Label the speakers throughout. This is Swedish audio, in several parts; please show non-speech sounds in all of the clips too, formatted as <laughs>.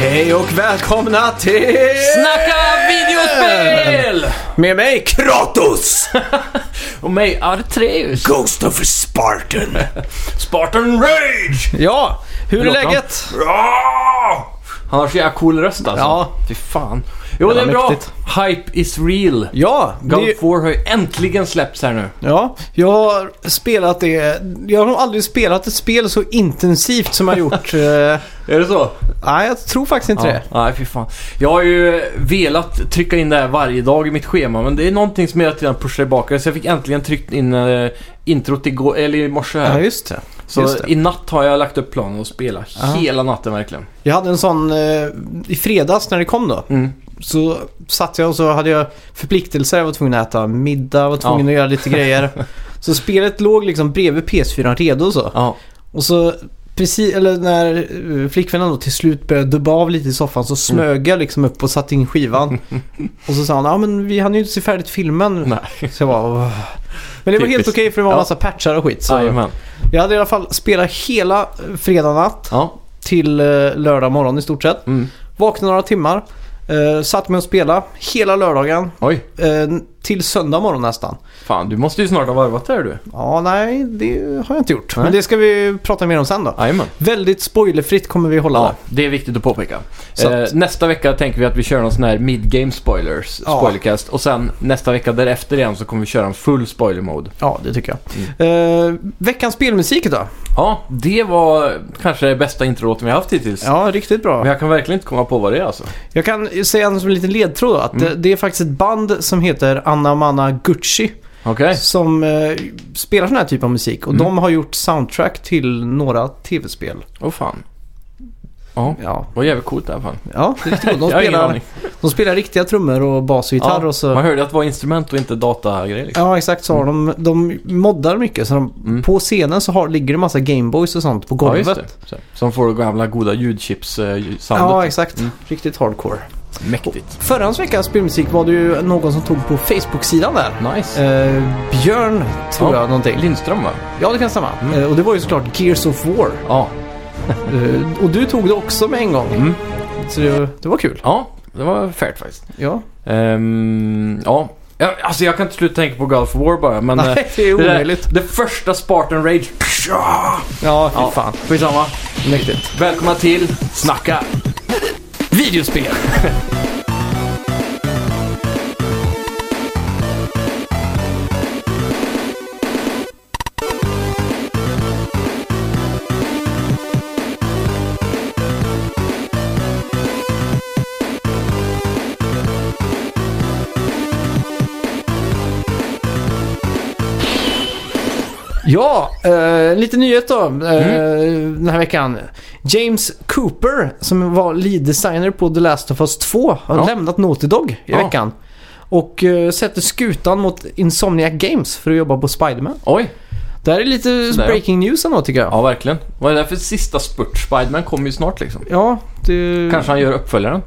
Speaker 1: Hej och välkomna till...
Speaker 2: Snacka videospel!
Speaker 1: Med mig Kratos!
Speaker 2: <laughs> Och mig Artreus.
Speaker 1: Ghost of Spartan!
Speaker 2: <laughs> Spartan Rage!
Speaker 1: Ja, hur är
Speaker 2: Låter
Speaker 1: läget?
Speaker 2: Han har så jävla cool röst alltså.
Speaker 1: Ja.
Speaker 2: Fy fan. Jo, det
Speaker 1: Jävla
Speaker 2: är bra.
Speaker 1: mäktigt.
Speaker 2: Hype is real.
Speaker 1: Ja,
Speaker 2: God
Speaker 1: det,
Speaker 2: 4 har ju äntligen släppts här nu.
Speaker 1: ja, jag har spelat det. Jag har nog aldrig spelat ett spel så intensivt
Speaker 2: <laughs>
Speaker 1: som jag gjort. eh,
Speaker 2: Är det så?
Speaker 1: nej, jag tror faktiskt inte
Speaker 2: Ja.
Speaker 1: det.
Speaker 2: Nej, fy fan. Jag har ju velat trycka in det här varje dag i mitt schema, men det är någonting som hela tiden pushar tillbaka. Så jag fick äntligen tryckt in eh, introt igår, eller i morse här.
Speaker 1: Ja, just det. just
Speaker 2: så
Speaker 1: det.
Speaker 2: i natt har jag lagt upp planen att spela
Speaker 1: Ja.
Speaker 2: hela natten verkligen.
Speaker 1: Jag hade en sån eh, i fredags när det kom då.
Speaker 2: Mm.
Speaker 1: Så satt jag och så hade jag förpliktelser. Jag var tvungen att äta middag, var tvungen
Speaker 2: Ja.
Speaker 1: att göra lite
Speaker 2: <laughs>
Speaker 1: grejer. Så spelet låg liksom bredvid PS4 redo så.
Speaker 2: Ja.
Speaker 1: Och så precis, eller när eh, flickvännen då till slut började dubba av lite i soffan så smög jag liksom upp och satte in
Speaker 2: <laughs>
Speaker 1: skivan. och så sa han, ja men vi hann ju inte se färdigt filmen.
Speaker 2: <laughs> Nej.
Speaker 1: Så jag bara, "Åh." Men det var helt
Speaker 2: Typiskt.
Speaker 1: okej för det var en
Speaker 2: Ja.
Speaker 1: massa patchar och skit. Så
Speaker 2: Jajamän.
Speaker 1: jag hade i alla fall spelat hela eh, fredag natt
Speaker 2: Ja.
Speaker 1: till eh, lördag morgon i stort sett.
Speaker 2: Mm.
Speaker 1: Vaknade några timmar. Eh, satt mig och spela hela lördagen.
Speaker 2: Oj.
Speaker 1: Eh, till söndag morgon nästan.
Speaker 2: Fan, du måste ju snart ha varvat där du.
Speaker 1: Ja, nej, det har jag inte gjort. Men
Speaker 2: Nej.
Speaker 1: det ska vi prata mer om sen då.
Speaker 2: Jajamän.
Speaker 1: Väldigt spoilerfritt kommer vi hålla
Speaker 2: Ja,
Speaker 1: där.
Speaker 2: det är viktigt att påpeka.
Speaker 1: Så
Speaker 2: Eh,
Speaker 1: att-
Speaker 2: nästa vecka tänker vi att vi kör någon sån här mid-game spoilers,
Speaker 1: Ja.
Speaker 2: spoilercast. Och sen nästa vecka därefter igen så kommer vi köra en full spoiler mode.
Speaker 1: Ja, det tycker jag.
Speaker 2: Mm.
Speaker 1: Eh, veckans spelmusik då?
Speaker 2: Ja, det var kanske det bästa introlåten vi har haft hittills.
Speaker 1: Ja, riktigt
Speaker 2: Men
Speaker 1: bra.
Speaker 2: jag kan verkligen inte komma på vad det är alltså.
Speaker 1: Jag kan säga en som en liten ledtråd då, att
Speaker 2: Mm.
Speaker 1: det, det är faktiskt ett band som heter Anna Manna Gucci
Speaker 2: Okej.
Speaker 1: som eh, spelar sån här typ av musik och
Speaker 2: Mm.
Speaker 1: de har gjort soundtrack till några tv-spel.
Speaker 2: Åh fan. Ja,
Speaker 1: Ja,
Speaker 2: vad jävligt coolt i alla fall.
Speaker 1: ja riktigt
Speaker 2: <laughs>
Speaker 1: coolt. de,
Speaker 2: Jag har ingen
Speaker 1: spelar,
Speaker 2: aning.
Speaker 1: de spelar riktiga trummor och bas och gitarr
Speaker 2: Ja,
Speaker 1: och så...
Speaker 2: Man hörde att det var instrument och inte datagrejer liksom.
Speaker 1: Ja, exakt så har de. De moddar mycket så de,
Speaker 2: Mm.
Speaker 1: på scenen så har, ligger det massa Gameboys och sånt på golvet.
Speaker 2: Ja, just det. Så- Som får gamla goda eh,
Speaker 1: Ja,
Speaker 2: ljudchips-soundet.
Speaker 1: exakt.
Speaker 2: Mm.
Speaker 1: Riktigt hardcore.
Speaker 2: Mäktigt.
Speaker 1: Förra veckans spelmusik var det ju någon som tog på Facebook-sidan där.
Speaker 2: Nice.
Speaker 1: Eh, Björn, tror
Speaker 2: Ja.
Speaker 1: jag någonting.
Speaker 2: Lindström va?
Speaker 1: Ja, det kan stämma.
Speaker 2: Mm.
Speaker 1: Eh, och det var ju såklart Gears of War.
Speaker 2: Ja.
Speaker 1: Eh, och du tog det också med en gång.
Speaker 2: Mm.
Speaker 1: Så det, det var kul.
Speaker 2: Ja, det var fairt faktiskt.
Speaker 1: Ja.
Speaker 2: Ehm, ja. Ja, Alltså jag kan inte sluta tänka på Gulf War bara, men... eh,
Speaker 1: Nej, <laughs> det är
Speaker 2: det, där-
Speaker 1: omöjligt.
Speaker 2: det första Spartan Rage... Ja,
Speaker 1: Ja, fy fan.
Speaker 2: Skitsamma.
Speaker 1: Mäktigt.
Speaker 2: Välkomna till Snacka videospel.
Speaker 1: Ja, eh, lite nyhet då eh, den här veckan. James Cooper, som var lead designer på The Last of Us 2, har
Speaker 2: Ja.
Speaker 1: lämnat Naughty Dog i
Speaker 2: Ja.
Speaker 1: veckan. Och eh, sätter skutan mot Insomniac Games för att jobba på Spiderman.
Speaker 2: Oj.
Speaker 1: Det här är lite
Speaker 2: Sådär, ja.
Speaker 1: breaking news ändå tycker jag. Ja,
Speaker 2: Ja, verkligen. Vad är det för sista spurt? Spiderman kommer ju snart liksom.
Speaker 1: det,
Speaker 2: Kanske han gör uppföljaren.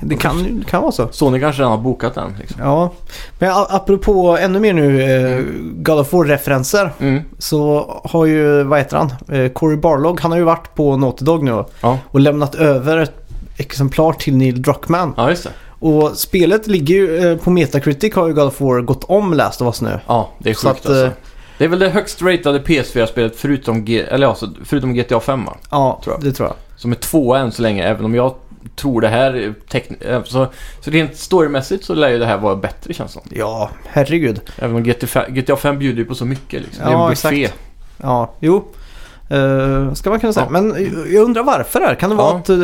Speaker 1: det kan, det kan vara så.
Speaker 2: Sony kanske redan har bokat den liksom.
Speaker 1: Ja, men a- apropå ännu mer nu eh, God of War-referenser.
Speaker 2: Mm.
Speaker 1: Så har ju, vad heter han, eh, Corey Barlog, han har ju varit på Naughty Dog nu
Speaker 2: Ja.
Speaker 1: och lämnat över ett exemplar till Neil Druckmann.
Speaker 2: Ja, just det.
Speaker 1: Och spelet ligger ju eh, på Metacritic har ju God of War gått om Last of Us nu.
Speaker 2: Ja, det är
Speaker 1: Så
Speaker 2: sjukt
Speaker 1: att, eh,
Speaker 2: alltså. Det är väl det högst ratade PS4-spelet förutom, G- eller, alltså, förutom GTA 5 va?
Speaker 1: Ja,
Speaker 2: Tror jag.
Speaker 1: det tror jag.
Speaker 2: Som är tvåa än så länge, även om jag tror det här är tekn- eh, så, så rent storymässigt så lär ju det här vara bättre känns det som.
Speaker 1: Ja, herregud.
Speaker 2: Även om GTA 5, GTA 5 bjuder ju på så mycket liksom. det är
Speaker 1: Ja,
Speaker 2: en buffé.
Speaker 1: exakt. Ja, jo. Eh, ska man kunna säga.
Speaker 2: Ja.
Speaker 1: Men eh, jag undrar varför det här. Kan det
Speaker 2: Ja.
Speaker 1: vara att eh,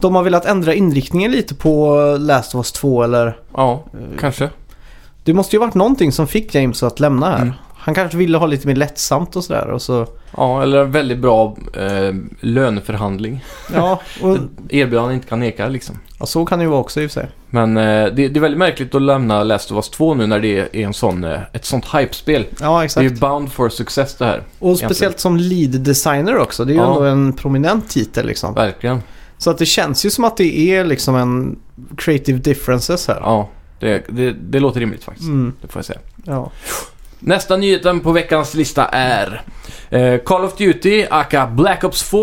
Speaker 1: de har velat ändra inriktningen lite på eh, Last of Us 2 eller?
Speaker 2: Ja, kanske.
Speaker 1: Det måste ju varit någonting som fick James att lämna här.
Speaker 2: Mm.
Speaker 1: Han kanske ville ha lite mer lättsamt och sådär och så...
Speaker 2: Ja, eller en väldigt bra eh, löneförhandling.
Speaker 1: Ja, och,
Speaker 2: Erbjudande inte kan neka liksom.
Speaker 1: ja, så kan det ju vara också i och för sig.
Speaker 2: Men eh, det, det är väldigt märkligt att lämna Last of Us 2 nu när det är en sån, eh, ett sånt hypespel.
Speaker 1: Ja,
Speaker 2: Det är
Speaker 1: exakt.
Speaker 2: ju bound for success det här.
Speaker 1: Och speciellt som lead designer också. Det är ju
Speaker 2: Ja.
Speaker 1: ändå en prominent titel liksom.
Speaker 2: Verkligen.
Speaker 1: Så att det känns ju som att det är liksom en creative differences här.
Speaker 2: Ja, det, det, det låter rimligt faktiskt.
Speaker 1: Mm,
Speaker 2: Det får jag säga.
Speaker 1: ja.
Speaker 2: Nästa nyheten på veckans lista är eh, Call of Duty aka Black Ops 4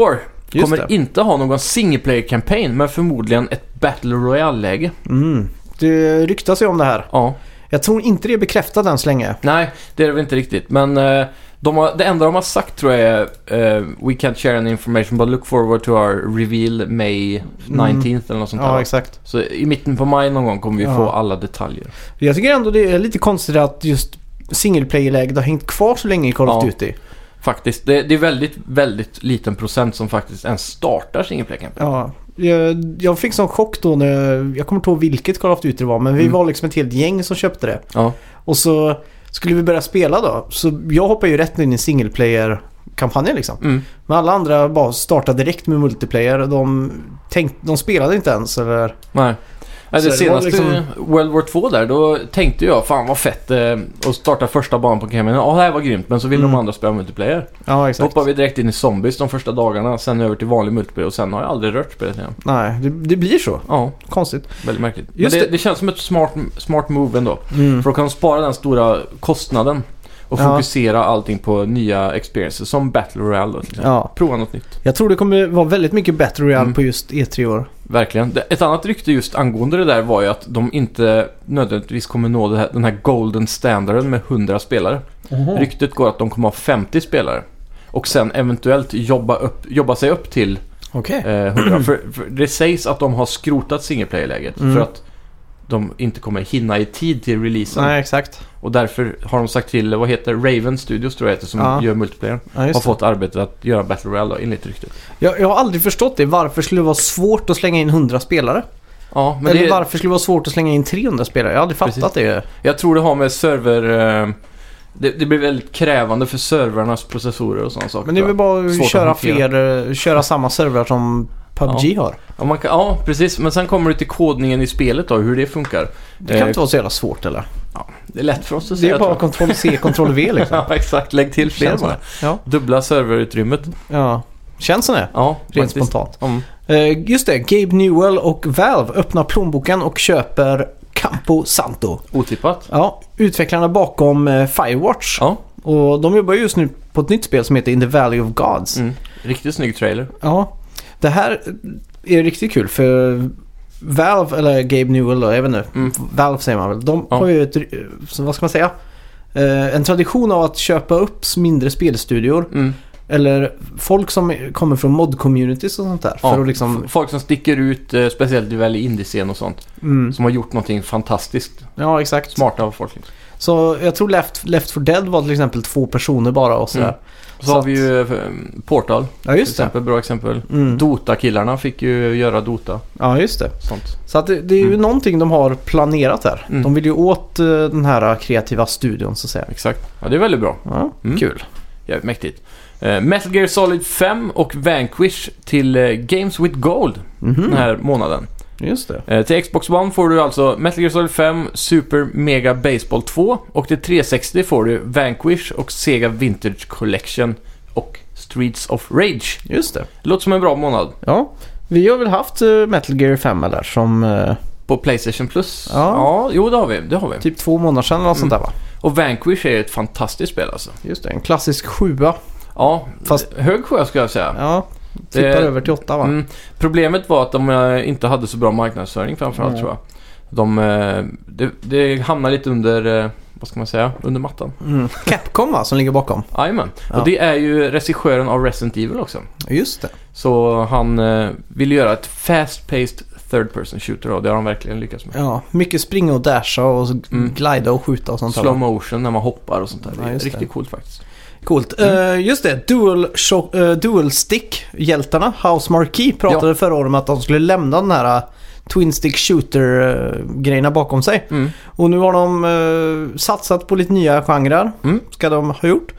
Speaker 1: Just
Speaker 2: Kommer
Speaker 1: det.
Speaker 2: inte ha någon single player campaign men förmodligen ett Battle Royale-läge.
Speaker 1: Mm. Det ryktas ju om det här.
Speaker 2: Ja.
Speaker 1: Jag tror inte det är bekräftat än så länge.
Speaker 2: Nej, det är det väl inte riktigt. Men eh, de har, det enda de har sagt tror jag är eh, We can't share any information but look forward to our reveal May 19th eller något sånt där.
Speaker 1: Mm. Ja,
Speaker 2: va?
Speaker 1: exakt.
Speaker 2: Så i mitten på maj någon gång kommer vi
Speaker 1: Ja.
Speaker 2: få alla detaljer.
Speaker 1: Jag tycker ändå det är lite konstigt att just single player-läget har hängt kvar så länge i Call of
Speaker 2: Ja.
Speaker 1: Duty.
Speaker 2: Faktiskt. Det, det är väldigt, väldigt liten procent som faktiskt ens startar single player campaign.
Speaker 1: Ja, jag, jag fick sån chock då när, jag kommer inte ihåg vilket Call of Duty det var, men vi
Speaker 2: Mm.
Speaker 1: var liksom ett helt gäng som köpte det.
Speaker 2: Ja.
Speaker 1: Och så skulle vi börja spela då, så jag hoppade ju rätt in i single player-kampanjen liksom.
Speaker 2: Mm.
Speaker 1: Men alla andra bara startade direkt med multiplayer. De, tänkte, de spelade inte ens eller...
Speaker 2: Nej. Nej,
Speaker 1: Så
Speaker 2: det
Speaker 1: det var
Speaker 2: senaste
Speaker 1: liksom-
Speaker 2: World War 2 där, då tänkte jag fan vad fett eh, att starta första banan på kampanjen. Ja, det här var grymt. Men så ville
Speaker 1: Mm.
Speaker 2: de andra spela multiplayer.
Speaker 1: Ja,
Speaker 2: Så hoppar vi direkt in i zombies de första dagarna, sen över till vanlig multiplayer och sen har jag aldrig rört spelet igen.
Speaker 1: Nej, det, det blir så.
Speaker 2: Ja,
Speaker 1: Konstigt.
Speaker 2: väldigt märkligt. Men
Speaker 1: Just
Speaker 2: det,
Speaker 1: det. Mm.
Speaker 2: det. känns som ett smart, smart move ändå. För då kan de spara den stora kostnaden och
Speaker 1: Ja.
Speaker 2: fokusera allting på nya experiences som Battle Royale då, till exempel.
Speaker 1: Ja.
Speaker 2: Prova något nytt.
Speaker 1: Jag tror det kommer vara väldigt mycket Battle Royale
Speaker 2: Mm.
Speaker 1: på just E3 i år.
Speaker 2: Verkligen. Det- Ett annat rykte just angående det där var ju att de inte nödvändigtvis kommer nå det här, den här golden standarden med 100 spelare.
Speaker 1: Mm.
Speaker 2: Ryktet går att de kommer ha 50 spelare. Och sen eventuellt jobba, upp, jobba sig upp till
Speaker 1: Okej.
Speaker 2: Eh, 100. för, för det sägs att de har skrotat single player-läget
Speaker 1: Mm.
Speaker 2: för att de inte kommer hinna i tid till releasen.
Speaker 1: Nej, exakt.
Speaker 2: Och därför har de sagt till, vad heter Raven Studios tror jag heter, som
Speaker 1: Ja.
Speaker 2: gör multiplayer.
Speaker 1: Ja,
Speaker 2: Har
Speaker 1: just det.
Speaker 2: fått arbetet att göra Battle Royale då, enligt ryktet.
Speaker 1: Jag, jag har aldrig förstått det. Varför skulle det vara svårt att slänga in 100 spelare?
Speaker 2: Ja, men
Speaker 1: Eller
Speaker 2: det,
Speaker 1: varför skulle det vara svårt att slänga in 300 spelare? Jag har aldrig fattat det.
Speaker 2: jag tror det har med server... Eh, det, det blir väldigt krävande för servrarnas processorer och sådana saker.
Speaker 1: Men det är
Speaker 2: tror
Speaker 1: väl
Speaker 2: jag.
Speaker 1: bara
Speaker 2: Svårt
Speaker 1: att
Speaker 2: att
Speaker 1: köra
Speaker 2: hantera.
Speaker 1: fler, eh, köra samma servrar som PubG har.
Speaker 2: ja, man kan, ja, precis. Men sen kommer du till kodningen i spelet då, hur det funkar.
Speaker 1: Det kan
Speaker 2: Eh,
Speaker 1: inte vara så jävla svårt eller?
Speaker 2: Det är lätt för oss att
Speaker 1: Det
Speaker 2: säga
Speaker 1: är bara
Speaker 2: tror
Speaker 1: Ctrl-C, Ctrl-V
Speaker 2: jag. <laughs>
Speaker 1: liksom.
Speaker 2: Ja, exakt. Lägg till fler
Speaker 1: Känns
Speaker 2: bara.
Speaker 1: det. Ja.
Speaker 2: Dubbla serverutrymmet.
Speaker 1: ja. Känns det?
Speaker 2: Ja,
Speaker 1: Rent
Speaker 2: faktiskt.
Speaker 1: spontant.
Speaker 2: Mm.
Speaker 1: Eh, Just det, Gabe Newell och Valve öppnar plånboken och köper Campo Santo.
Speaker 2: Otippat.
Speaker 1: Ja, utvecklarna bakom eh, Firewatch.
Speaker 2: Ja,
Speaker 1: Och de jobbar just nu på ett nytt spel som heter In the Valley of Gods.
Speaker 2: mm. riktigt snygg trailer.
Speaker 1: Ja, det här är riktigt kul för Valve, eller Gabe Newell då, jag vet inte.
Speaker 2: Mm.
Speaker 1: Valve säger man väl. De
Speaker 2: Ja.
Speaker 1: har ju ett, eh, så vad ska man säga? Eh, En tradition av att köpa upp mindre spelstudior
Speaker 2: Mm.
Speaker 1: eller folk som kommer från mod-communities och sånt där.
Speaker 2: Ja,
Speaker 1: För att liksom...
Speaker 2: f- Folk som sticker ut, eh, speciellt i väl i indiescen och sånt,
Speaker 1: Mm,
Speaker 2: som har gjort någonting fantastiskt.
Speaker 1: ja, exakt.
Speaker 2: Smarta folk. Liksom.
Speaker 1: Så jag tror Left, Left 4 Dead var till exempel två personer bara och sådär.
Speaker 2: Mm. Så,
Speaker 1: Så
Speaker 2: har
Speaker 1: att-
Speaker 2: vi ju eh, Portal, till
Speaker 1: Ja, just det.
Speaker 2: exempel. Bra exempel.
Speaker 1: Mm.
Speaker 2: Dota-killarna fick ju göra Dota.
Speaker 1: Ja, just det.
Speaker 2: Sånt.
Speaker 1: Så att det, det är ju
Speaker 2: Mm.
Speaker 1: någonting de har planerat här.
Speaker 2: Mm.
Speaker 1: De vill ju åt eh, den här kreativa studion så att säga.
Speaker 2: Exakt. Ja, det är väldigt bra.
Speaker 1: Ja,
Speaker 2: Mm.
Speaker 1: kul.
Speaker 2: Jävligt mäktigt. Eh, Metal Gear Solid 5 och Vanquish till eh, Games with Gold
Speaker 1: Mhm.
Speaker 2: den här månaden.
Speaker 1: Just det.
Speaker 2: Eh, till Xbox One får du alltså Metal Gear Solid 5, Super Mega Baseball 2 och till 360 får du Vanquish och Sega Vintage Collection och Streets of Rage.
Speaker 1: Just det.
Speaker 2: Det låter som en bra månad.
Speaker 1: Ja. Vi har väl haft eh, Metal Gear 5 eller som eh,
Speaker 2: På Playstation Plus?
Speaker 1: Ja.
Speaker 2: jo det har vi. Det har vi.
Speaker 1: typ två månader sedan eller något sånt
Speaker 2: Mm.
Speaker 1: där va?
Speaker 2: Och Vanquish är ett fantastiskt spel alltså.
Speaker 1: Just det, en klassisk sjua.
Speaker 2: Ja,
Speaker 1: Fast-
Speaker 2: Fast... hög sjö skulle jag säga.
Speaker 1: Ja, tippar
Speaker 2: Det-
Speaker 1: över till åtta va?
Speaker 2: Mm. Problemet var att de eh, inte hade så bra marknadsföring framförallt
Speaker 1: Mm.
Speaker 2: tror jag. De, eh, det, det hamnar lite under, eh, vad ska man säga, under mattan.
Speaker 1: Mm. Capcom va, som ligger bakom?
Speaker 2: Jajamän.
Speaker 1: Ja.
Speaker 2: Och det är ju regissören av Resident Evil också.
Speaker 1: Just det.
Speaker 2: Så han eh, vill göra ett fast-paced third person shooter och det har han verkligen lyckats med.
Speaker 1: Ja, mycket springa och dasha och mm. glida och skjuta och sånt där, va?
Speaker 2: Slow motion när man hoppar och sånt där. Det
Speaker 1: Ja,
Speaker 2: är
Speaker 1: just det.
Speaker 2: riktigt coolt faktiskt.
Speaker 1: Coolt.
Speaker 2: Mm.
Speaker 1: Eh, just det, Dual, Shock- eh, Dual Stick-hjältarna, House Marquee, pratade förra året om att de skulle lämna den här eh, Twin Stick Shooter-grejerna bakom sig.
Speaker 2: Mm.
Speaker 1: Och nu har de eh, satsat på lite nya genrer,
Speaker 2: Mm.
Speaker 1: ska de ha gjort.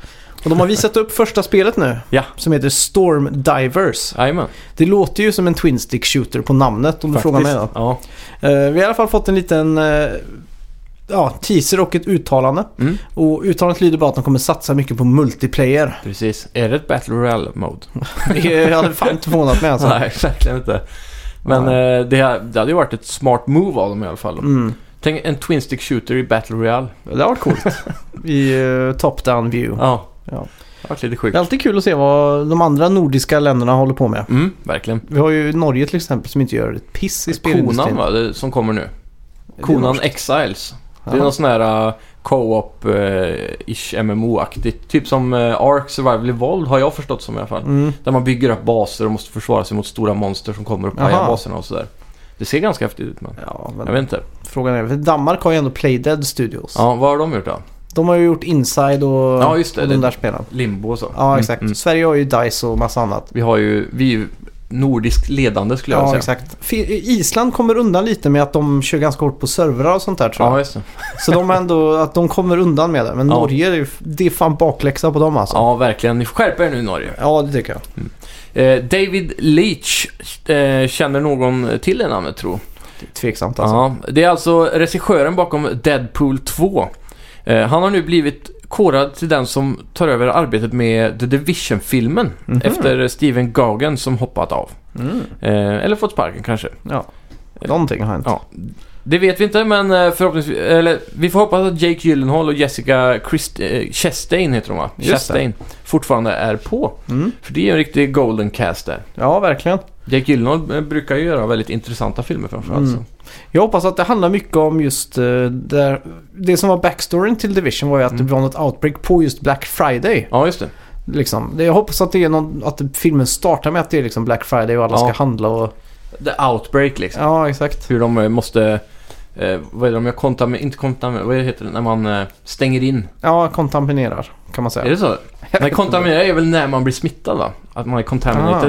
Speaker 1: Och de har visat upp första spelet nu,
Speaker 2: Ja.
Speaker 1: som heter Storm Divers.
Speaker 2: Jajamän.
Speaker 1: Det låter ju som en Twin Stick Shooter på namnet om du frågar mig. Då.
Speaker 2: Faktiskt. Ja.
Speaker 1: Eh, vi har i alla fall fått en liten eh, ja, teaser och ett uttalande.
Speaker 2: Mm.
Speaker 1: Och uttalandet lyder bara att de kommer satsa mycket på multiplayer.
Speaker 2: Precis. Är det ett Battle Royale-mode?
Speaker 1: Jag hade fan inte förvånat mig alltså.
Speaker 2: Nej, <laughs> verkligen inte. Men eh, det, ha- det hade ju varit ett smart move av dem i alla fall.
Speaker 1: Mm.
Speaker 2: Tänk en Twin Stick Shooter i Battle Royale. <laughs>
Speaker 1: Det har varit coolt. I eh, top-down view.
Speaker 2: Ja.
Speaker 1: Ja.
Speaker 2: Ja. Det har varit lite
Speaker 1: Det
Speaker 2: sjukt.
Speaker 1: är alltid kul att se vad de andra nordiska länderna håller på med.
Speaker 2: Mm, verkligen.
Speaker 1: Vi har ju Norge till exempel som inte gör ett piss i
Speaker 2: Konan
Speaker 1: spelindustrin.
Speaker 2: va, det, som kommer nu.
Speaker 1: Det är
Speaker 2: Konan
Speaker 1: norskt.
Speaker 2: Exiles. Det är
Speaker 1: Ja.
Speaker 2: någon sån här äh, eh, co-op-ish MMO-aktigt. Typ som eh, Ark Survival Evolved har jag förstått som i alla fall.
Speaker 1: Mm.
Speaker 2: Där man bygger upp baser och måste försvara sig mot stora monster som kommer och pajar
Speaker 1: Aha.
Speaker 2: baserna och sådär. Det ser ganska häftigt ut men
Speaker 1: Ja,
Speaker 2: jag
Speaker 1: men
Speaker 2: vet inte.
Speaker 1: frågan är, för Danmark har ju ändå Playdead Studios.
Speaker 2: Ja, vad har de gjort då?
Speaker 1: De har ju gjort Inside och,
Speaker 2: Ja, just det.
Speaker 1: och de
Speaker 2: Det-
Speaker 1: där spelen.
Speaker 2: Limbo och så.
Speaker 1: Ja, exakt.
Speaker 2: Mm, mm.
Speaker 1: Sverige har ju DICE och massa annat.
Speaker 2: Vi har ju, vi är ju nordiskt ledande skulle jag
Speaker 1: Ja,
Speaker 2: säga.
Speaker 1: exakt. Fi- Island kommer undan lite med att de kör ganska hårt på servrar och sånt där tror jag.
Speaker 2: Ja, just det.
Speaker 1: Så de är ändå, att de kommer undan med det. Men
Speaker 2: Ja.
Speaker 1: Norge, är ju- det är fan bakläxa på dem alltså.
Speaker 2: Ja, verkligen. Ni får skärpa er nu Norge.
Speaker 1: Ja, det tycker jag.
Speaker 2: Eh, David Leach eh, känner någon till det namnet tror
Speaker 1: Tveksamt alltså.
Speaker 2: Ja, det är alltså regissören bakom Deadpool 2. Eh, han har nu blivit korad till den som tar över arbetet med The Division-filmen
Speaker 1: Mhm.
Speaker 2: efter Steven Gagan som hoppat av.
Speaker 1: Mm.
Speaker 2: Eh, eller fått sparken kanske.
Speaker 1: Ja. Någonting har hänt.
Speaker 2: Ja. Det vet vi inte, men eh, förhoppningsvis... Eller vi får hoppas att Jake Gyllenhaal och Jessica Christ, eh, Chastain heter de va?
Speaker 1: Just det.
Speaker 2: Chastain fortfarande är på.
Speaker 1: Mm.
Speaker 2: För det är en riktig golden cast där.
Speaker 1: Ja, verkligen.
Speaker 2: Jake Gyllenhaal eh, brukar ju göra väldigt intressanta filmer framförallt.
Speaker 1: Mm.
Speaker 2: så.
Speaker 1: Jag hoppas att det handlar mycket om just eh, där, det som var backstoryn till Division var ju att
Speaker 2: Mm.
Speaker 1: det var något outbreak på just Black Friday.
Speaker 2: Ja, just det.
Speaker 1: Liksom. Det- Jag hoppas att, det är någon, att filmen startar med att det är liksom Black Friday och alla
Speaker 2: Ja.
Speaker 1: ska handla och...
Speaker 2: The Outbreak liksom.
Speaker 1: Ja, exakt.
Speaker 2: Hur de eh, måste... Eh, vad är det de gör? Kontam... Inte kontam... Vad heter det? När man eh, stänger in.
Speaker 1: Ja, kontaminerar kan man
Speaker 2: Är
Speaker 1: säga.
Speaker 2: det så?
Speaker 1: <laughs>
Speaker 2: Nej, kontaminera är väl när man blir smittad va? Att man är contaminated.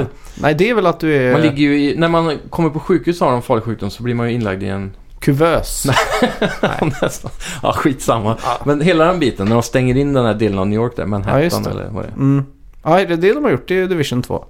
Speaker 1: Ah. Eh. Nej, det är väl att du är
Speaker 2: Man ligger ju i... När man kommer på sjukhus och har en farlig sjukdom så blir man ju inlagd
Speaker 1: <laughs>
Speaker 2: i en...
Speaker 1: kuvös.
Speaker 2: <laughs> Nästan. Ja, skitsamma.
Speaker 1: Ja.
Speaker 2: Men hela den biten, när de stänger in den här delen av New York där,
Speaker 1: Ah. Ja,
Speaker 2: Manhattan
Speaker 1: just det.
Speaker 2: eller vad det är.
Speaker 1: Mm. Ja, det är det de har gjort. Det är Division 2.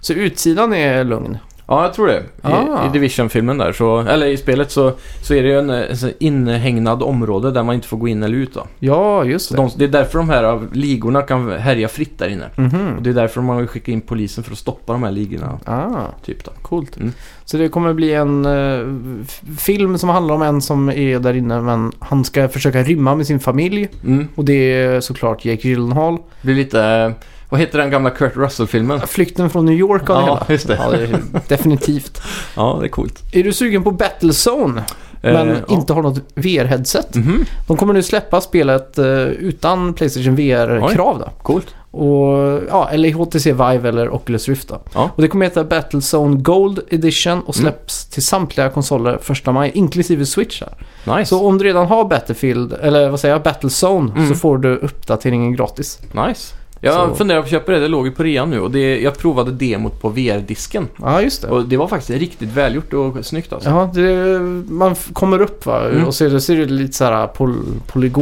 Speaker 1: Så utsidan är lugn.
Speaker 2: Ja, jag tror det. I,
Speaker 1: Ah.
Speaker 2: i Division-filmen där, så, eller i spelet så, så är det ju en, eh, en sån inhägnad område där man inte får gå in eller ut då.
Speaker 1: Ja, just
Speaker 2: Så
Speaker 1: det.
Speaker 2: de, det är därför de här av ligorna kan härja fritt där inne. Och
Speaker 1: Mhm.
Speaker 2: det är därför man vill skicka in polisen för att stoppa de här ligorna.
Speaker 1: Ah,
Speaker 2: Typ då.
Speaker 1: coolt.
Speaker 2: Mm.
Speaker 1: Så det kommer bli en eh, f- film som handlar om en som är där inne men han ska försöka rymma med sin familj.
Speaker 2: Mm.
Speaker 1: Och det är såklart Jake Gyllenhaal.
Speaker 2: Det blir lite... eh, Vad heter den gamla Kurt Russell-filmen?
Speaker 1: Flykten från New York av det
Speaker 2: Ja,
Speaker 1: hela.
Speaker 2: just det.
Speaker 1: Ja, det är, definitivt.
Speaker 2: Ja, det är coolt.
Speaker 1: Är du sugen på Battlezone men
Speaker 2: Eh, ja.
Speaker 1: inte har något VR-headset?
Speaker 2: Mhm,
Speaker 1: De kommer nu släppa spelet eh, utan Playstation VR-krav då.
Speaker 2: Coolt.
Speaker 1: Och, ja, eller HTC Vive eller Oculus Rift då.
Speaker 2: Ja. Mm.
Speaker 1: Och det kommer heta Battlezone Gold Edition och släpps till samtliga konsoler 1 maj, inklusive Switch. Här.
Speaker 2: Nice.
Speaker 1: Så om du redan har Battlefield, eller vad säger jag, Battlezone,
Speaker 2: Mm.
Speaker 1: så får du uppdateringen gratis.
Speaker 2: Nice. Jag
Speaker 1: Så-
Speaker 2: funderar på att köpa det. Det låg ju på rean nu och det, jag provade demot på VR-disken.
Speaker 1: Ja, just det.
Speaker 2: Och det var faktiskt riktigt välgjort och snyggt alltså.
Speaker 1: Ja, det, man f- kommer upp va?
Speaker 2: Mm.
Speaker 1: och så, är det- så är det lite så här pol,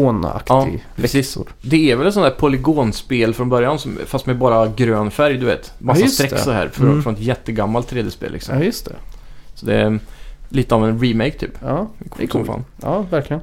Speaker 1: polygonaktig
Speaker 2: Ja, precis.
Speaker 1: växel.
Speaker 2: Det är väl ett sånt där polygonspel från början, som, fast med bara grön färg, du vet. Massa
Speaker 1: Ja, just
Speaker 2: streck
Speaker 1: det.
Speaker 2: så här från,
Speaker 1: Mm.
Speaker 2: från ett jättegammalt 3D-spel liksom.
Speaker 1: Ja, just det.
Speaker 2: Så det är lite av en remake typ.
Speaker 1: Ja,
Speaker 2: Det är
Speaker 1: coolt.
Speaker 2: coolt. fan.
Speaker 1: ja verkligen.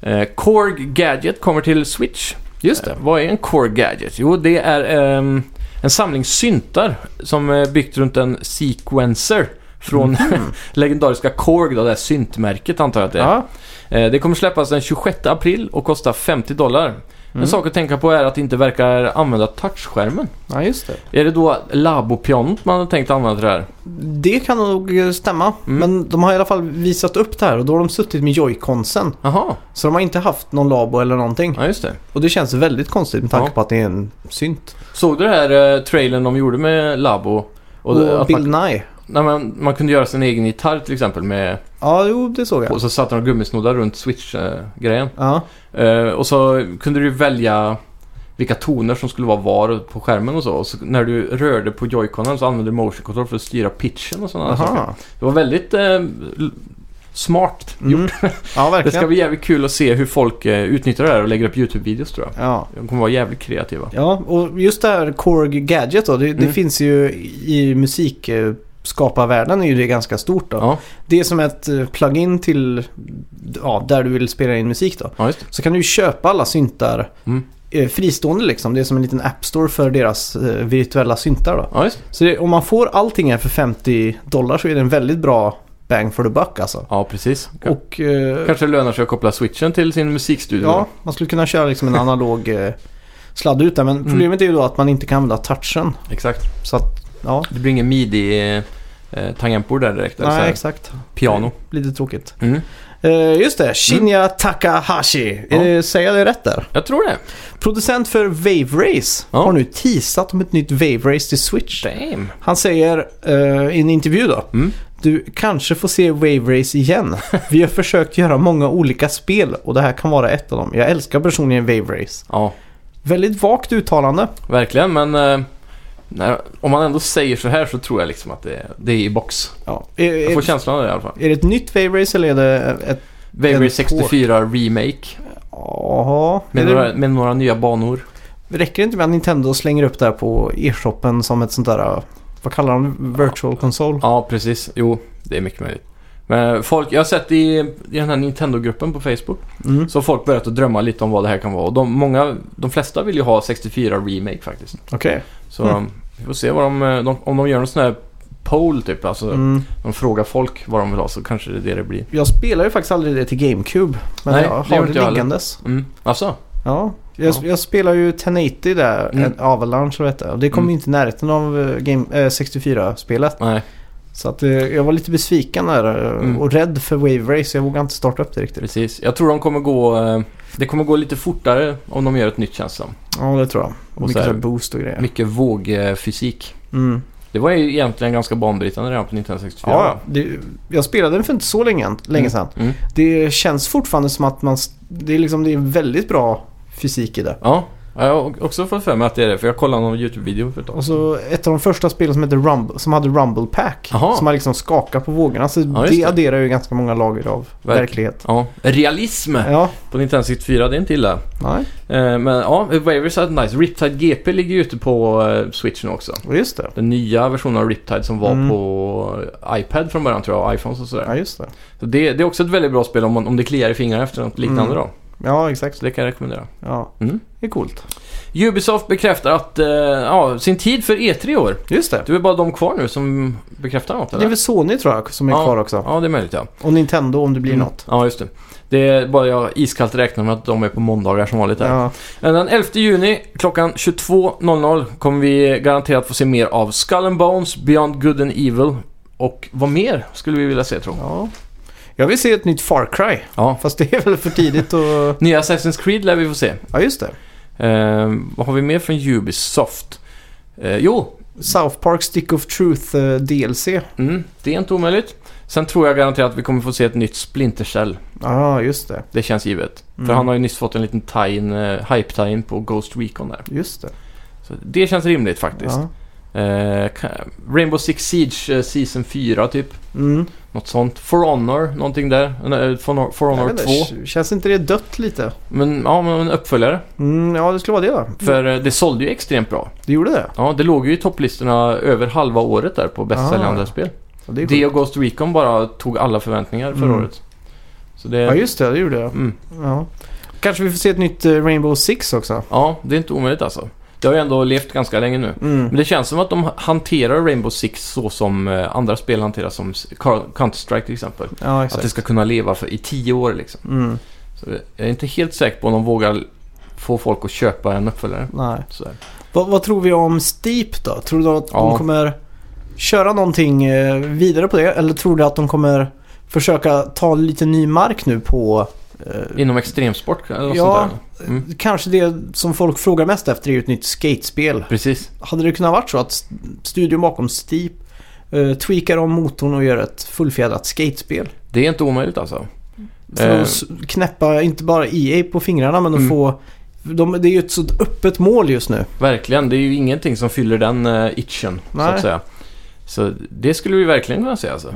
Speaker 2: Eh, Korg Gadget kommer till Switch.
Speaker 1: Just det.
Speaker 2: Eh, vad är en Korg Gadget? Jo, det är ehm, en samling syntar som är byggt runt en sequencer från <laughs> legendariska Korg, då, det här syntmärket antar jag att det är.
Speaker 1: Ja,
Speaker 2: Eh, Det kommer släppas den 26 april och kosta 50 dollar. En
Speaker 1: Mm.
Speaker 2: sak att tänka på är att det inte verkar använda touchskärmen.
Speaker 1: ja, just det.
Speaker 2: Är det då labopianot man har tänkt använda till det här?
Speaker 1: Det kan nog stämma.
Speaker 2: Mm.
Speaker 1: Men de har i alla fall visat upp det här och då har de suttit med joyconsen.
Speaker 2: Jaha,
Speaker 1: Så de har inte haft någon labo eller någonting.
Speaker 2: ja just det.
Speaker 1: Och det känns väldigt konstigt med tanke
Speaker 2: Ja.
Speaker 1: på att det är en synt.
Speaker 2: Såg du det här eh, trailern de gjorde med labo?
Speaker 1: Och,
Speaker 2: det- att
Speaker 1: Bill
Speaker 2: man,
Speaker 1: Nye.
Speaker 2: när man, man kunde göra sin egen gitarr till exempel med...
Speaker 1: Ja, jo, det såg jag.
Speaker 2: Och så satte de gummisnoddar runt switch-grejen.
Speaker 1: Ja,
Speaker 2: Eh, och så kunde du välja vilka toner som skulle vara var på skärmen och så. Och så när du rörde på joyconen så använde du motion control för att styra pitchen och sådana saker.
Speaker 1: aha.
Speaker 2: Det var väldigt eh, l- smart gjort.
Speaker 1: Mm. Ja,
Speaker 2: <laughs> Det ska
Speaker 1: verkligen.
Speaker 2: bli jävligt kul att se hur folk eh, utnyttjar det här och lägger upp YouTube-videos tror jag.
Speaker 1: Ja.
Speaker 2: De kommer vara jävligt kreativa.
Speaker 1: ja, och just det här Korg Gadget då. Det, det
Speaker 2: Mm.
Speaker 1: finns ju i musikskaparvärlden är ju det ganska stort då.
Speaker 2: Ja,
Speaker 1: Det är som ett eh, plugin till ja, där du vill spela in musik då.
Speaker 2: ja just det.
Speaker 1: Så kan du ju köpa alla syntar
Speaker 2: Mm.
Speaker 1: eh, fristående liksom. Det är som en liten app store för deras eh, virtuella syntar då.
Speaker 2: Ja, just det.
Speaker 1: Så det, om man får allting här för 50 dollar så är det en väldigt bra bang for the buck alltså.
Speaker 2: ja precis. Ka-
Speaker 1: Och eh,
Speaker 2: Kanske det lönar sig att koppla switchen till sin musikstudio.
Speaker 1: ja, man skulle kunna köra liksom en analog eh, sladd ut där. Men
Speaker 2: Mm.
Speaker 1: problemet är ju då att man inte kan använda touchen.
Speaker 2: Exakt.
Speaker 1: Så att, ja.
Speaker 2: Det blir ingen midi-tangentbord där direkt. eller så
Speaker 1: Nej,
Speaker 2: här
Speaker 1: exakt.
Speaker 2: Piano.
Speaker 1: Lite tråkigt.
Speaker 2: Mm.
Speaker 1: Eh, just det, Shinya Takahashi.
Speaker 2: Ja.
Speaker 1: Eh, säger jag det rätt där?
Speaker 2: Jag tror det.
Speaker 1: Producent för Wave Race
Speaker 2: Ja.
Speaker 1: har nu teasat om ett nytt Wave Race till Switch.
Speaker 2: Damn.
Speaker 1: Han säger eh, i en intervju då.
Speaker 2: Mm.
Speaker 1: Du kanske får se Wave Race igen. <laughs> Vi har försökt göra många olika spel och det här kan vara ett av dem. Jag älskar personligen Wave Race.
Speaker 2: Ja,
Speaker 1: Väldigt vagt uttalande.
Speaker 2: verkligen. Men eh, när, om man ändå säger så här så tror jag liksom att det, det är i box.
Speaker 1: Ja. Är,
Speaker 2: Jag
Speaker 1: är,
Speaker 2: får känslan av det i alla fall.
Speaker 1: är det ett nytt Wave Race eller är det ett... En
Speaker 2: Wavery
Speaker 1: port.
Speaker 2: 64 Remake.
Speaker 1: Jaha. Är
Speaker 2: Med,
Speaker 1: det-
Speaker 2: några, med några nya banor.
Speaker 1: Räcker det inte med att Nintendo slänger upp det här på e-shoppen som ett sånt där... äh, Vad kallar de? Virtual console?
Speaker 2: Ja, precis. Jo, det är mycket möjligt. Men folk, jag har sett i, i den här Nintendo-gruppen på Facebook
Speaker 1: Mm.
Speaker 2: så har folk börjat att drömma lite om vad det här kan vara. Och de, många, de flesta vill ju ha 64 Remake faktiskt.
Speaker 1: Okej.
Speaker 2: Så
Speaker 1: Mm.
Speaker 2: vi får se vad de, eh, de, om de gör en sån här poll typ. Alltså
Speaker 1: Mm.
Speaker 2: de frågar folk vad de vill ha så kanske det är det det blir.
Speaker 1: Jag spelar ju faktiskt aldrig det till GameCube. Men
Speaker 2: Nej,
Speaker 1: jag
Speaker 2: det gör
Speaker 1: har det,
Speaker 2: inte jag heller.
Speaker 1: liggandes.
Speaker 2: Mm. Alltså,
Speaker 1: Ja. Jag,
Speaker 2: Ja.
Speaker 1: jag spelar ju 1080 där,
Speaker 2: Mm.
Speaker 1: en Avalanche och detta. Och det kom
Speaker 2: Mm.
Speaker 1: ju inte i närheten av eh, game, eh, 64-spelet.
Speaker 2: nej.
Speaker 1: Så att, eh, jag var lite besviken där eh,
Speaker 2: Mm.
Speaker 1: och rädd för Wave Race. Jag vågade inte starta upp det riktigt.
Speaker 2: Precis. Jag tror de kommer gå... eh, Det kommer gå lite fortare om de gör ett nytt känns det som.
Speaker 1: Ja, det tror jag. Och
Speaker 2: Och
Speaker 1: mycket
Speaker 2: så här-
Speaker 1: så här boost och grejer.
Speaker 2: Mycket vågfysik.
Speaker 1: Mm.
Speaker 2: Det var ju egentligen ganska banbrytande redan på 1964.
Speaker 1: Ja, det, jag spelade den för inte så länge, länge sedan.
Speaker 2: Mm.
Speaker 1: Det känns fortfarande som att man... s- Det är, liksom, det är väldigt bra fysik i det.
Speaker 2: Ja, jag har också fått för mig att det är det. För jag kollade någon YouTube-video för ett tag.
Speaker 1: Och så ett av de första spelen som, heter Rumble, som hade Rumble Pack.
Speaker 2: Jaha.
Speaker 1: Som man liksom skakar på vågorna. Så
Speaker 2: Ja, just
Speaker 1: det
Speaker 2: det.
Speaker 1: adderar ju ganska många lager av
Speaker 2: Verkligen.
Speaker 1: verklighet.
Speaker 2: Ja, realism <laughs>
Speaker 1: Ja,
Speaker 2: på Nintendo 64, det är inte illa.
Speaker 1: nej.
Speaker 2: Eh, Men ja, Wavers är nice. Riptide GP ligger ju ute på eh, Switch nu också.
Speaker 1: Och Just det.
Speaker 2: Den nya versionen av Riptide som var
Speaker 1: Mm.
Speaker 2: på iPad från början tror jag, och iPhones och sådär.
Speaker 1: Ja, just det.
Speaker 2: Så det, det är också ett väldigt bra spel om, man, om det kliar i fingrarna efter något liknande
Speaker 1: Mm.
Speaker 2: då.
Speaker 1: Ja, exakt.
Speaker 2: Så det kan jag rekommendera.
Speaker 1: Ja.
Speaker 2: Mm.
Speaker 1: Det är coolt.
Speaker 2: Ubisoft bekräftar att, eh, ja, sin tid för E3 i år.
Speaker 1: Just det.
Speaker 2: Det är väl bara de kvar nu som bekräftar något
Speaker 1: Det är
Speaker 2: eller?
Speaker 1: väl Sony tror jag som är
Speaker 2: Ja. Mm.
Speaker 1: kvar också.
Speaker 2: Ja, det är möjligt ja.
Speaker 1: Och Nintendo om det blir något.
Speaker 2: Ja, just det. Det är bara jag iskallt räknar med att de är på måndagar som vanligt. Där.
Speaker 1: Ja.
Speaker 2: Men Den 11 juni klockan 22.00 kommer vi garanterat få se mer av Skull and Bones, Beyond Good and Evil och vad mer skulle vi vilja se tror jag.
Speaker 1: ja. Jag vill se ett nytt Far Cry.
Speaker 2: Ja.
Speaker 1: Fast det är väl för tidigt
Speaker 2: <laughs>
Speaker 1: att...
Speaker 2: Nya Assassin's Creed lär vi få se.
Speaker 1: Ja, just det.
Speaker 2: Ehm, vad har vi mer från Ubisoft? Eh, jo,
Speaker 1: South Park Stick of Truth eh, DLC. Ja,
Speaker 2: mm, det är inte omöjligt. Sen tror jag garanterat att vi kommer få se ett nytt Splinter Cell.
Speaker 1: just det.
Speaker 2: Det känns givet. För
Speaker 1: Mm.
Speaker 2: han har ju nyss fått en liten tie-in, eh, hype-tie-in på Ghost Recon där.
Speaker 1: Mm. Just det.
Speaker 2: Så det känns rimligt faktiskt.
Speaker 1: Ja.
Speaker 2: Eh, ka- Rainbow Six Siege eh, Season 4 typ.
Speaker 1: Mm. något
Speaker 2: Något sånt. For Honor, någonting där. Eh, Nej, For Honor, For Honor 2.
Speaker 1: Känns inte det dött lite?
Speaker 2: Men ja, men en uppföljare.
Speaker 1: Mm, ja, det skulle vara det då.
Speaker 2: För eh, det sålde ju extremt bra.
Speaker 1: Det gjorde det?
Speaker 2: Ja, det låg ju i topplistorna över halva året där på bästsäljande
Speaker 1: Ah,
Speaker 2: spel.
Speaker 1: Ja, det är
Speaker 2: Det
Speaker 1: sjukt.
Speaker 2: och Ghost Recon bara tog alla förväntningar förra
Speaker 1: Mm.
Speaker 2: året. Så det...
Speaker 1: ja, just det. Det gjorde det.
Speaker 2: mm.
Speaker 1: Ja. Kanske vi får se ett nytt eh, Rainbow Six också.
Speaker 2: ja, det är inte omöjligt alltså. Det har ju ändå levt ganska länge nu. Men
Speaker 1: Mm.
Speaker 2: det känns som att de hanterar Rainbow Six så som eh, andra spel hanteras som s- Coun- Counter-Strike till exempel.
Speaker 1: Ja,
Speaker 2: Att det
Speaker 1: exakt.
Speaker 2: ska kunna leva för, i tio år liksom.
Speaker 1: Mm.
Speaker 2: Så jag är inte helt säker på om de vågar få folk att köpa en uppföljare.
Speaker 1: Nej.
Speaker 2: Sådär.
Speaker 1: Vad, vad tror vi om Steep då? Tror du att
Speaker 2: Ja.
Speaker 1: de kommer köra någonting eh, vidare på det? Eller tror du att de kommer försöka ta lite ny mark nu på... eh,
Speaker 2: Inom extremsport eller något
Speaker 1: Ja.
Speaker 2: sånt där. Mm.
Speaker 1: Kanske det som folk frågar mest efter är ju ett nytt skatespel.
Speaker 2: Precis.
Speaker 1: Hade det kunnat vara så att st- studion bakom Steep eh, tweakar om motorn och gör ett fullfjädrat skatespel?
Speaker 2: Det är inte omöjligt alltså.
Speaker 1: För
Speaker 2: Eh.
Speaker 1: att s- knäppa inte bara EA på fingrarna men att
Speaker 2: Mm.
Speaker 1: få... De, det är ju ett så öppet mål just nu.
Speaker 2: Verkligen. Det är ju ingenting som fyller den uh, itchen, så
Speaker 1: Nej.
Speaker 2: att säga. Så det skulle vi verkligen kunna se alltså.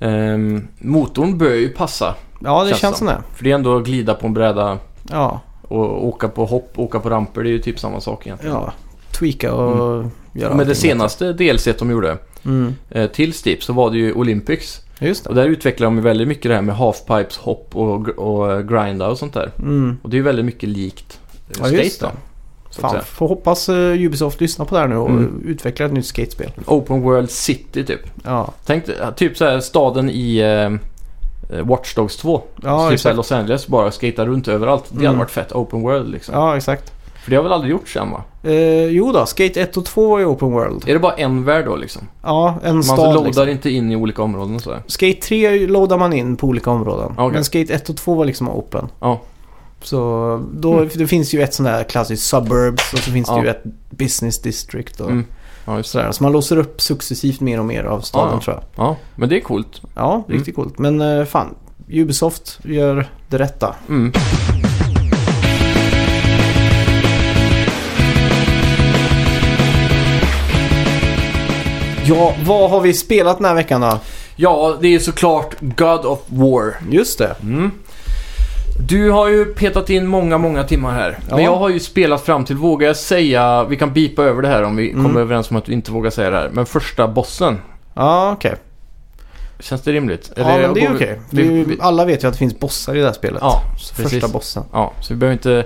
Speaker 2: Ehm, motorn bör ju passa.
Speaker 1: Ja, det
Speaker 2: Känns
Speaker 1: Mm. känns, som det.
Speaker 2: För det är ändå att glida på en bräda
Speaker 1: Ja,
Speaker 2: och åka på hopp, åka på ramper. Det är ju typ samma sak egentligen.
Speaker 1: ja. Tweaka och göra
Speaker 2: Mm. Med det
Speaker 1: allting.
Speaker 2: senaste DLC de gjorde
Speaker 1: Mm.
Speaker 2: eh, till Steep så var det ju Olympics.
Speaker 1: Just
Speaker 2: Och
Speaker 1: det.
Speaker 2: där utvecklar de ju väldigt mycket det här med halfpipes, hopp och, och eh, grinda och sånt där.
Speaker 1: Mm.
Speaker 2: Och det är ju väldigt mycket likt eh,
Speaker 1: Ja,
Speaker 2: State
Speaker 1: just
Speaker 2: då.
Speaker 1: det.
Speaker 2: så att
Speaker 1: Fan,
Speaker 2: säga.
Speaker 1: får hoppas eh, Ubisoft lyssnar på det här nu och
Speaker 2: Mm.
Speaker 1: utvecklar ett nytt skatespel.
Speaker 2: Open World City typ.
Speaker 1: Ja,
Speaker 2: Tänk dig, eh, typ så här staden i eh, eh, Watch Dogs 2.
Speaker 1: ja
Speaker 2: typ så här
Speaker 1: exakt.
Speaker 2: Los Angeles bara skata runt överallt. Det hade
Speaker 1: Mm.
Speaker 2: varit fett. Open World liksom.
Speaker 1: Ja, exakt.
Speaker 2: För det har väl aldrig gjorts sen va?
Speaker 1: Eh, jo då, Skate 1 och 2 var ju Open World.
Speaker 2: Är det bara en värld då liksom?
Speaker 1: Ja, en
Speaker 2: Man alltså
Speaker 1: stad
Speaker 2: loadar
Speaker 1: liksom.
Speaker 2: inte in i olika områden och sådär?
Speaker 1: Skate 3 loadar man in på olika områden.
Speaker 2: Okej.
Speaker 1: Men Skate 1 och 2 var liksom open.
Speaker 2: Ja. Mm.
Speaker 1: Så då, det finns ju ett sånt där klassiskt suburbs och så finns det
Speaker 2: Ja.
Speaker 1: ju ett business district och
Speaker 2: Mm. Ja, just det.
Speaker 1: sådär. Så man låser upp successivt mer och mer av staden
Speaker 2: Ja, ja.
Speaker 1: tror jag.
Speaker 2: Ja, men det är coolt.
Speaker 1: Ja, riktigt coolt. Men eh, fan, Ubisoft gör det rätta.
Speaker 2: Mm.
Speaker 1: Ja, vad har vi spelat den här veckan då?
Speaker 2: Ja, det är såklart God of War.
Speaker 1: Just det.
Speaker 2: Mm. Du har ju petat in många, många timmar här.
Speaker 1: Ja.
Speaker 2: Men jag har ju spelat fram till, vågar jag säga, vi kan bipa över det här om vi
Speaker 1: Mm.
Speaker 2: kommer överens om att vi inte vågar säga det här. Men första bossen,
Speaker 1: Ja, okej.
Speaker 2: känns det rimligt?
Speaker 1: Ja, men det är
Speaker 2: går vi-
Speaker 1: okej.
Speaker 2: vi-
Speaker 1: Det är-
Speaker 2: vi-
Speaker 1: Alla vet ju att det finns bossar i det här spelet.
Speaker 2: Ja,
Speaker 1: Första
Speaker 2: precis.
Speaker 1: bossen.
Speaker 2: Ja, så vi behöver inte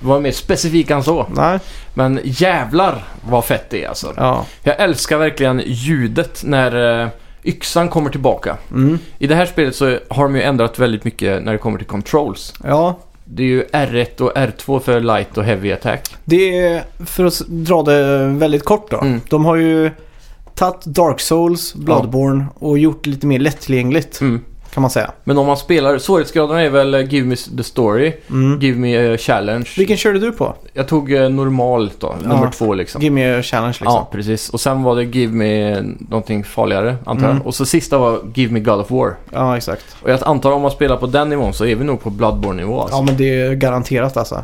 Speaker 2: vara mer specifika än så.
Speaker 1: Nej,
Speaker 2: Men jävlar vad fett det är alltså.
Speaker 1: ja.
Speaker 2: Jag älskar verkligen ljudet när eh, yxan kommer tillbaka.
Speaker 1: Mm.
Speaker 2: I det här spelet så har de ju ändrat väldigt mycket när det kommer till controls.
Speaker 1: Ja,
Speaker 2: Det är ju R1 och R2 för light och heavy attack.
Speaker 1: det är, för att s- dra det väldigt kort då.
Speaker 2: Mm.
Speaker 1: De har ju tagit Dark Souls, Bloodborne och gjort lite mer lättillgängligt
Speaker 2: Mm.
Speaker 1: kan man säga.
Speaker 2: Men om man spelar, svårighetsgraderna är väl eh, Give Me the Story,
Speaker 1: Mm.
Speaker 2: Give Me eh, Challenge.
Speaker 1: Vilken körde du på?
Speaker 2: Jag tog eh, normalt då, nummer två liksom.
Speaker 1: Give me a challenge liksom.
Speaker 2: Ja, precis. Och sen var det Give Me eh, någonting farligare, antar jag.
Speaker 1: Mm.
Speaker 2: Och så sista var Give Me God of War.
Speaker 1: ja exakt.
Speaker 2: Och jag antar om man spelar på den nivån så är vi nog på Bloodborne-nivå alltså.
Speaker 1: Ja men det är garanterat alltså.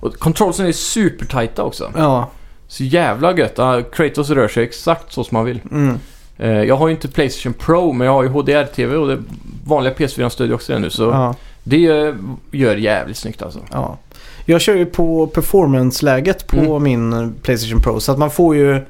Speaker 2: Och controlsen är supertajta också.
Speaker 1: Ja.
Speaker 2: Så jävla gött. Ah, Kratos rör sig exakt så som man vill.
Speaker 1: Mm.
Speaker 2: Eh, Jag har ju inte Playstation Pro, men jag har ju HDR-TV och det vanliga PS4 stödjer också det nu. Så
Speaker 1: Ja,
Speaker 2: det eh, gör jävligt snyggt alltså.
Speaker 1: ja. Jag kör ju på performance-läget på
Speaker 2: Mm.
Speaker 1: min Playstation Pro så att man får ju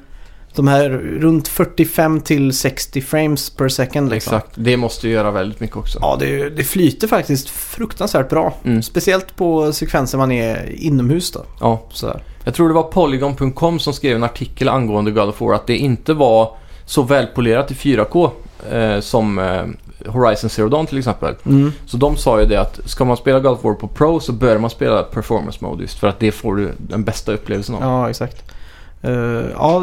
Speaker 1: de här runt 45 till 60 frames per second liksom.
Speaker 2: Exakt. Det måste ju göra väldigt mycket också.
Speaker 1: Ja, det, det flyter faktiskt fruktansvärt bra.
Speaker 2: Mm.
Speaker 1: Speciellt på sekvenser man är inomhus då.
Speaker 2: Ja.
Speaker 1: Sådär.
Speaker 2: Jag tror det var Polygon.com som skrev en artikel angående God of War att det inte var så välpolerat i 4K eh, som eh, Horizon Zero Dawn till exempel.
Speaker 1: Mm.
Speaker 2: Så de sa ju det att ska man spela God of War på Pro så bör man spela Performance Mode just för att det får du den bästa upplevelsen av.
Speaker 1: Ja, exakt. Eh, ja,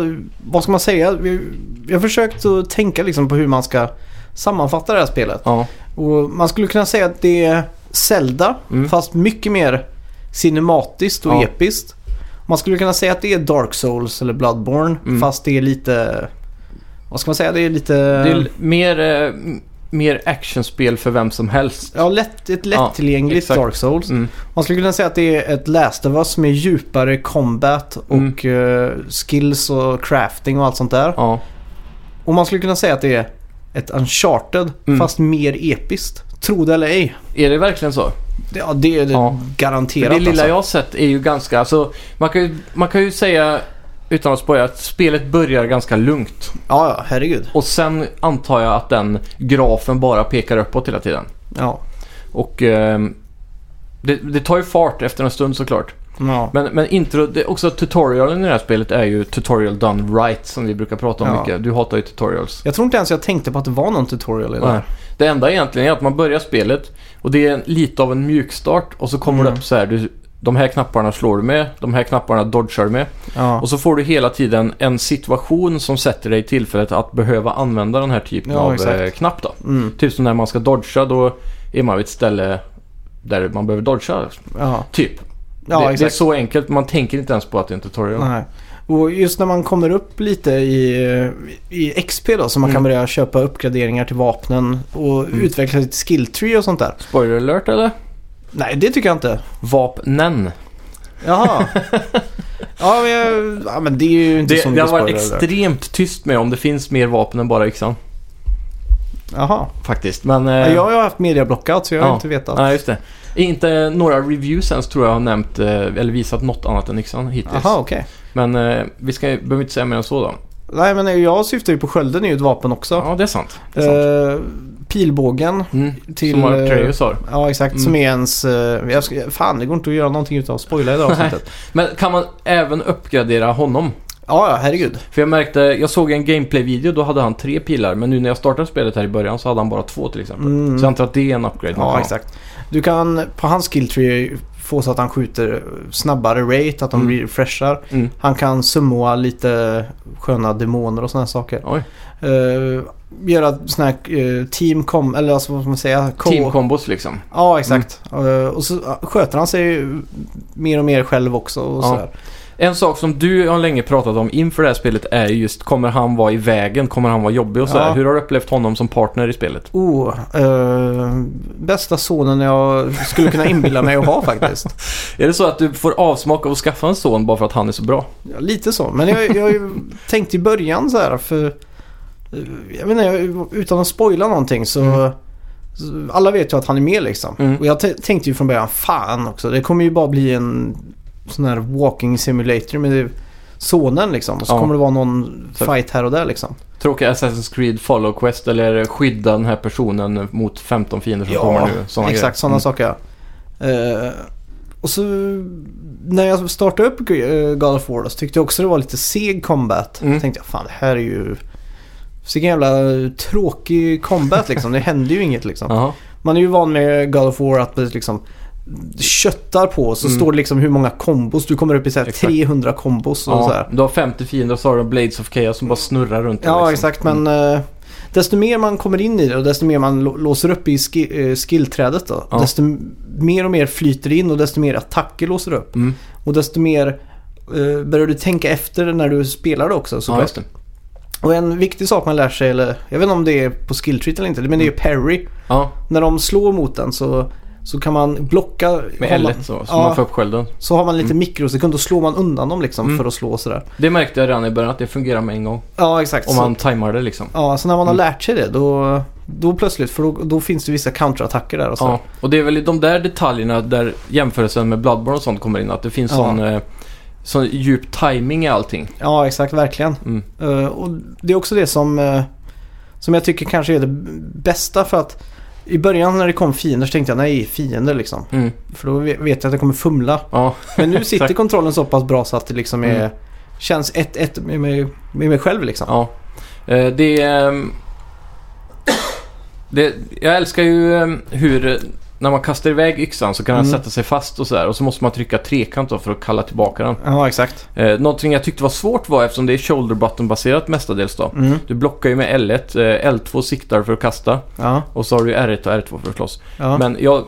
Speaker 1: vad ska man säga? Vi, jag har försökt att tänka liksom på hur man ska sammanfatta det här spelet.
Speaker 2: Ja.
Speaker 1: Och man skulle kunna säga att det är Zelda,
Speaker 2: Mm.
Speaker 1: fast mycket mer cinematiskt och
Speaker 2: Ja.
Speaker 1: episkt. Man skulle kunna säga att det är Dark Souls eller Bloodborne,
Speaker 2: Mm.
Speaker 1: fast det är lite... Vad ska man säga? Det är lite...
Speaker 2: Det är l- mer, eh, m- mer actionspel för vem som helst.
Speaker 1: Ja, lätt, ett lättillgängligt
Speaker 2: exakt.
Speaker 1: Dark Souls.
Speaker 2: Mm.
Speaker 1: Man skulle kunna säga att det är ett Last of Us med djupare combat och
Speaker 2: Mm.
Speaker 1: eh, skills och crafting och allt sånt där.
Speaker 2: Ja.
Speaker 1: Och man skulle kunna säga att det är ett Uncharted
Speaker 2: Mm.
Speaker 1: fast mer episkt. Tro det eller ej.
Speaker 2: Är det verkligen så?
Speaker 1: Det, ja, det är det
Speaker 2: Ja. För
Speaker 1: garanterat
Speaker 2: det lilla
Speaker 1: alltså.
Speaker 2: jag har sett är ju ganska... Alltså, man, kan ju, man kan ju säga, utan att spoila, att spelet börjar ganska lugnt.
Speaker 1: Ja, ja, herregud.
Speaker 2: Och sen antar jag att den grafen bara pekar uppåt hela tiden.
Speaker 1: Ja.
Speaker 2: Och ehm, det, det tar ju fart efter en stund såklart.
Speaker 1: Ja.
Speaker 2: Men, men intro, det, också tutorialen i det här spelet är ju tutorial done right som vi brukar prata om
Speaker 1: Ja.
Speaker 2: mycket. Du hatar ju tutorials.
Speaker 1: Jag tror inte ens jag tänkte på att det var någon tutorial i det.
Speaker 2: Nej. Det enda egentligen är att man börjar spelet och det är lite av en mjukstart och så kommer
Speaker 1: Mm.
Speaker 2: det upp så här. Du, de här knapparna slår du med, de här knapparna dodgar du med.
Speaker 1: Ja.
Speaker 2: Och så får du hela tiden en situation som sätter dig i tillfället att behöva använda den här typen
Speaker 1: Ja,
Speaker 2: av
Speaker 1: exakt.
Speaker 2: eh, knapp då.
Speaker 1: Mm.
Speaker 2: Typ som när man ska dodga, då är man vid ett ställe där man behöver dodga.
Speaker 1: Ja.
Speaker 2: Typ.
Speaker 1: Ja,
Speaker 2: det,
Speaker 1: exakt.
Speaker 2: det är så enkelt, man tänker inte ens på att det är en tutorial.
Speaker 1: Nej. Och just när man kommer upp lite i, i XP då, så man kan
Speaker 2: Mm.
Speaker 1: börja köpa uppgraderingar till vapnen och utveckla sitt skill tree och sånt där.
Speaker 2: Spoiler alert eller?
Speaker 1: Nej, det tycker jag inte.
Speaker 2: Vapnen.
Speaker 1: Jaha. <laughs> ja, men, jag- ja, men det är ju inte så
Speaker 2: Det, det
Speaker 1: mycket
Speaker 2: har varit
Speaker 1: spoiler där.
Speaker 2: extremt tyst med om det finns mer vapen än bara yxan.
Speaker 1: Jaha.
Speaker 2: Faktiskt. Men... eh,
Speaker 1: Ja, jag har ju haft media blockout så jag har
Speaker 2: Ja.
Speaker 1: inte vetat.
Speaker 2: Nej, just det. Inte några reviews ens tror jag har nämnt eh, eller visat något annat än yxan hittills.
Speaker 1: Jaha, okej.
Speaker 2: Men eh, vi ska, behöver inte säga mer än så då.
Speaker 1: Nej, men jag syftar ju på skölden är ju ett vapen också.
Speaker 2: Ja, det är sant. Det är sant.
Speaker 1: eh, pilbågen.
Speaker 2: Mm.
Speaker 1: till,
Speaker 2: Som Atreus har.
Speaker 1: Ja, exakt. Som
Speaker 2: Mm.
Speaker 1: är ens... Eh, jag ska, fan, det går inte att göra någonting utan att spoila i det här avsnittet.
Speaker 2: Men kan man även uppgradera honom?
Speaker 1: ja, ja, herregud.
Speaker 2: För jag märkte, jag såg en gameplay-video, då hade han tre pilar. Men nu när jag startade spelet här i början så hade han bara två till exempel.
Speaker 1: Mm.
Speaker 2: Så jag antar att det är en upgrade. man kan
Speaker 1: Ja,
Speaker 2: ha.
Speaker 1: exakt. Du kan på hans skilltree få så att han skjuter snabbare rate, att de
Speaker 2: Mm.
Speaker 1: refreshar.
Speaker 2: Mm.
Speaker 1: Han kan summoa lite sköna demoner och sådana saker.
Speaker 2: Oj.
Speaker 1: Eh, göra sådana här eh, team com, eller alltså, vad ska man säga? Co-
Speaker 2: Team Mm. combos liksom.
Speaker 1: Ja, exakt. Eh, och så sköter han sig ju mer och mer själv också. Och
Speaker 2: Ja.
Speaker 1: sådär.
Speaker 2: En sak som du har länge pratat om inför det här spelet är ju just kommer han vara i vägen? Kommer han vara jobbig och sådär?
Speaker 1: Ja.
Speaker 2: Hur har du upplevt honom som partner i spelet?
Speaker 1: Oh, eh, bästa sonen jag skulle kunna inbilla mig att ha faktiskt.
Speaker 2: Är det så att du får avsmak av att skaffa en son bara för att han är så bra?
Speaker 1: Ja, lite så, men jag, jag har ju tänkt i början så här för... eh, Jag vet inte, jag, utan att spoila någonting så... så Alla vet ju att han är med liksom.
Speaker 2: Mm.
Speaker 1: Och jag t- tänkte ju från början, fan också. Det kommer ju bara bli en sån här walking simulator med sonen liksom. Och så
Speaker 2: Ja.
Speaker 1: kommer det vara någon
Speaker 2: Så-
Speaker 1: fight här och där liksom.
Speaker 2: Tråkiga Assassin's Creed Follow Quest eller skydda den här personen mot 15 fiender som
Speaker 1: Ja,
Speaker 2: kommer nu. Såna
Speaker 1: Exakt, sådana
Speaker 2: grejer. Mm.
Speaker 1: saker. ja. Eh, och så när jag startade upp eh, God of War då, så tyckte jag också det var lite seg combat.
Speaker 2: Mm.
Speaker 1: Då tänkte jag fan det här är ju... Vilken jävla tråkig combat liksom. Det händer ju inget liksom.
Speaker 2: Jaha.
Speaker 1: Man är ju van med God of War att det liksom köttar på så
Speaker 2: Mm.
Speaker 1: står det liksom hur många kombos. Du kommer upp i så här
Speaker 2: Exakt.
Speaker 1: 300 kombos och så här.
Speaker 2: Ja, du har 50 fiender och så har du Blades of Chaos som bara snurrar runt dig,
Speaker 1: Ja,
Speaker 2: liksom.
Speaker 1: exakt. Men eh, desto mer man kommer in i det och desto mer man lo- låser upp i ski- eh, skillträdet då.
Speaker 2: Ja.
Speaker 1: Desto m- mer och mer flyter in och desto mer attacker låser du upp.
Speaker 2: Mm.
Speaker 1: Och desto mer eh, börjar du tänka efter när du spelar det också
Speaker 2: Ja,
Speaker 1: såklart.
Speaker 2: just det.
Speaker 1: och en viktig sak man lär sig, eller jag vet inte om det är på skilltreet eller inte, men det
Speaker 2: Mm.
Speaker 1: är ju parry.
Speaker 2: Ja,
Speaker 1: När de slår mot den så, så kan man blocka.
Speaker 2: med
Speaker 1: har man-
Speaker 2: L1 så, så
Speaker 1: Ja.
Speaker 2: man får upp skölden.
Speaker 1: Så har man lite mikrosekund, då slår man undan dem liksom
Speaker 2: Mm.
Speaker 1: för att slå sådär.
Speaker 2: Det märkte jag redan i början att det fungerar med en gång.
Speaker 1: Ja, exakt.
Speaker 2: Om
Speaker 1: Så-
Speaker 2: man tajmar det liksom.
Speaker 1: Ja, så när man har
Speaker 2: Mm.
Speaker 1: lärt sig det då, då plötsligt, för då, då finns det vissa counterattacker där och så.
Speaker 2: Ja, och det är väl i de där detaljerna där jämförelsen med Bloodborne och sånt kommer in. Att det finns
Speaker 1: Ja.
Speaker 2: sån, eh, sån djup timing i allting.
Speaker 1: Ja, exakt, verkligen.
Speaker 2: Mm.
Speaker 1: Eh, och det är också det som, eh, som jag tycker kanske är det b- bästa för att i början när det kom fiender så tänkte jag nej, fiender liksom.
Speaker 2: Mm.
Speaker 1: För då ve- vet jag att jag kommer fumla.
Speaker 2: Ja,
Speaker 1: Men
Speaker 2: <laughs>
Speaker 1: nu sitter
Speaker 2: Exakt.
Speaker 1: kontrollen så pass bra så att det liksom är,
Speaker 2: Mm.
Speaker 1: känns ett, ett med, mig, med mig själv liksom.
Speaker 2: ja. Eh, det, ehm, det... Jag älskar ju ehm, hur eh, när man kastar iväg yxan så kan den
Speaker 1: Mm.
Speaker 2: sätta sig fast och sådär. Och så måste man trycka trekant då för att kalla tillbaka den.
Speaker 1: Ja, exakt.
Speaker 2: Eh, någonting jag tyckte var svårt var eftersom det är shoulder button baserat mestadels då.
Speaker 1: Mm.
Speaker 2: Du blockar ju med L1, eh, L2 siktar för att kasta
Speaker 1: Ja,
Speaker 2: och så har du ju R1 och R2 för att slåss.
Speaker 1: ja.
Speaker 2: Men jag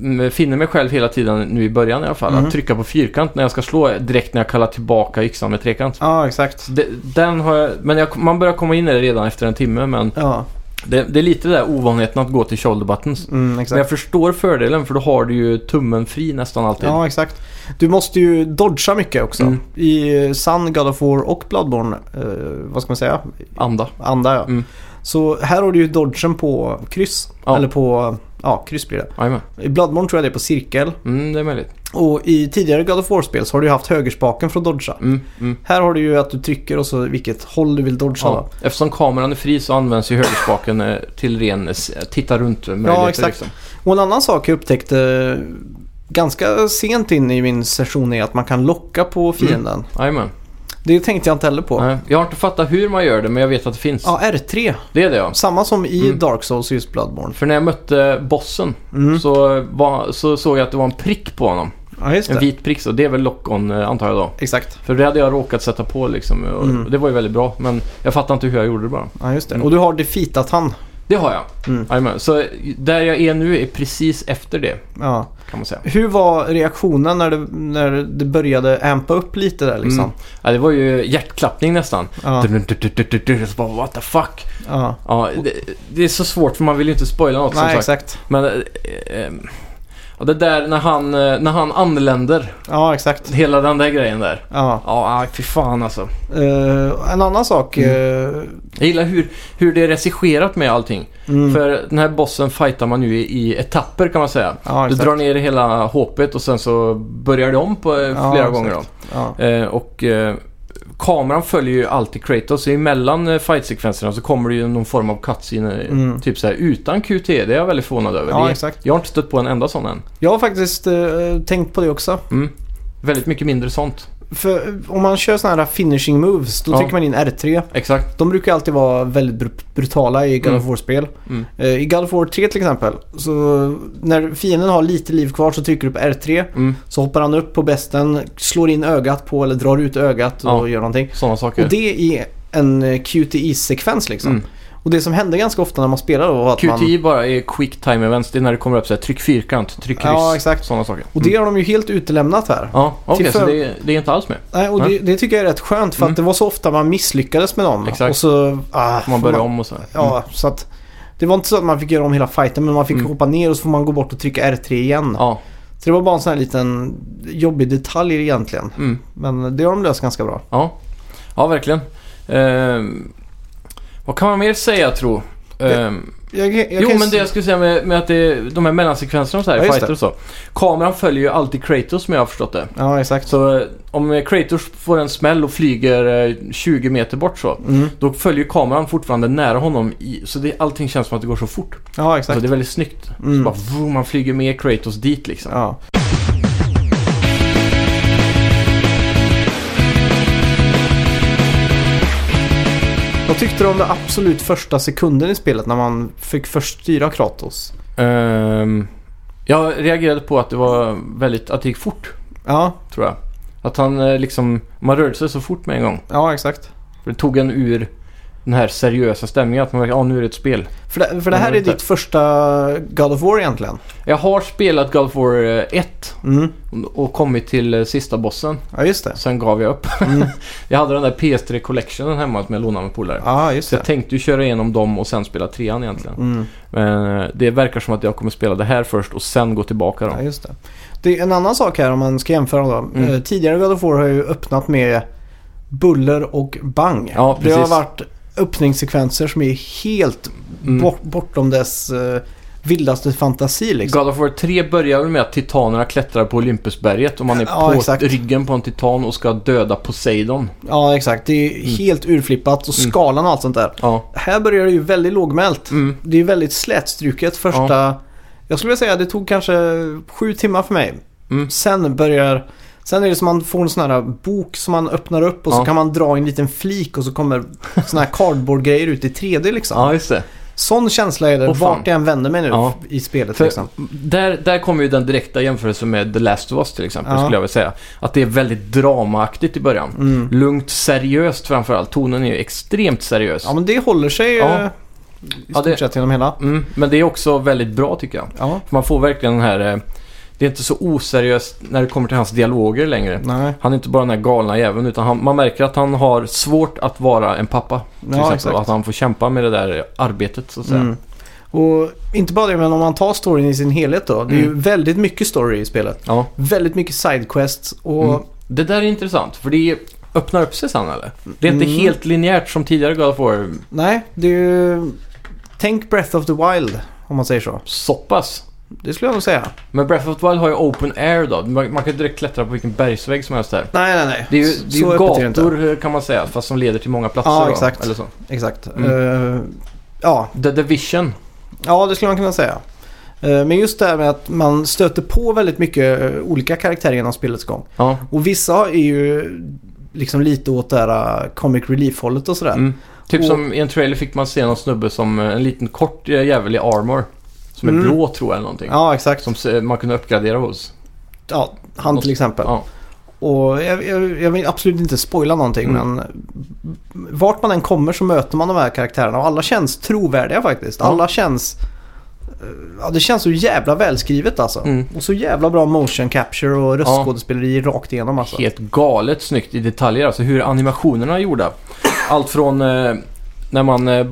Speaker 2: mm, finner mig själv hela tiden nu i början i alla fall
Speaker 1: Mhm.
Speaker 2: att trycka på fyrkant när jag ska slå direkt när jag kallar tillbaka yxan med trekant.
Speaker 1: ja exakt.
Speaker 2: Det, den har jag, men jag, man börjar komma in i det redan efter en timme men
Speaker 1: Ja,
Speaker 2: det, det är lite det där ovanligheten att gå till shoulder buttons.
Speaker 1: mm, exakt.
Speaker 2: Men jag förstår fördelen för då har du ju tummen fri nästan alltid.
Speaker 1: Ja, exakt. Du måste ju dodga mycket också.
Speaker 2: Mm.
Speaker 1: I eh, Sun, God of War och Bloodborne, eh, vad ska man säga,
Speaker 2: Anda.
Speaker 1: anda ja.
Speaker 2: Mm.
Speaker 1: Så här har du ju dodgen på kryss.
Speaker 2: Ja.
Speaker 1: Eller på, ja kryss blir det.
Speaker 2: Jajamän.
Speaker 1: I Bloodborne tror jag det är på cirkel.
Speaker 2: Mm, det är möjligt.
Speaker 1: Och i tidigare God of War-spel så har du ju haft högerspaken för att dodga.
Speaker 2: Mm, mm.
Speaker 1: Här har du ju att du trycker och så vilket håll du vill dodga.
Speaker 2: Ja,
Speaker 1: Ja,
Speaker 2: eftersom kameran är fri så används ju högerspaken eh, till ren eh, s- titta liksom. runt möjligheter.
Speaker 1: ja exakt. Och en annan sak jag upptäckte eh, ganska sent in i min session är att man kan locka på fienden.
Speaker 2: Jajamän.
Speaker 1: Det tänkte jag inte heller på.
Speaker 2: Mm. Nej, Jag har inte fattat hur man gör det men jag vet att det finns.
Speaker 1: Ja, R3.
Speaker 2: Det är det ja.
Speaker 1: Samma som i
Speaker 2: Mm.
Speaker 1: Dark Souls och just Bloodborne.
Speaker 2: För när jag mötte bossen
Speaker 1: Mm.
Speaker 2: så, var, så såg jag att det var en prick på honom.
Speaker 1: Ja, just
Speaker 2: En
Speaker 1: det.
Speaker 2: vit prick så det är väl lock-on eh, antar jag då.
Speaker 1: Exakt.
Speaker 2: För det hade jag råkat sätta på liksom och
Speaker 1: Mm.
Speaker 2: och det var ju väldigt bra. Men jag fattar inte hur jag gjorde det bara.
Speaker 1: Ja, just det.
Speaker 2: Mm.
Speaker 1: Och du har defeatat han.
Speaker 2: Det har jag.
Speaker 1: Mm.
Speaker 2: Jajamän. Så där jag är nu är precis efter det
Speaker 1: Ja.
Speaker 2: kan man säga.
Speaker 1: Hur var reaktionen när det, när det började ampa upp lite där liksom?
Speaker 2: Mm. Ja, det var ju hjärtklappning nästan.
Speaker 1: Ja.
Speaker 2: Du-du-du-du-du-du. Så bara, what the fuck.
Speaker 1: ja.
Speaker 2: Ja, det, det är så svårt för man vill ju inte spoila något
Speaker 1: Nej,
Speaker 2: som sagt.
Speaker 1: exakt.
Speaker 2: Men... eh, eh, och det där när han, eh, när han anländer,
Speaker 1: Ja, exakt.
Speaker 2: hela den där grejen där.
Speaker 1: Ja.
Speaker 2: Ja, aj, fy fan alltså.
Speaker 1: Eh, en annan sak.
Speaker 2: Mm.
Speaker 1: eh,
Speaker 2: Jag gillar hur, hur det är regisserat med allting.
Speaker 1: mm.
Speaker 2: För den här bossen fightar man ju i, i etapper kan man säga.
Speaker 1: ja,
Speaker 2: Du
Speaker 1: exakt.
Speaker 2: drar ner hela hoppet och sen så börjar det om på eh,
Speaker 1: Ja,
Speaker 2: flera
Speaker 1: exakt.
Speaker 2: gånger då.
Speaker 1: Ja.
Speaker 2: Eh, och eh, kameran följer ju alltid Kratos. Så emellan eh, fightsekvenserna så kommer det ju någon form av cutscene. eh,
Speaker 1: Mm.
Speaker 2: Typ så här utan QT. Det är jag väldigt förvånad över.
Speaker 1: ja,
Speaker 2: det,
Speaker 1: exakt.
Speaker 2: jag har inte stött på en enda sån än.
Speaker 1: Jag har faktiskt eh, tänkt på det också.
Speaker 2: Mm. Väldigt mycket mindre sånt.
Speaker 1: För eh, om man kör sådana här finishing moves, då
Speaker 2: Ja.
Speaker 1: trycker man in R3.
Speaker 2: Exakt.
Speaker 1: De brukar alltid vara väldigt br- brutala i God of
Speaker 2: Mm.
Speaker 1: War-spel.
Speaker 2: Mm.
Speaker 1: Eh, I God of War 3 till exempel, så när fienden har lite liv kvar så trycker du på R3.
Speaker 2: Mm.
Speaker 1: Så hoppar han upp på besten, slår in ögat på eller drar ut ögat och
Speaker 2: Ja.
Speaker 1: gör någonting.
Speaker 2: Sådana saker.
Speaker 1: Och det är en eh, QTE-sekvens liksom.
Speaker 2: Mm.
Speaker 1: Och det som hände ganska ofta när man spelade då var att man...
Speaker 2: QTI bara är quick time events. Det är när det kommer upp så här, tryck fyrkant, tryck kryss.
Speaker 1: Ja, exakt.
Speaker 2: Sådana saker. Mm.
Speaker 1: Och det har de ju helt utelämnat här.
Speaker 2: Ja, okej,
Speaker 1: Till
Speaker 2: så
Speaker 1: för-
Speaker 2: det, det är inte alls med.
Speaker 1: Nej, och det, det tycker jag är rätt skönt för att
Speaker 2: Mm.
Speaker 1: det var så ofta man misslyckades med dem.
Speaker 2: Exakt.
Speaker 1: Och så... Ah,
Speaker 2: Man börjar om och så. här.
Speaker 1: Ja, så att... Det var inte så att man fick göra om hela fighten men man fick
Speaker 2: Mm.
Speaker 1: hoppa ner och så får man gå bort och trycka R3 igen.
Speaker 2: Ja,
Speaker 1: Så det var bara en sån här liten jobbig detalj egentligen.
Speaker 2: mm.
Speaker 1: Men det har de löst ganska bra.
Speaker 2: ja. ja verkligen. Ehm, vad kan man mer säga tro? Ehm,
Speaker 1: Jag, kan- jag
Speaker 2: jo,
Speaker 1: kan-
Speaker 2: men det jag skulle säga med, med att det, de här mellansekvenserna och så här,
Speaker 1: Ja,
Speaker 2: i
Speaker 1: just
Speaker 2: fighter och så. Kameran följer ju alltid Kratos som jag har förstått det.
Speaker 1: Ja, exakt.
Speaker 2: Så eh, om eh, Kratos får en smäll och flyger eh, 20 meter bort så.
Speaker 1: Mm.
Speaker 2: Då följer kameran fortfarande nära honom i, så det, allting känns som att det går så fort.
Speaker 1: Ja,
Speaker 2: Så
Speaker 1: exakt.
Speaker 2: Alltså, det är väldigt snyggt. Så
Speaker 1: Mm.
Speaker 2: bara, vroom, man flyger med Kratos dit liksom.
Speaker 1: Ja. Vad tyckte du om den absolut första sekunden i spelet när man fick först styra Kratos?
Speaker 2: Ehm, jag reagerade på att det var väldigt, att det gick fort,
Speaker 1: Ja,
Speaker 2: tror jag. Att han eh, liksom, man rörde sig så fort med en gång.
Speaker 1: ja exakt.
Speaker 2: För det tog en ur den här seriösa stämningen att man verkar, ja nu är det ett spel.
Speaker 1: För det, för det här
Speaker 2: Ja,
Speaker 1: är
Speaker 2: vänta.
Speaker 1: ditt första God of War egentligen.
Speaker 2: Jag har spelat God of War eh, 1
Speaker 1: Mm.
Speaker 2: och kommit till eh, sista bossen.
Speaker 1: Ja, just det.
Speaker 2: Sen gav jag upp.
Speaker 1: Mm.
Speaker 2: <laughs> Jag hade den där PS3 Collectionen hemma som jag lånade med polare.
Speaker 1: Ja, just
Speaker 2: Så jag
Speaker 1: det.
Speaker 2: tänkte ju köra igenom dem och sen spela trean egentligen.
Speaker 1: Mm.
Speaker 2: Men eh, det verkar som att jag kommer spela det här först och sen gå tillbaka då.
Speaker 1: Ja, just det. det är en annan sak här om man ska jämföra då.
Speaker 2: Mm.
Speaker 1: Eh, Tidigare God of War har ju öppnat med buller och bang.
Speaker 2: Ja,
Speaker 1: det har
Speaker 2: precis.
Speaker 1: varit öppningssekvenser som är helt
Speaker 2: Mm.
Speaker 1: bort, bortom dess eh, vildaste fantasi liksom.
Speaker 2: God of War 3 börjar väl med att titanerna klättrar på Olympusberget och man är
Speaker 1: Ja,
Speaker 2: på
Speaker 1: exakt.
Speaker 2: ryggen på en titan och ska döda Poseidon.
Speaker 1: Ja, exakt. Det är
Speaker 2: Mm.
Speaker 1: helt urflippat och
Speaker 2: Mm.
Speaker 1: skalan och allt sånt där.
Speaker 2: Ja.
Speaker 1: Här börjar det ju väldigt lågmält.
Speaker 2: Mm.
Speaker 1: Det är väldigt slätstruket första... Jag skulle vilja säga att det tog kanske sju timmar för mig.
Speaker 2: Mm.
Speaker 1: Sen börjar... Sen är det som man får en sån här bok som man öppnar upp och så
Speaker 2: Ja.
Speaker 1: kan man dra i en liten flik och så kommer såna här cardboard-grejer ut i 3D liksom.
Speaker 2: ja, just det.
Speaker 1: Sån känsla är det
Speaker 2: Åh, fan.
Speaker 1: vart jag än vänder mig nu
Speaker 2: Ja.
Speaker 1: i spelet
Speaker 2: För-
Speaker 1: liksom.
Speaker 2: Där, där kommer ju den direkta jämförelsen med The Last of Us till exempel,
Speaker 1: Ja.
Speaker 2: skulle jag vilja säga. Att det är väldigt dramaaktigt i början.
Speaker 1: Mm.
Speaker 2: Lugnt, seriöst framförallt. Tonen är ju extremt seriös.
Speaker 1: Ja men det håller sig
Speaker 2: Ja.
Speaker 1: eh, i
Speaker 2: Ja,
Speaker 1: stort
Speaker 2: det-
Speaker 1: sett genom hela.
Speaker 2: Mm, men det är också väldigt bra tycker jag.
Speaker 1: Ja,
Speaker 2: Man får verkligen den här... eh, Det är inte så oseriöst när det kommer till hans dialoger längre.
Speaker 1: nej.
Speaker 2: Han är inte bara den här galna jäveln utan han, man märker att han har svårt att vara en pappa. Till
Speaker 1: Ja,
Speaker 2: exempel,
Speaker 1: exakt.
Speaker 2: och att han får kämpa med det där arbetet så att säga.
Speaker 1: Mm. Och inte bara det, men om man tar storyn i sin helhet då. Det är
Speaker 2: Mm.
Speaker 1: ju väldigt mycket story i spelet.
Speaker 2: Ja.
Speaker 1: Väldigt mycket sidequests och...
Speaker 2: Mm. Det där är intressant för det öppnar upp sig sen eller? Det är inte
Speaker 1: Mm.
Speaker 2: helt linjärt som tidigare God of War.
Speaker 1: Nej, det är ju... Tänk Breath of the Wild, om man säger så.
Speaker 2: Så pass.
Speaker 1: Det skulle jag nog säga.
Speaker 2: Men Breath of the Wild har ju open air då. Man, man kan direkt klättra på vilken bergsvägg som helst där.
Speaker 1: Nej, nej, nej.
Speaker 2: Det är ju,
Speaker 1: Så
Speaker 2: det är ju
Speaker 1: öppet är det inte.
Speaker 2: gator eh, kan man säga fast som leder till många platser
Speaker 1: Ja,
Speaker 2: då,
Speaker 1: exakt.
Speaker 2: Eller så.
Speaker 1: Exakt.
Speaker 2: Mm.
Speaker 1: Eh, ja.
Speaker 2: The Division.
Speaker 1: ja, det skulle man kunna säga. Eh, men just det här med att man stöter på väldigt mycket eh, olika karaktärer genom spelets gång.
Speaker 2: Ja.
Speaker 1: Och vissa är ju liksom lite åt det här eh, comic relief-hållet och sådär.
Speaker 2: Mm. Typ
Speaker 1: Och-
Speaker 2: som i en trailer fick man se någon snubbe som eh, en liten kort eh, jävel i armor. Som är
Speaker 1: Mm.
Speaker 2: blå tror jag eller någonting.
Speaker 1: Ja, exakt.
Speaker 2: Som se- man kunde uppgradera hos.
Speaker 1: Ja, han till exempel.
Speaker 2: Ja.
Speaker 1: Och jag, jag, jag vill absolut inte spoila någonting
Speaker 2: Mm.
Speaker 1: men vart man än kommer så möter man de här karaktärerna och alla känns trovärdiga faktiskt.
Speaker 2: Ja.
Speaker 1: Alla känns... eh, Ja, det känns så jävla välskrivet alltså.
Speaker 2: Mm.
Speaker 1: Och så jävla bra motion capture och röstskådespeleri rakt igenom alltså.
Speaker 2: Helt galet snyggt i detaljer alltså. Hur animationerna är gjorda. Allt från eh, när man... Eh,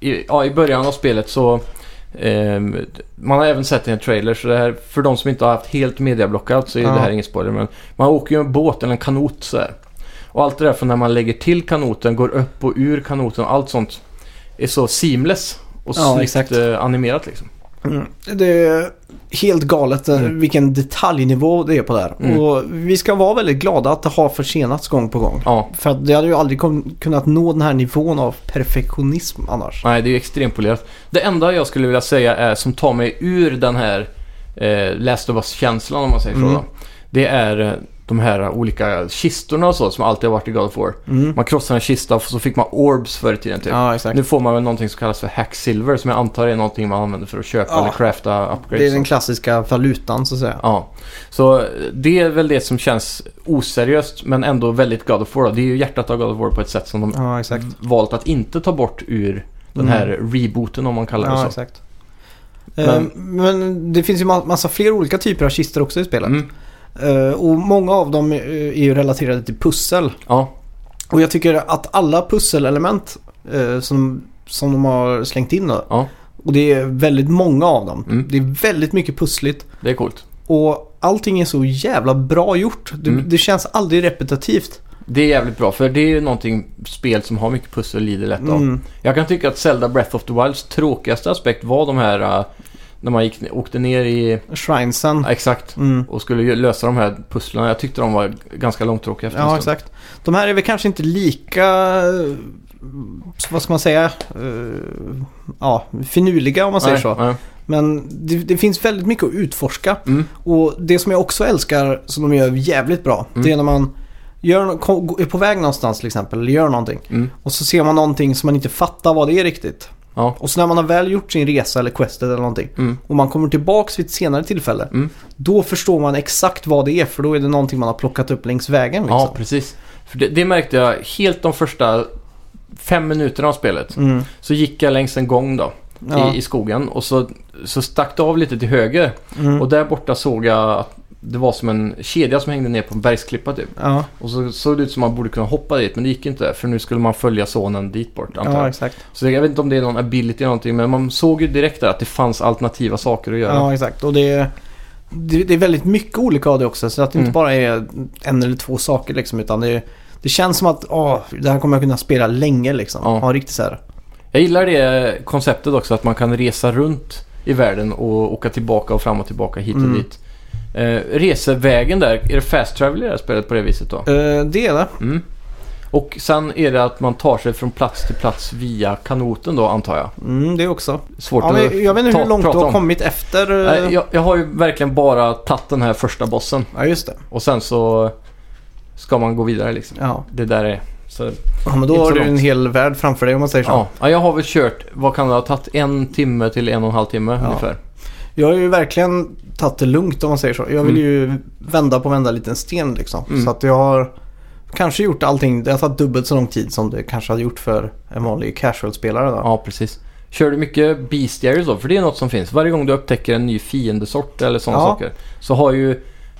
Speaker 2: i, ja, i början av spelet så... Eh, man har även sett det i en trailer så det här, för de som inte har haft helt mediablockout så är
Speaker 1: Ja.
Speaker 2: det här ingen spoiler. Men man åker ju en båt eller en kanot så här. Och allt det där från när man lägger till kanoten, går upp och ur kanoten och allt sånt är så seamless och
Speaker 1: Ja,
Speaker 2: snyggt
Speaker 1: exakt.
Speaker 2: eh, animerat liksom.
Speaker 1: Mm. Det är helt galet eh,
Speaker 2: Mm.
Speaker 1: vilken detaljnivå det är på det här.
Speaker 2: Mm.
Speaker 1: Och vi ska vara väldigt glada att det har försenats gång på gång.
Speaker 2: Ja,
Speaker 1: För att det hade ju aldrig kom, kunnat nå den här nivån av perfektionism annars.
Speaker 2: nej det är ju extremt polerat. Det enda jag skulle vilja säga är, som tar mig ur den här eh, Last of Us-känslan om man säger så
Speaker 1: Mm.
Speaker 2: då. Det är eh, de här olika kistorna och så som alltid har varit i God of War.
Speaker 1: Mm.
Speaker 2: Man krossade en kista och så fick man orbs förr i tiden typ.
Speaker 1: Ja, exakt.
Speaker 2: Nu får man väl någonting som kallas för hack silver som jag antar är någonting man använder för att köpa
Speaker 1: Ja.
Speaker 2: eller crafta upgrades.
Speaker 1: Det är den klassiska valutan så att säga.
Speaker 2: Ja, så eh, det är väl det som känns oseriöst men ändå väldigt God of War. då. Det är ju hjärtat av God of War på ett sätt som de
Speaker 1: Ja, exakt.
Speaker 2: valt att inte ta bort ur Mm. den här rebooten om man kallar det
Speaker 1: Mm. Ja,
Speaker 2: så.
Speaker 1: exakt.
Speaker 2: Men-
Speaker 1: Men, men det finns ju ma- massa fler olika typer av kistor också i spelet.
Speaker 2: Mm.
Speaker 1: Eh, och många av dem eh, är ju relaterade till pussel.
Speaker 2: Ja,
Speaker 1: Och jag tycker att alla pusselelement eh, som, som de har slängt in då.
Speaker 2: Ja.
Speaker 1: Och det är väldigt många av dem.
Speaker 2: Mm.
Speaker 1: Det är väldigt mycket pussligt.
Speaker 2: det är coolt.
Speaker 1: Och allting är så jävla bra gjort. Det,
Speaker 2: Mm.
Speaker 1: det känns aldrig repetitivt.
Speaker 2: Det är jävligt bra för det är ju någonting spel som har mycket pussel lider lätt av.
Speaker 1: Mm.
Speaker 2: Jag kan tycka att Zelda Breath of the Wilds tråkigaste aspekt var de här äh, när man gick, åkte
Speaker 1: <laughs>
Speaker 2: ner i...
Speaker 1: Shrinesen.
Speaker 2: Ja, exakt.
Speaker 1: Mm.
Speaker 2: Och skulle ju lösa de här pusslen. Jag tyckte de var ganska långtråkiga efter en
Speaker 1: Ja,
Speaker 2: stund.
Speaker 1: exakt. De här är väl kanske inte lika, eh, vad ska man säga, eh, ja, finurliga om man säger
Speaker 2: Nej,
Speaker 1: så.
Speaker 2: nej.
Speaker 1: Men det, det finns väldigt mycket att utforska.
Speaker 2: Mm.
Speaker 1: Och det som jag också älskar som de gör jävligt bra,
Speaker 2: Mm.
Speaker 1: det är när man gör, nå- ko- är på väg någonstans till exempel, eller gör någonting.
Speaker 2: Mm.
Speaker 1: Och så ser man någonting som man inte fattar vad det är riktigt.
Speaker 2: Ja.
Speaker 1: Och så när man har väl gjort sin resa eller questet eller någonting
Speaker 2: Mm.
Speaker 1: och man kommer tillbaks vid ett senare tillfälle.
Speaker 2: Mm.
Speaker 1: Då förstår man exakt vad det är för då är det någonting man har plockat upp längs vägen. Liksom.
Speaker 2: Ja, precis. För det, det märkte jag helt de första fem minuterna av spelet.
Speaker 1: Mm.
Speaker 2: Så gick jag längs en gång då
Speaker 1: Ja.
Speaker 2: i, i skogen och så, så stack det av lite till höger.
Speaker 1: Mm.
Speaker 2: Och där borta såg jag att det var som en kedja som hängde ner på en bergsklippa typ.
Speaker 1: ja,
Speaker 2: Och så såg det ut som man borde kunna hoppa dit men det gick inte för nu skulle man följa sonen dit bort antar jag.
Speaker 1: ja, exakt.
Speaker 2: Så jag vet inte om det är någon ability eller någonting men man såg ju direkt där att det fanns alternativa saker att göra.
Speaker 1: Ja, exakt. Och det är, det, det är väldigt mycket olika av det också. Så att det
Speaker 2: Mm.
Speaker 1: inte bara är en eller två saker liksom. Utan det, är- det känns som att åh, det här kommer jag kunna spela länge liksom.
Speaker 2: Ja.
Speaker 1: Ja, riktigt så här.
Speaker 2: Jag gillar det konceptet också att man kan resa runt i världen och åka tillbaka och fram och tillbaka hit och
Speaker 1: Mm.
Speaker 2: dit. Eh, resevägen där, är det fast travel i det här spelet på det viset då?
Speaker 1: Eh, det är det.
Speaker 2: Mm. Och sen är det att man tar sig från plats till plats via kanoten då antar jag.
Speaker 1: Mm, det också.
Speaker 2: Svårt
Speaker 1: Ja,
Speaker 2: att...
Speaker 1: men jag vet inte
Speaker 2: ta-
Speaker 1: hur långt du
Speaker 2: prata
Speaker 1: har
Speaker 2: om.
Speaker 1: kommit efter. eh,
Speaker 2: Nej, jag, jag har ju verkligen bara tagit den här första bossen
Speaker 1: Ja, just det.
Speaker 2: och sen så ska man gå vidare liksom.
Speaker 1: Ja.
Speaker 2: Det där är... Så,
Speaker 1: ja, men
Speaker 2: Inte
Speaker 1: då har
Speaker 2: så
Speaker 1: du en
Speaker 2: långt.
Speaker 1: hel värld framför dig om man säger så.
Speaker 2: ja. ja, jag har väl kört, vad kan det ha tagit, en timme till en och en halv timme
Speaker 1: Ja.
Speaker 2: ungefär.
Speaker 1: Jag har ju verkligen tagit det lugnt om man säger så. Jag vill ju vända på vända liten sten liksom.
Speaker 2: Mm.
Speaker 1: Så att jag har kanske gjort allting. Det har tagit dubbelt så lång tid som det kanske hade gjort för en vanlig casual-spelare. Då.
Speaker 2: Ja, precis. Kör du mycket bestiaries då? För det är något som finns. Varje gång du upptäcker en ny fiendesort eller sådana
Speaker 1: Ja.
Speaker 2: saker så har ju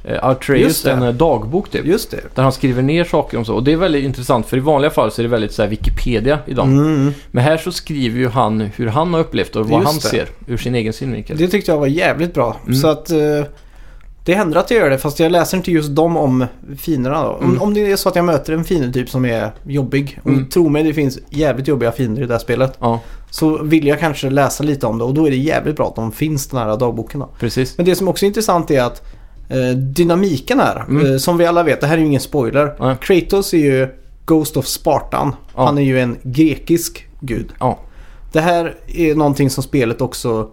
Speaker 2: eh, Artreus
Speaker 1: Just det.
Speaker 2: en eh, dagbok typ.
Speaker 1: Just det.
Speaker 2: Där han skriver ner saker om så. Och det är väldigt intressant för i vanliga fall så är det väldigt så här Wikipedia idag.
Speaker 1: Mm.
Speaker 2: Men här så skriver ju han hur han har upplevt och vad
Speaker 1: Just
Speaker 2: han
Speaker 1: det.
Speaker 2: ser ur sin egen synvinkel.
Speaker 1: Det tyckte jag var jävligt bra.
Speaker 2: Mm.
Speaker 1: Så att eh, det händer att jag gör det fast jag läser inte just dem om finerna då. Om,
Speaker 2: Mm.
Speaker 1: om det är så att jag möter en fiendetyp som är jobbig. Och
Speaker 2: Mm.
Speaker 1: tro mig det finns jävligt jobbiga fiender i det här spelet.
Speaker 2: Ja,
Speaker 1: Så vill jag kanske läsa lite om det och då är det jävligt bra att de finns den här dagboken då.
Speaker 2: precis.
Speaker 1: Men det som också är intressant är att eh, dynamiken här,
Speaker 2: Mm.
Speaker 1: eh, som vi alla vet, det här är ju ingen spoiler.
Speaker 2: Nej.
Speaker 1: Kratos är ju Ghost of Spartan.
Speaker 2: Ja.
Speaker 1: Han är ju en grekisk gud.
Speaker 2: Ja.
Speaker 1: Det här är någonting som spelet också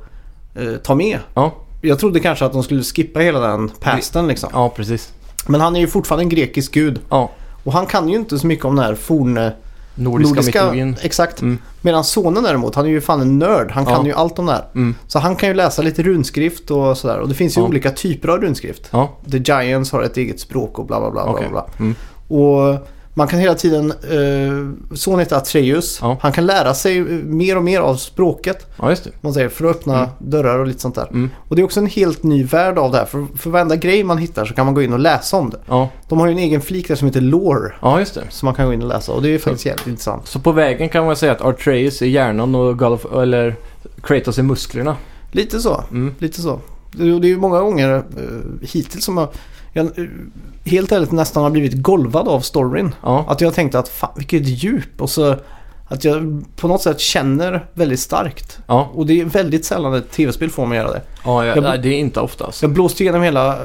Speaker 1: eh, tar med.
Speaker 2: Ja,
Speaker 1: Jag trodde kanske att de skulle skippa hela den pasten liksom.
Speaker 2: ja precis.
Speaker 1: Men han är ju fortfarande en grekisk gud.
Speaker 2: Ja,
Speaker 1: Och han kan ju inte så mycket om den här forn...
Speaker 2: nordiska, mytologin.
Speaker 1: Exakt.
Speaker 2: Mm.
Speaker 1: Medan sonen däremot, han är ju fan en nörd. Han
Speaker 2: Ja.
Speaker 1: kan ju allt om det här.
Speaker 2: Mm.
Speaker 1: Så han kan ju läsa lite runskrift och sådär. Och det finns ju
Speaker 2: Ja.
Speaker 1: olika typer av runskrift.
Speaker 2: Ja,
Speaker 1: The Giants har ett eget språk och bla bla bla. bla,
Speaker 2: okej.
Speaker 1: bla.
Speaker 2: Mm.
Speaker 1: Och man kan hela tiden, eh, sonen heter Atreus,
Speaker 2: Ja.
Speaker 1: han kan lära sig eh, mer och mer av språket.
Speaker 2: Ja, just det.
Speaker 1: Man säger, för att öppna dörrar och lite sånt där.
Speaker 2: Mm.
Speaker 1: Och det är också en helt ny värld av det här. För, för varenda grej man hittar så kan man gå in och läsa om det.
Speaker 2: Ja.
Speaker 1: De har ju en egen flik där som heter Lore.
Speaker 2: ja, just det.
Speaker 1: Som man kan gå in och läsa och det är faktiskt jävligt intressant.
Speaker 2: Så på vägen kan man säga att Artreus är hjärnan och God of, eller Kratos är musklerna.
Speaker 1: Lite så.
Speaker 2: Mm.
Speaker 1: Lite så. Det och det är ju många gånger eh, hittills som jag, jag eh, helt ärligt nästan har blivit golvad av storyn.
Speaker 2: Ja,
Speaker 1: Att jag tänkte att fan vilket djup och så att jag på något sätt känner väldigt starkt.
Speaker 2: ja.
Speaker 1: Och det är väldigt sällan ett tv-spel får mig att göra det.
Speaker 2: ja jag,
Speaker 1: Jag-
Speaker 2: nej, det är inte ofta alltså.
Speaker 1: Så jag blåste igenom hela, eh,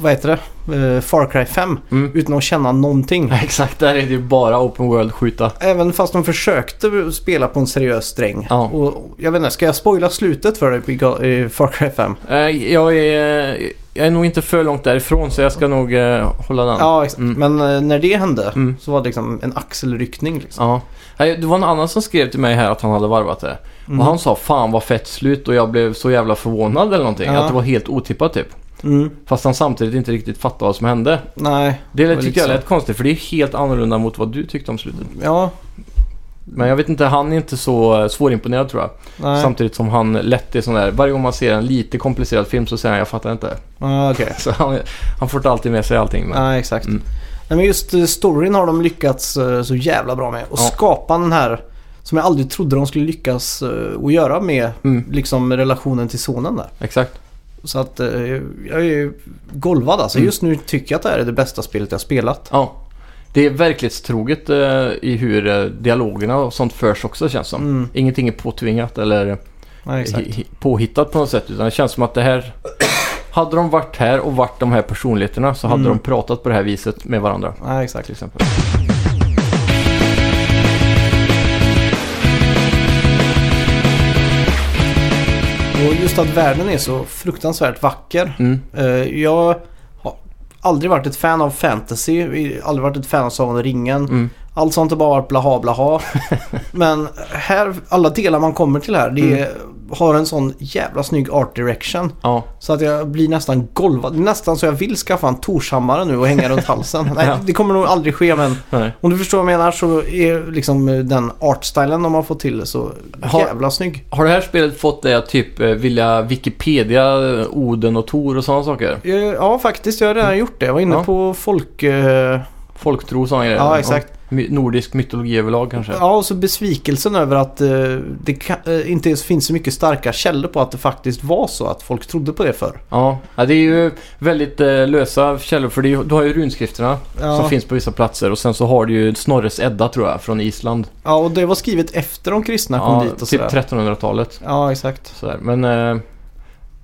Speaker 1: vad heter det, Eh, Far Cry 5
Speaker 2: Mm. <laughs>
Speaker 1: utan att känna någonting.
Speaker 2: Nej, Exakt, där är det ju bara open world skjuta.
Speaker 1: Även fast de försökte spela på en seriös sträng.
Speaker 2: Ja.
Speaker 1: Och jag vet inte, ska jag spoila slutet för dig på Ga- i Far Cry 5?
Speaker 2: Eh, Jag är, jag är nog inte för långt därifrån så jag ska nog eh, hålla den.
Speaker 1: Ja, exakt.
Speaker 2: Mm.
Speaker 1: Men eh, när det hände
Speaker 2: Mm.
Speaker 1: så var det liksom en axelryckning. Liksom.
Speaker 2: Ja. Nej, Det var en annan som skrev till mig här att han hade varvat det.
Speaker 1: Mm.
Speaker 2: Och han sa fan vad fett slut och jag blev så jävla förvånad eller någonting.
Speaker 1: Ja.
Speaker 2: Att det var helt otippat typ.
Speaker 1: Mm.
Speaker 2: Fast han samtidigt inte riktigt fattade vad som hände.
Speaker 1: Nej,
Speaker 2: Det,
Speaker 1: var lite
Speaker 2: tycker jag
Speaker 1: så.
Speaker 2: lät konstigt för det är helt annorlunda mot vad du tyckte om slutet.
Speaker 1: ja.
Speaker 2: Men jag vet inte, han är inte så eh, svårimponerad tror jag.
Speaker 1: Nej.
Speaker 2: Samtidigt som han lätt är sån där, varje gång man ser en lite komplicerad film så säger han jag fattar inte. <laughs>
Speaker 1: Ja, okej.
Speaker 2: Så han, han får inte alltid med sig allting. Men,
Speaker 1: Nej, exakt.
Speaker 2: Mm.
Speaker 1: Nej, men just eh, storyn har de lyckats eh, så jävla bra med. Och
Speaker 2: Ja.
Speaker 1: skapa den här som jag aldrig trodde de skulle lyckas eh, att göra med
Speaker 2: mm,
Speaker 1: liksom relationen till sonen där.
Speaker 2: exakt.
Speaker 1: Så att eh, jag är ju golvad alltså.
Speaker 2: Mm.
Speaker 1: Just nu tycker jag att det här är det bästa spelet jag spelat.
Speaker 2: Ja. Det är verklighetstroget eh, i hur eh, dialogerna och sånt förs också känns som.
Speaker 1: Mm.
Speaker 2: Ingenting är påtvingat eller
Speaker 1: Nej, exakt.
Speaker 2: hi- hi- påhittat på något sätt. Utan det känns som att det här... Hade de varit här och varit de här personligheterna så hade
Speaker 1: Mm.
Speaker 2: de pratat på det här viset med varandra.
Speaker 1: Nej, exakt.
Speaker 2: Till exempel.
Speaker 1: Och just att världen är så fruktansvärt vacker.
Speaker 2: Mm.
Speaker 1: Eh, jag har aldrig varit ett fan av fantasy, eh, aldrig varit ett fan av Sagan om ringen.
Speaker 2: Mm.
Speaker 1: Allt sånt har bara varit blaha
Speaker 2: <laughs>
Speaker 1: blaha. Men här, alla delar man kommer till här, det
Speaker 2: Mm.
Speaker 1: är, har en sån jävla snygg art direction.
Speaker 2: Ja.
Speaker 1: Så att jag blir nästan golvad. Det är Nästan så jag vill skaffa en torshammare nu och hänga runt
Speaker 2: <laughs>
Speaker 1: halsen. Nej,
Speaker 2: Ja.
Speaker 1: det kommer nog aldrig ske men
Speaker 2: Nej.
Speaker 1: om du förstår vad jag menar så är liksom eh, den artstylen de har fått till så
Speaker 2: Har-
Speaker 1: jävla snygg.
Speaker 2: Har det här spelet fått dig att typ eh, vilja Wikipedia, eh, Oden och Tor och sådana saker?
Speaker 1: Eh, Ja, faktiskt. Jag har redan gjort det. Jag var inne
Speaker 2: Mm. Ja.
Speaker 1: på folk... eh,
Speaker 2: Folktro och sådana grejer?
Speaker 1: Ja, exakt.
Speaker 2: My- Nordisk mytologi överlag kanske?
Speaker 1: Ja, och så besvikelsen över att eh, det ka- eh, inte ens finns så mycket starka källor på att det faktiskt var så att folk trodde på det förr.
Speaker 2: Ja. ja, det är ju väldigt eh, lösa källor för det är, ju- du har ju runskrifterna som
Speaker 1: Ja.
Speaker 2: finns på vissa platser och sen så har du ju Snorres Edda tror jag från Island.
Speaker 1: ja, och det var skrivet efter de kristna kom
Speaker 2: ja,
Speaker 1: dit och
Speaker 2: typ
Speaker 1: sådär.
Speaker 2: 1300-talet.
Speaker 1: Ja, exakt.
Speaker 2: Sådär. Men eh,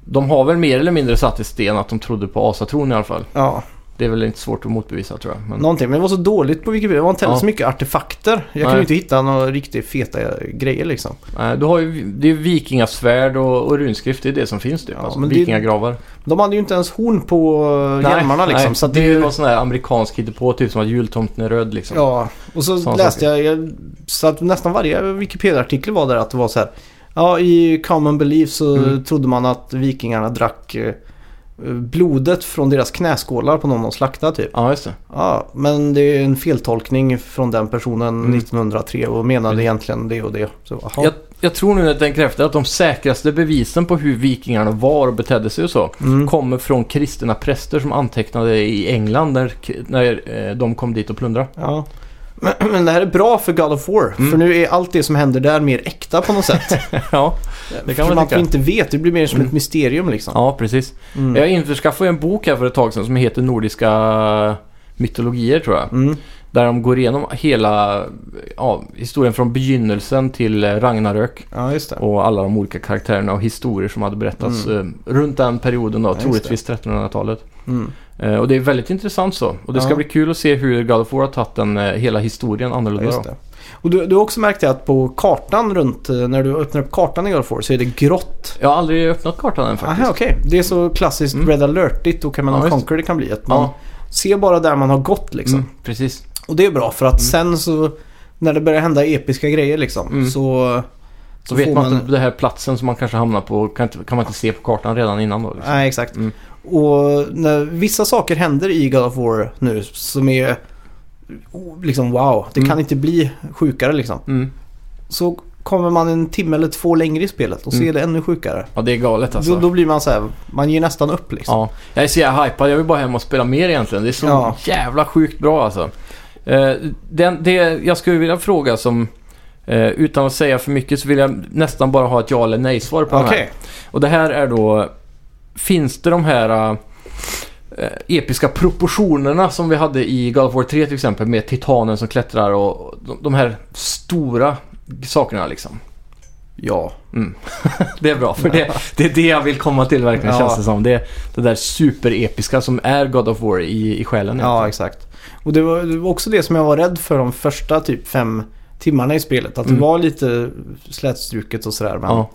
Speaker 2: de har väl mer eller mindre satt i sten att de trodde på asatron i alla fall.
Speaker 1: Ja,
Speaker 2: Det är väl inte svårt att motbevisa tror jag. Men,
Speaker 1: någonting. Men det var så dåligt på Wikipedia. Det var inte heller
Speaker 2: Ja.
Speaker 1: så mycket artefakter. Jag kunde
Speaker 2: Nej.
Speaker 1: ju inte hitta några riktigt feta grejer liksom.
Speaker 2: nej, du har ju, det är ju vikingasvärd och, och runskrift, det är det som finns typ.
Speaker 1: Ja,
Speaker 2: alltså,
Speaker 1: men det är-
Speaker 2: vikingagravar.
Speaker 1: De hade ju inte ens horn på eh,
Speaker 2: Nej,
Speaker 1: hjälmarna liksom.
Speaker 2: nej,
Speaker 1: så att
Speaker 2: det är ju någon sån här amerikansk hittepå, typ som att jultomten är röd liksom.
Speaker 1: Ja, och så
Speaker 2: Sådana
Speaker 1: läste jag, jag, så att nästan varje Wikipedia-artikel var där att det var så här. Ja, i common belief så
Speaker 2: Mm.
Speaker 1: trodde man att vikingarna drack eh, blodet från deras knäskålar på någon de slaktade typ.
Speaker 2: Ja, just det.
Speaker 1: Ja, men det är en feltolkning från den personen
Speaker 2: Mm.
Speaker 1: 1903 och menade
Speaker 2: Precis.
Speaker 1: egentligen det och det. Så, aha.
Speaker 2: Jag, jag tror nu att den efter att de säkraste bevisen på hur vikingarna var och betedde sig och så
Speaker 1: mm.
Speaker 2: kommer från kristna präster som antecknade i England när, när eh, de kom dit och plundrade.
Speaker 1: ja. <clears throat> men, men det här är bra för God of War.
Speaker 2: Mm.
Speaker 1: För nu är allt det som händer där mer äkta på något sätt.
Speaker 2: <laughs> ja. man
Speaker 1: för man
Speaker 2: tycka.
Speaker 1: inte vet, det blir mer som ett
Speaker 2: Mm.
Speaker 1: mysterium liksom.
Speaker 2: ja, precis.
Speaker 1: Mm.
Speaker 2: Jag införskaffade en bok här för ett tag sedan som heter Nordiska mytologier tror jag.
Speaker 1: Mm.
Speaker 2: Där de går igenom hela ja, historien från begynnelsen till eh, Ragnarök.
Speaker 1: Ja, just det.
Speaker 2: Och alla de olika karaktärerna och historier som hade berättats eh, runt den perioden
Speaker 1: Mm.
Speaker 2: då,
Speaker 1: Ja, just
Speaker 2: troligtvis 1300-talet.
Speaker 1: Mm.
Speaker 2: Eh, och det är väldigt intressant så. Och det ska
Speaker 1: Ja.
Speaker 2: bli kul att se hur God of War har tagit den, eh, hela historien
Speaker 1: Ja,
Speaker 2: annorlunda
Speaker 1: just
Speaker 2: då.
Speaker 1: det. Och du, du har också märkt det att på kartan runt, eh, när du öppnar upp kartan i God of War så är det grått.
Speaker 2: Jag har aldrig öppnat kartan än faktiskt.
Speaker 1: Aha, okej. Det är så klassiskt
Speaker 2: Mm.
Speaker 1: Red Alert-igt och Command
Speaker 2: Ja,
Speaker 1: and
Speaker 2: just det.
Speaker 1: Conquer det kan bli. Att man
Speaker 2: Ja,
Speaker 1: ser bara där man har gått liksom.
Speaker 2: mm, precis.
Speaker 1: Och det är bra för att sen så, när det börjar hända episka grejer liksom,
Speaker 2: Mm.
Speaker 1: så...
Speaker 2: Så vet
Speaker 1: får
Speaker 2: man inte den här platsen som man kanske hamnar på kan, inte, kan man inte se på kartan redan innan då. Liksom.
Speaker 1: Nej, exakt.
Speaker 2: Mm.
Speaker 1: Och när vissa saker händer i God of War nu som är... oh, Liksom wow, det
Speaker 2: Mm.
Speaker 1: kan inte bli sjukare liksom.
Speaker 2: Mm.
Speaker 1: Så kommer man en timme eller två längre i spelet och ser
Speaker 2: Mm.
Speaker 1: det ännu sjukare.
Speaker 2: Ja, det är galet alltså.
Speaker 1: Då, då blir man så här, man ger nästan upp liksom.
Speaker 2: Ja, jag är så jävla hypad. Jag vill bara hem och spela mer egentligen. Det är så
Speaker 1: Ja.
Speaker 2: jävla sjukt bra alltså. Eh, den, det jag skulle vilja fråga som, eh, utan att säga för mycket, så vill jag nästan bara ha ett ja eller nej-svar på den här.
Speaker 1: Okej.
Speaker 2: Och det här är då, finns det de här eh, episka proportionerna som vi hade i God of War 3 till exempel med titanen som klättrar och de, de här stora sakerna liksom.
Speaker 1: Ja.
Speaker 2: Mm. det är bra, för det, det är det jag vill komma till verkligen
Speaker 1: Ja.
Speaker 2: känns det som. Det, det där superepiska som är God of War i, i själen.
Speaker 1: Ja, exakt. Och det var, det var också det som jag var rädd för de första typ fem timmarna i spelet. Att det
Speaker 2: Mm.
Speaker 1: var lite slätstruket och sådär. Men
Speaker 2: Ja.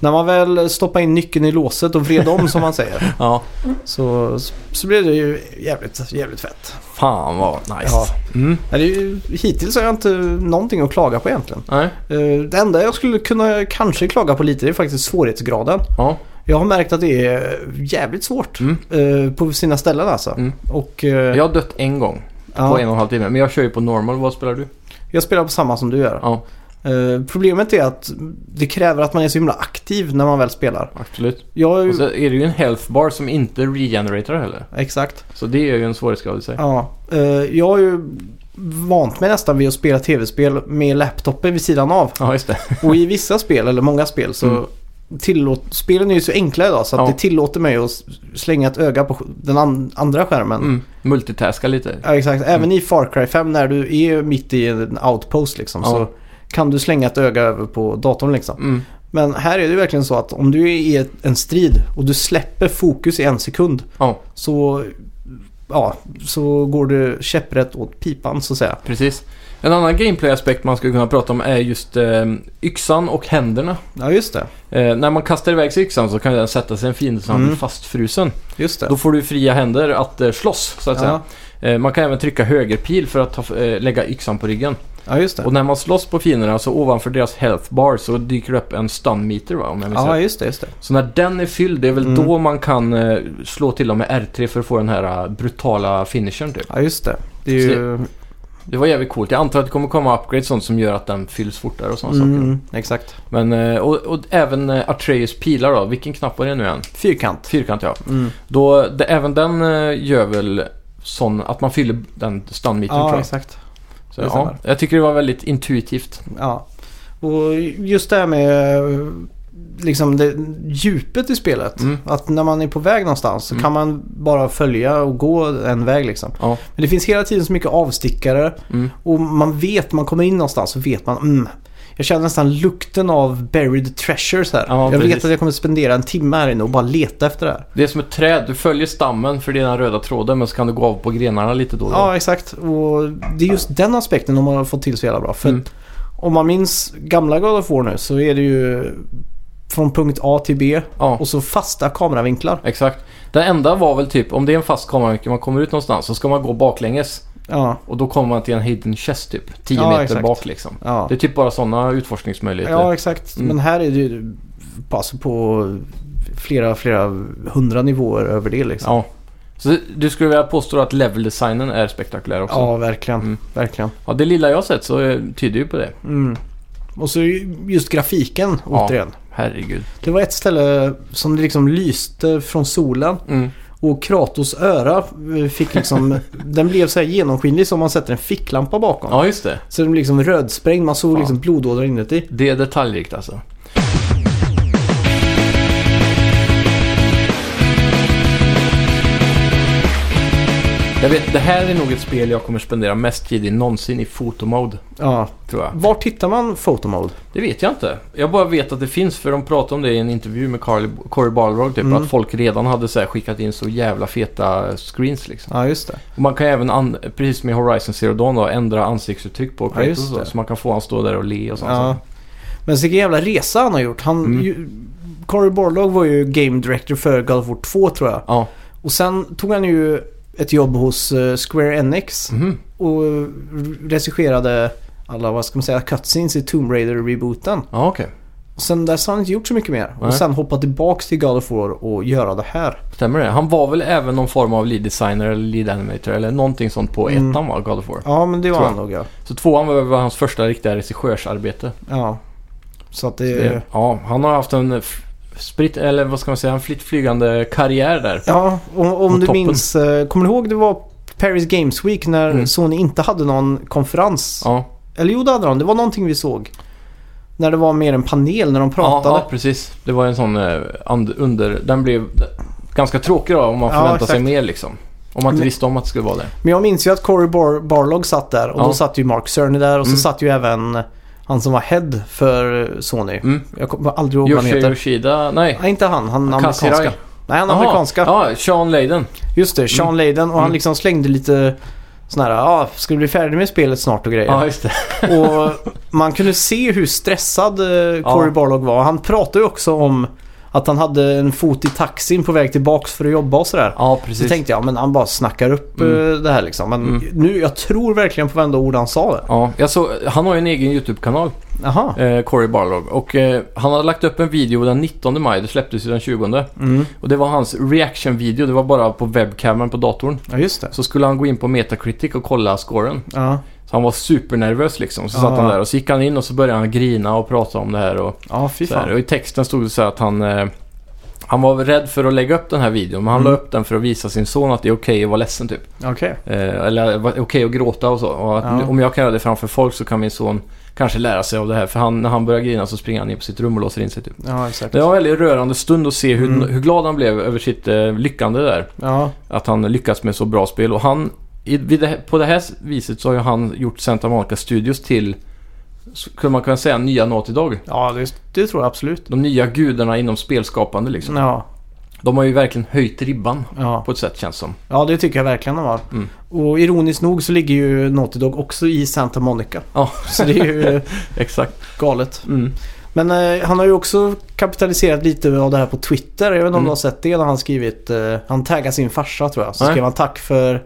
Speaker 1: När man väl stoppade in nyckeln i låset och vred om som man
Speaker 2: <laughs>
Speaker 1: säger
Speaker 2: Ja.
Speaker 1: så, så blev det ju jävligt, jävligt fett.
Speaker 2: Fan vad nice.
Speaker 1: Ja.
Speaker 2: Mm.
Speaker 1: Men det är ju, hittills har jag inte någonting att klaga på egentligen.
Speaker 2: Nej.
Speaker 1: Eh, Det enda jag skulle kunna kanske klaga på lite det är faktiskt svårighetsgraden.
Speaker 2: Ja.
Speaker 1: Jag har märkt att det är jävligt svårt
Speaker 2: Mm.
Speaker 1: eh, på sina ställen alltså.
Speaker 2: Mm.
Speaker 1: Och, eh,
Speaker 2: Jag har dött en gång på
Speaker 1: ja,
Speaker 2: en och en halv timme. Men jag kör ju på normal. Vad spelar du?
Speaker 1: jag spelar på samma som du gör.
Speaker 2: Ja,
Speaker 1: Eh, Problemet är att det kräver att man är så himla aktiv när man väl spelar.
Speaker 2: absolut.
Speaker 1: Jag har ju...
Speaker 2: Och så är det ju en health bar som inte regenerator heller.
Speaker 1: Exakt.
Speaker 2: Så det är ju en svårighetsgrad i sig.
Speaker 1: Ja. Eh, Jag har ju vant mig nästan vid att spela tv-spel med laptopen vid sidan av.
Speaker 2: Ja, just det.
Speaker 1: Och i
Speaker 2: <laughs>
Speaker 1: vissa spel, eller många spel, så
Speaker 2: Mm.
Speaker 1: tillåt... Spelen är ju så enkla idag så att
Speaker 2: Ja.
Speaker 1: det tillåter mig att s- slänga ett öga på sk- den an- andra skärmen.
Speaker 2: Mm. Multitaska lite.
Speaker 1: Ja, exakt.
Speaker 2: Mm.
Speaker 1: Även i Far Cry 5 när du är mitt i en outpost liksom,
Speaker 2: Ja.
Speaker 1: så kan du slänga ett öga över på datorn. Liksom.
Speaker 2: Mm.
Speaker 1: Men här är det verkligen så att om du är i ett- en strid och du släpper fokus i en sekund
Speaker 2: Ja,
Speaker 1: så, ja, så går du käpprätt åt pipan så att säga.
Speaker 2: precis. En annan gameplay-aspekt man skulle kunna prata om är just eh, yxan och händerna.
Speaker 1: Ja, just det.
Speaker 2: Eh, när man kastar iväg sig yxan så kan den sätta sig i en fiende så han
Speaker 1: Mm.
Speaker 2: blir fastfrusen.
Speaker 1: Just det.
Speaker 2: Då får du fria händer att eh, slåss, så att
Speaker 1: ja.
Speaker 2: säga. Eh, man kan även trycka högerpil för att ta, eh, lägga yxan på ryggen.
Speaker 1: ja, just det.
Speaker 2: Och när man slåss på fienderna så ovanför deras health bar så dyker det upp en stun meter va, om jag minns
Speaker 1: Ja,
Speaker 2: rätt.
Speaker 1: just det. Just det.
Speaker 2: Så när den är fylld, det är väl
Speaker 1: Mm.
Speaker 2: då man kan eh, slå till dem med R3 för att få den här eh, brutala finishern typ.
Speaker 1: Ja, just det. Det är ju...
Speaker 2: Det var jävligt coolt. Jag antar att det kommer komma upgrades sånt som gör att den fylls fortare och sådana saker.
Speaker 1: Mm, exakt.
Speaker 2: Men, eh, och, och även eh, Atreus pilar då. Vilken knapp var det nu igen?
Speaker 1: Fyrkant.
Speaker 2: Fyrkant ja.
Speaker 1: Mm.
Speaker 2: Då, det, även den eh, gör väl sån att man fyller den stunnmeeten tror
Speaker 1: Ja,
Speaker 2: jag.
Speaker 1: exakt.
Speaker 2: Så,
Speaker 1: det
Speaker 2: ja,
Speaker 1: stämmer.
Speaker 2: jag tycker det var väldigt intuitivt.
Speaker 1: Ja. Och just det här med eh, liksom det djupet i spelet.
Speaker 2: Mm.
Speaker 1: Att när man är på väg någonstans så
Speaker 2: Mm.
Speaker 1: kan man bara följa och gå en väg liksom.
Speaker 2: Ja.
Speaker 1: Men det finns hela tiden så mycket avstickare
Speaker 2: Mm.
Speaker 1: och man vet, man kommer in någonstans så vet man mm, jag känner nästan lukten av buried treasures här.
Speaker 2: Ja,
Speaker 1: jag vet
Speaker 2: precis.
Speaker 1: att jag kommer spendera en timme här inne och bara leta efter det här.
Speaker 2: Det är som ett träd. Du följer stammen för det är den röda tråden men så kan du gå av på grenarna lite då och då.
Speaker 1: Ja, exakt. Och det är just den aspekten de har fått till så jävla bra. För
Speaker 2: Mm.
Speaker 1: om man minns gamla God of War nu så är det ju från punkt A till B
Speaker 2: Ja.
Speaker 1: och så fasta kameravinklar.
Speaker 2: Exakt. Det enda var väl typ om det är en fast kameravinkel man kommer ut någonstans så ska man gå baklänges.
Speaker 1: Ja,
Speaker 2: Och då kommer man till en hidden chest typ. 10
Speaker 1: Ja,
Speaker 2: meter
Speaker 1: exakt.
Speaker 2: bak liksom.
Speaker 1: ja.
Speaker 2: Det är typ bara sådana utforskningsmöjligheter.
Speaker 1: ja exakt.
Speaker 2: Mm.
Speaker 1: Men här är det ju alltså på flera, flera hundra nivåer över det liksom.
Speaker 2: Ja. Så du skulle vilja påstå att leveldesignen är spektakulär också?
Speaker 1: Ja, verkligen.
Speaker 2: Mm.
Speaker 1: Verkligen.
Speaker 2: Ja, det lilla jag har sett så eh, tyder ju på det.
Speaker 1: Mm. Och så just grafiken
Speaker 2: Ja.
Speaker 1: återigen.
Speaker 2: Herregud.
Speaker 1: Det var ett ställe som det liksom lyste från solen.
Speaker 2: Mm.
Speaker 1: Och Kratos öra eh, fick <laughs> liksom, den blev så här genomskinlig som om man sätter en ficklampa bakom.
Speaker 2: Ja, just det.
Speaker 1: Så den blev liksom rödsprängd, man såg
Speaker 2: Fan.
Speaker 1: liksom blodådror inuti.
Speaker 2: Det är detaljrikt alltså. Jag vet, det här är nog ett spel jag kommer spendera mest tid i någonsin i fotomode,
Speaker 1: Ja.
Speaker 2: tror jag.
Speaker 1: Var tittar man fotomode?
Speaker 2: Det vet jag inte. Jag bara vet att det finns, för de pratade om det i en intervju med Carly, Corey Balrog, typ,
Speaker 1: Mm.
Speaker 2: att folk redan hade så här, skickat in så jävla feta screens liksom.
Speaker 1: Ja, just det.
Speaker 2: Och man kan även, an- precis som i Horizon Zero Dawn då, ändra ansiktsuttryck på Kratos
Speaker 1: just
Speaker 2: och så,
Speaker 1: det.
Speaker 2: så man kan få han stå där och le och sånt.
Speaker 1: Ja. alltså. Men vilken jävla resa han har gjort. Han,
Speaker 2: Mm.
Speaker 1: ju, Cory Barlog var ju Game Director för God of War 2 tror jag.
Speaker 2: Ja.
Speaker 1: Och sen tog han ju ett jobb hos eh, Square Enix
Speaker 2: Mhm.
Speaker 1: och eh, regisserade alla, vad ska man säga, cutscenes i Tomb Raider-rebooten.
Speaker 2: Ja, okej.
Speaker 1: Och sen dess har han inte gjort så mycket mer.
Speaker 2: Nej.
Speaker 1: Och sen hoppa tillbaks till God of War och göra det här.
Speaker 2: Stämmer det? Han var väl även någon form av lead designer eller lead animator eller någonting sånt på
Speaker 1: Mm.
Speaker 2: ettan var God of War.
Speaker 1: Ja, men det var
Speaker 2: Tror
Speaker 1: han nog ja.
Speaker 2: Så tvåan var väl hans första riktiga regissörsarbete.
Speaker 1: ja. Så att det...
Speaker 2: Det- Ja, han har haft en f- spritt, eller vad ska man säga, en fritt flygande karriär där.
Speaker 1: Ja, om, om
Speaker 2: Och
Speaker 1: du
Speaker 2: toppen.
Speaker 1: minns. eh, Kommer du ihåg det var Paris Games Week när
Speaker 2: Mm.
Speaker 1: Sony inte hade någon konferens?
Speaker 2: Ja,
Speaker 1: Eller jo, det hade de. Det var någonting vi såg. När det var mer en panel när de pratade.
Speaker 2: ja, ja precis. Det var en sån eh, and, under... Den blev ganska tråkig då om man
Speaker 1: Ja,
Speaker 2: förväntade sig
Speaker 1: exakt.
Speaker 2: mer liksom. Om man inte
Speaker 1: Men-
Speaker 2: visste om att det skulle vara det.
Speaker 1: Men jag minns ju att Cory Bar- Barlog satt där och
Speaker 2: Ja.
Speaker 1: då satt ju Mark Cerny där och
Speaker 2: Mm.
Speaker 1: så satt ju även han som var head för Sony.
Speaker 2: Mm.
Speaker 1: Jag kommer aldrig ihåg vad han
Speaker 2: Yoshi
Speaker 1: heter.
Speaker 2: Yoshida, nej.
Speaker 1: Nej, inte han. Han
Speaker 2: Kasirai.
Speaker 1: amerikanska. Nej, han
Speaker 2: Jaha,
Speaker 1: amerikanska.
Speaker 2: Ja, Sean Layden.
Speaker 1: Just det, Sean Layden. Och
Speaker 2: Mm.
Speaker 1: han liksom slängde lite sån här, ja, ah, ska du bli färdig med spelet snart och grejer.
Speaker 2: Ja, just
Speaker 1: <laughs>
Speaker 2: det.
Speaker 1: Och man kunde se hur stressad eh, Cory
Speaker 2: Ja.
Speaker 1: Barlog var. Han pratade ju också om att han hade en fot i taxin på väg tillbaks för att jobba och sådär.
Speaker 2: Ja,
Speaker 1: Så
Speaker 2: precis.
Speaker 1: tänkte jag, men han bara snackar upp eh, det här liksom. Men
Speaker 2: Mm.
Speaker 1: nu, jag tror verkligen på varenda ord han sa. där.
Speaker 2: Ja, jag såg, han har ju en egen YouTube-kanal,
Speaker 1: Jaha.
Speaker 2: eh, Cory Barlog. Och eh, han hade lagt upp en video den 19 maj, det släpptes ju den 20.
Speaker 1: Mm.
Speaker 2: Och det var hans reaction-video, det var bara på webcamen på datorn.
Speaker 1: Ja, just det.
Speaker 2: Så skulle han gå in på Metacritic och kolla scoren.
Speaker 1: Ja,
Speaker 2: Så han var supernervös liksom. Så
Speaker 1: Ja.
Speaker 2: satt han där och så gick han in och så började han grina och prata om det här. Och,
Speaker 1: ja Ah. fy
Speaker 2: så här.
Speaker 1: fan.
Speaker 2: och i texten stod det så här att han... Eh, han var rädd för att lägga upp den här videon, men han
Speaker 1: Mm.
Speaker 2: la upp den för att visa sin son att det är okej att vara ledsen typ.
Speaker 1: Okej.
Speaker 2: Eh, eller var- okej att gråta och så. Och att,
Speaker 1: Ja.
Speaker 2: Om jag kan göra det framför folk så kan min son kanske lära sig av det här. För han, när han börjar grina så springer han in på sitt rum och låser in sig typ.
Speaker 1: Ja, exakt.
Speaker 2: Det var en väldigt rörande stund att se hur,
Speaker 1: Mm.
Speaker 2: hur glad han blev över sitt eh, lyckande där.
Speaker 1: Ja,
Speaker 2: Att han lyckats med så bra spel. Och han, i, vid det, här- på det här viset så har ju han gjort Santa Monica Studios till, skulle man kunna säga, nya Naughty Dog.
Speaker 1: ja det, det tror jag absolut.
Speaker 2: De nya gudarna inom spelskapande liksom.
Speaker 1: Ja,
Speaker 2: De har ju verkligen höjt ribban
Speaker 1: ja.
Speaker 2: på ett sätt känns som.
Speaker 1: ja, det tycker jag verkligen han var.
Speaker 2: Mm.
Speaker 1: Och ironiskt nog så ligger ju Naughty Dog också i Santa Monica.
Speaker 2: Ja,
Speaker 1: Så det är ju
Speaker 2: <laughs>
Speaker 1: eh,
Speaker 2: exakt.
Speaker 1: galet.
Speaker 2: Mm.
Speaker 1: Men eh, han har ju också kapitaliserat lite av det här på Twitter. Jag vet inte om
Speaker 2: Mm.
Speaker 1: du har sett det när han skrivit... Eh, han taggade sin farsa tror jag. Så
Speaker 2: Nej.
Speaker 1: skrev han tack för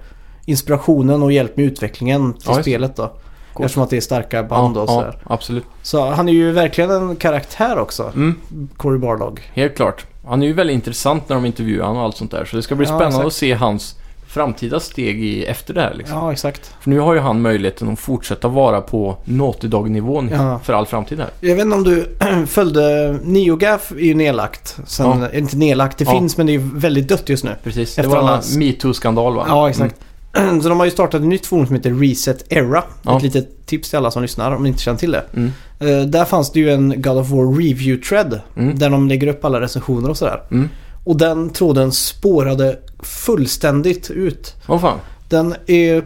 Speaker 1: inspirationen och hjälp med utvecklingen till
Speaker 2: Ja, just det.
Speaker 1: spelet då. Eftersom att det är starka band och
Speaker 2: ja,
Speaker 1: sådär.
Speaker 2: absolut.
Speaker 1: Så han är ju verkligen en karaktär också,
Speaker 2: Mm.
Speaker 1: Cory Barlog.
Speaker 2: Helt klart. Han är ju väldigt intressant när de intervjuar honom och allt sånt där. Så det ska bli
Speaker 1: Ja,
Speaker 2: spännande
Speaker 1: exakt.
Speaker 2: att se hans framtida steg i, efter det här. Liksom.
Speaker 1: Ja, exakt.
Speaker 2: För nu har ju han möjligheten att fortsätta vara på Naughty Dog-nivån
Speaker 1: Ja.
Speaker 2: för all framtid här.
Speaker 1: Jag vet inte om du <clears throat> följde... NeoGaf är ju nedlagt. Sen, Inte nedlagt, det
Speaker 2: Ja.
Speaker 1: finns men det är väldigt dött just nu.
Speaker 2: Precis.
Speaker 1: Efter
Speaker 2: det var
Speaker 1: alla-
Speaker 2: en metoo-skandal va?
Speaker 1: Ja, exakt. <clears throat> Så de har ju startat ett nytt forum som heter Reset Era.
Speaker 2: Ja.
Speaker 1: Ett litet tips till alla som lyssnar om ni inte känner till det.
Speaker 2: Mm.
Speaker 1: Eh, där fanns det ju en God of War Review Thread.
Speaker 2: Mm.
Speaker 1: Där de lägger upp alla recensioner och sådär.
Speaker 2: Mm.
Speaker 1: Och den tråden spårade fullständigt ut.
Speaker 2: Åh fan.
Speaker 1: Den är...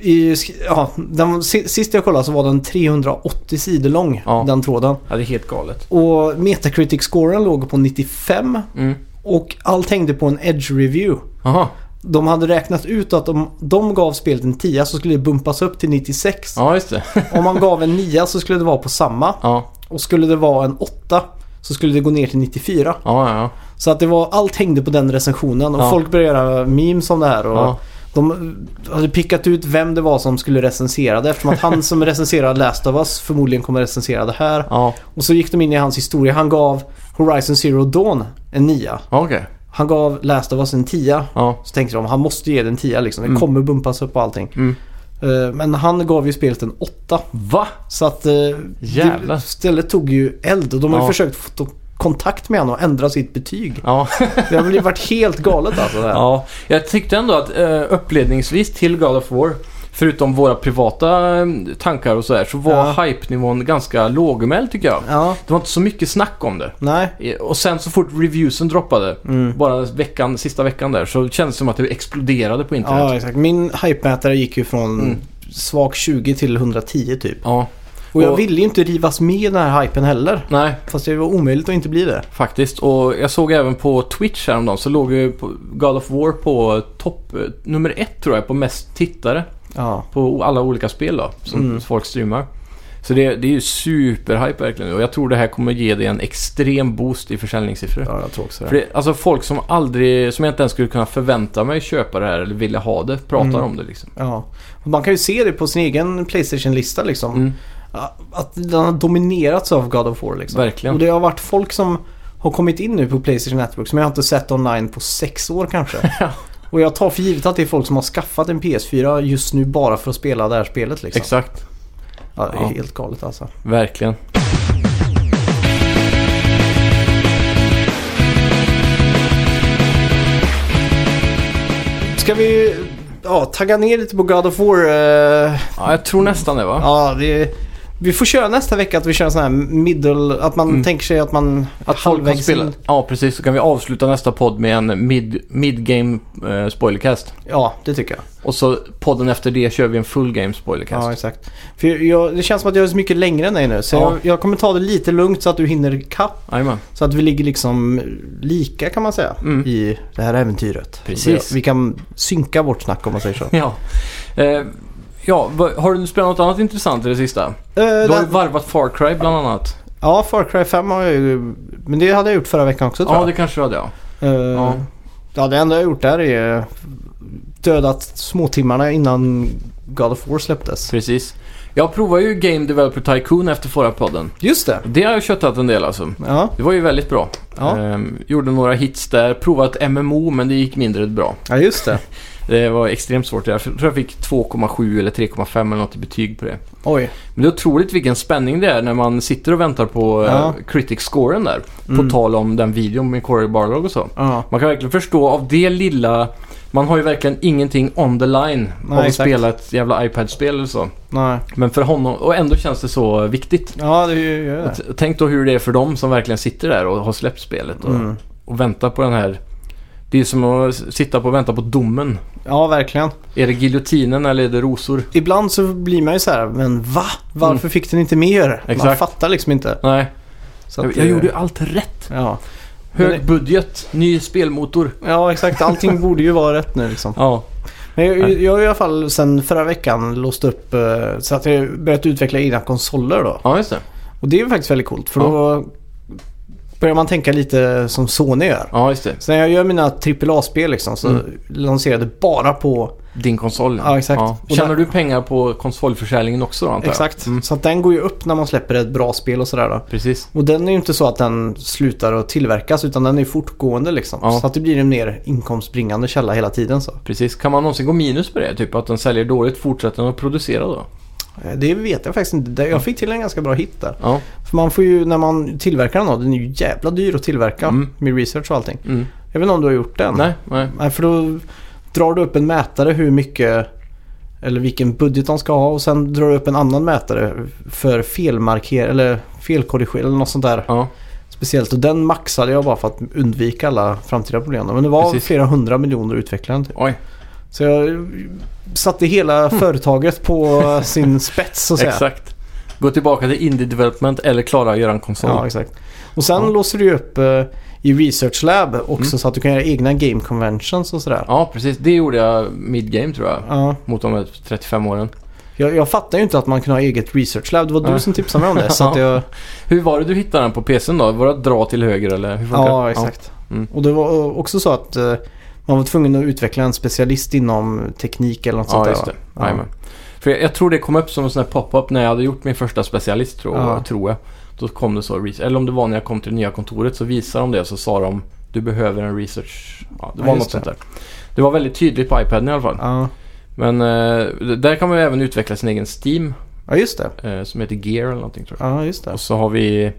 Speaker 1: I, ja, den, si- sist jag kollade så var den 380 sidor lång,
Speaker 2: Ja.
Speaker 1: den tråden.
Speaker 2: Ja, det är helt galet.
Speaker 1: Och Metacritic-scoren låg på 95
Speaker 2: Mm.
Speaker 1: och allt hängde på en edge-review.
Speaker 2: Aha.
Speaker 1: De hade räknat ut att om de gav spelet en 10 så skulle det bumpas upp till 96.
Speaker 2: Ja, just det. <laughs>
Speaker 1: Om man gav en 9 så skulle det vara på samma.
Speaker 2: Ja,
Speaker 1: Och skulle det vara en 8 så skulle det gå ner till 94.
Speaker 2: ja, ja.
Speaker 1: Så att det var, allt hängde på den recensionen och
Speaker 2: Ja.
Speaker 1: folk började göra memes om det här. Och
Speaker 2: Ja,
Speaker 1: De hade pickat ut vem det var som skulle recensera det eftersom att han som recenserade Last of Us förmodligen kommer recensera det här.
Speaker 2: ja.
Speaker 1: Och så gick de in i hans historia. Han gav Horizon Zero Dawn en 9.
Speaker 2: ja okej.
Speaker 1: Han gav Last of Us en 10.
Speaker 2: Ja.
Speaker 1: Så tänkte de han måste ge den en 10 liksom. Det
Speaker 2: Mm.
Speaker 1: kommer bumpas upp och allting.
Speaker 2: Mm.
Speaker 1: Eh, Men han gav ju spelet en 8.
Speaker 2: Va?
Speaker 1: Så att eh,
Speaker 2: Jävlar.
Speaker 1: det- stället tog ju eld och de har ju
Speaker 2: Ja.
Speaker 1: försökt få t- kontakt med honom och ändra sitt betyg.
Speaker 2: Ja.
Speaker 1: Det har väl varit helt galet alltså. Det här.
Speaker 2: Ja, jag tyckte ändå att eh, uppledningsvis till God of War, förutom våra privata eh, tankar och sådär, så var
Speaker 1: Ja.
Speaker 2: hype-nivån ganska lågmäld tycker jag.
Speaker 1: ja.
Speaker 2: Det var inte så mycket snack om det.
Speaker 1: Nej.
Speaker 2: Eh, Och sen så fort reviewsen droppade,
Speaker 1: Mm.
Speaker 2: bara veckan, sista veckan där, så kändes det som att det exploderade på internet.
Speaker 1: Ja, exakt. Min hypemätare gick ju från
Speaker 2: Mm.
Speaker 1: svag 20 till 110 typ.
Speaker 2: Ja.
Speaker 1: Och jag
Speaker 2: Och-
Speaker 1: ville ju inte rivas med i den här hypen heller.
Speaker 2: Nej,
Speaker 1: Fast det var omöjligt att inte bli det.
Speaker 2: faktiskt. Och jag såg även på Twitch häromdagen så låg ju på- God of War på topp, eh, nummer ett tror jag, på mest tittare.
Speaker 1: Ja.
Speaker 2: på alla olika spel då, som
Speaker 1: Mm.
Speaker 2: folk streamar. Så det, det är ju superhype verkligen och jag tror det här kommer ge det en extrem boost i försäljningssiffror.
Speaker 1: Ja, jag tror också
Speaker 2: För det, alltså folk som aldrig, som jag inte ens skulle kunna förvänta mig köpa det här eller vilja ha det, pratar
Speaker 1: Mm.
Speaker 2: om det liksom.
Speaker 1: Ja. Och man kan ju se det på sin egen Playstation-lista liksom.
Speaker 2: Mm.
Speaker 1: Att den har dominerats av God of War liksom.
Speaker 2: Verkligen.
Speaker 1: Och det har varit folk som har kommit in nu på Playstation Network som jag inte har sett online på sex år kanske.
Speaker 2: <laughs> Ja.
Speaker 1: Och jag tar för givet att det är folk som har skaffat en PS4 just nu bara för att spela det här spelet liksom.
Speaker 2: Exakt,
Speaker 1: Ja, det är
Speaker 2: Ja.
Speaker 1: helt galet alltså.
Speaker 2: verkligen.
Speaker 1: Ska vi ja, tagga ner lite på God of War? eh,
Speaker 2: Ja, jag tror nästan det va?
Speaker 1: ja, det, Vi får köra nästa vecka att vi kör en sån här middle, att man
Speaker 2: Mm.
Speaker 1: tänker sig att man
Speaker 2: Att folk kan spela.
Speaker 1: in-
Speaker 2: Ja, precis. Så kan vi avsluta nästa podd med en mid, mid-game eh, spoilercast.
Speaker 1: Ja, det tycker jag.
Speaker 2: Och så podden efter det kör vi en full game
Speaker 1: Ja,
Speaker 2: spoilercast.
Speaker 1: exakt. För jag, det känns som att jag är så mycket längre än dig nu. Så
Speaker 2: Ja.
Speaker 1: jag, jag kommer ta det lite lugnt så att du hinner kapp.
Speaker 2: Jajamän.
Speaker 1: Så att vi ligger liksom lika kan man säga
Speaker 2: Mm.
Speaker 1: i det här äventyret.
Speaker 2: Precis.
Speaker 1: Vi, vi kan synka vårt snack om man säger <laughs> så.
Speaker 2: Ja. Eh, ja, vad- har du spelat något annat intressant i det sista?
Speaker 1: Eh,
Speaker 2: Du har ju
Speaker 1: den,
Speaker 2: varvat Far Cry bland annat.
Speaker 1: ja, Far Cry 5 har jag ju... Men det hade jag gjort förra veckan också tror
Speaker 2: Ja,
Speaker 1: jag.
Speaker 2: det kanske du hade ja.
Speaker 1: Eh,
Speaker 2: ja.
Speaker 1: ja, det enda jag har gjort där är dödat småtimmarna innan God of War släpptes.
Speaker 2: Precis. Jag provar ju Game Developer Tycoon efter förra podden.
Speaker 1: Just det.
Speaker 2: Det har jag köttat en del alltså.
Speaker 1: Ja,
Speaker 2: Det var ju väldigt bra.
Speaker 1: ja.
Speaker 2: Ehm, gjorde några hits där, provat MMO men det gick mindre bra.
Speaker 1: ja just det.
Speaker 2: Det var extremt svårt. Jag tror jag fick 2,7 eller 3,5 eller något i betyg på det.
Speaker 1: <laughs> Oj.
Speaker 2: Men det är otroligt vilken spänning det är när man sitter och väntar på eh,
Speaker 1: Ja. Mm.
Speaker 2: critic-scoren där. På tal om den videon med Corey Barlog och så.
Speaker 1: Ja.
Speaker 2: Man kan verkligen förstå av det lilla, man har ju verkligen ingenting on the line
Speaker 1: Nej,
Speaker 2: av att
Speaker 1: exakt.
Speaker 2: spela ett jävla iPad-spel eller så.
Speaker 1: Nej.
Speaker 2: Men för honom, och ändå känns det så viktigt.
Speaker 1: Ja, det gör det.
Speaker 2: T- Tänk då hur det är för dem som verkligen sitter där och har släppt spelet och,
Speaker 1: Mm.
Speaker 2: och väntar på den här. Det är som att s- sitta på och vänta på domen.
Speaker 1: Ja, verkligen.
Speaker 2: Är det giljotinen eller är det rosor?
Speaker 1: Ibland så blir man ju så här, men va? Varför fick den inte mer? Man
Speaker 2: Mm. Exakt.
Speaker 1: fattar liksom inte.
Speaker 2: Nej,
Speaker 1: Så
Speaker 2: jag,
Speaker 1: att,
Speaker 2: jag
Speaker 1: eh,
Speaker 2: gjorde ju allt rätt.
Speaker 1: Ja.
Speaker 2: Hög
Speaker 1: Men det-
Speaker 2: budget, ny spelmotor.
Speaker 1: ja, exakt. Allting borde ju vara rätt nu liksom.
Speaker 2: Ja,
Speaker 1: Men jag, jag har i alla fall sen förra veckan låst upp eh, så att jag börjat utveckla egna konsoler då.
Speaker 2: ja just det.
Speaker 1: Och det är ju faktiskt väldigt coolt för då börjar man tänka lite som Sony gör.
Speaker 2: Ja, just det.
Speaker 1: Så när jag gör mina AAA-spel liksom så
Speaker 2: Mm.
Speaker 1: lanserar jag det bara på...
Speaker 2: Din konsol.
Speaker 1: Ja, exakt. Och
Speaker 2: Tjänar
Speaker 1: där-
Speaker 2: du pengar på konsolförsäljningen också då, antar jag?
Speaker 1: Exakt.
Speaker 2: Mm,
Speaker 1: Så att den går ju upp när man släpper ett bra spel och sådär då.
Speaker 2: precis.
Speaker 1: Och den är ju inte så att den slutar att tillverkas utan den är fortgående liksom.
Speaker 2: Ja.
Speaker 1: Så att det blir en mer inkomstbringande källa hela tiden så.
Speaker 2: Precis. Kan man någonsin gå minus på det? Typ att den säljer dåligt, fortsätter den att producera då?
Speaker 1: Eh, Det vet jag faktiskt inte. Det- Jag fick till en ganska bra hit där.
Speaker 2: Ja.
Speaker 1: För man får ju, när man tillverkar den då, den är ju jävla dyr att tillverka
Speaker 2: Mm.
Speaker 1: med research och allting.
Speaker 2: Mm.
Speaker 1: Jag vet inte om du har gjort den?
Speaker 2: Nej, nej.
Speaker 1: Nej, för då drar du upp en mätare hur mycket eller vilken budget de ska ha och sen drar du upp en annan mätare för felmarkering eller felkorrigering eller något sånt där.
Speaker 2: Ja,
Speaker 1: Speciellt och den maxade jag bara för att undvika alla framtida problem. Men det var
Speaker 2: Precis.
Speaker 1: flera hundra miljoner utvecklaren. Typ.
Speaker 2: oj.
Speaker 1: Så jag satte hela företaget
Speaker 2: <laughs>
Speaker 1: på sin spets så att säga.
Speaker 2: Mm. Exakt. Gå tillbaka till indie development eller klara att göra en konsol.
Speaker 1: Ja, exakt. Och sen
Speaker 2: Ja.
Speaker 1: låser du ju upp eh, i Research Lab också
Speaker 2: Mm.
Speaker 1: så att du kan göra egna game conventions och sådär.
Speaker 2: Ja, precis. Det gjorde jag mid-game tror jag.
Speaker 1: Ja.
Speaker 2: Mot de här 35 åren.
Speaker 1: Jag, jag fattar ju inte att man kan ha eget Research Lab. Det var
Speaker 2: Ja.
Speaker 1: du som tipsade mig om det. Så att
Speaker 2: <laughs>
Speaker 1: jag,
Speaker 2: Hur var det du hittade den på PCn då? Var det att dra till höger eller? Hur funkar det?
Speaker 1: ja, exakt.
Speaker 2: Mm.
Speaker 1: Och det var också så att eh, man var tvungen att utveckla en specialist inom teknik eller något sånt där.
Speaker 2: Ja, just
Speaker 1: va?
Speaker 2: det.
Speaker 1: Ja.
Speaker 2: Jajamän. För jag, jag tror det kom upp som en sån här pop-up när jag hade gjort min första specialist tror,
Speaker 1: Ja.
Speaker 2: tror jag. Då kom det så, res- eller om det var när jag kom till det nya kontoret så visade de det och så sa de du behöver en research. Ja, det
Speaker 1: Ja,
Speaker 2: var
Speaker 1: just
Speaker 2: något sånt
Speaker 1: det.
Speaker 2: där. Det var väldigt tydligt på iPaden i alla fall.
Speaker 1: Ja.
Speaker 2: Men eh, d- där kan man ju även utveckla sin egen Steam
Speaker 1: ja, just det.
Speaker 2: eh, som heter Gear eller någonting tror jag.
Speaker 1: Ja, just det.
Speaker 2: Och så har vi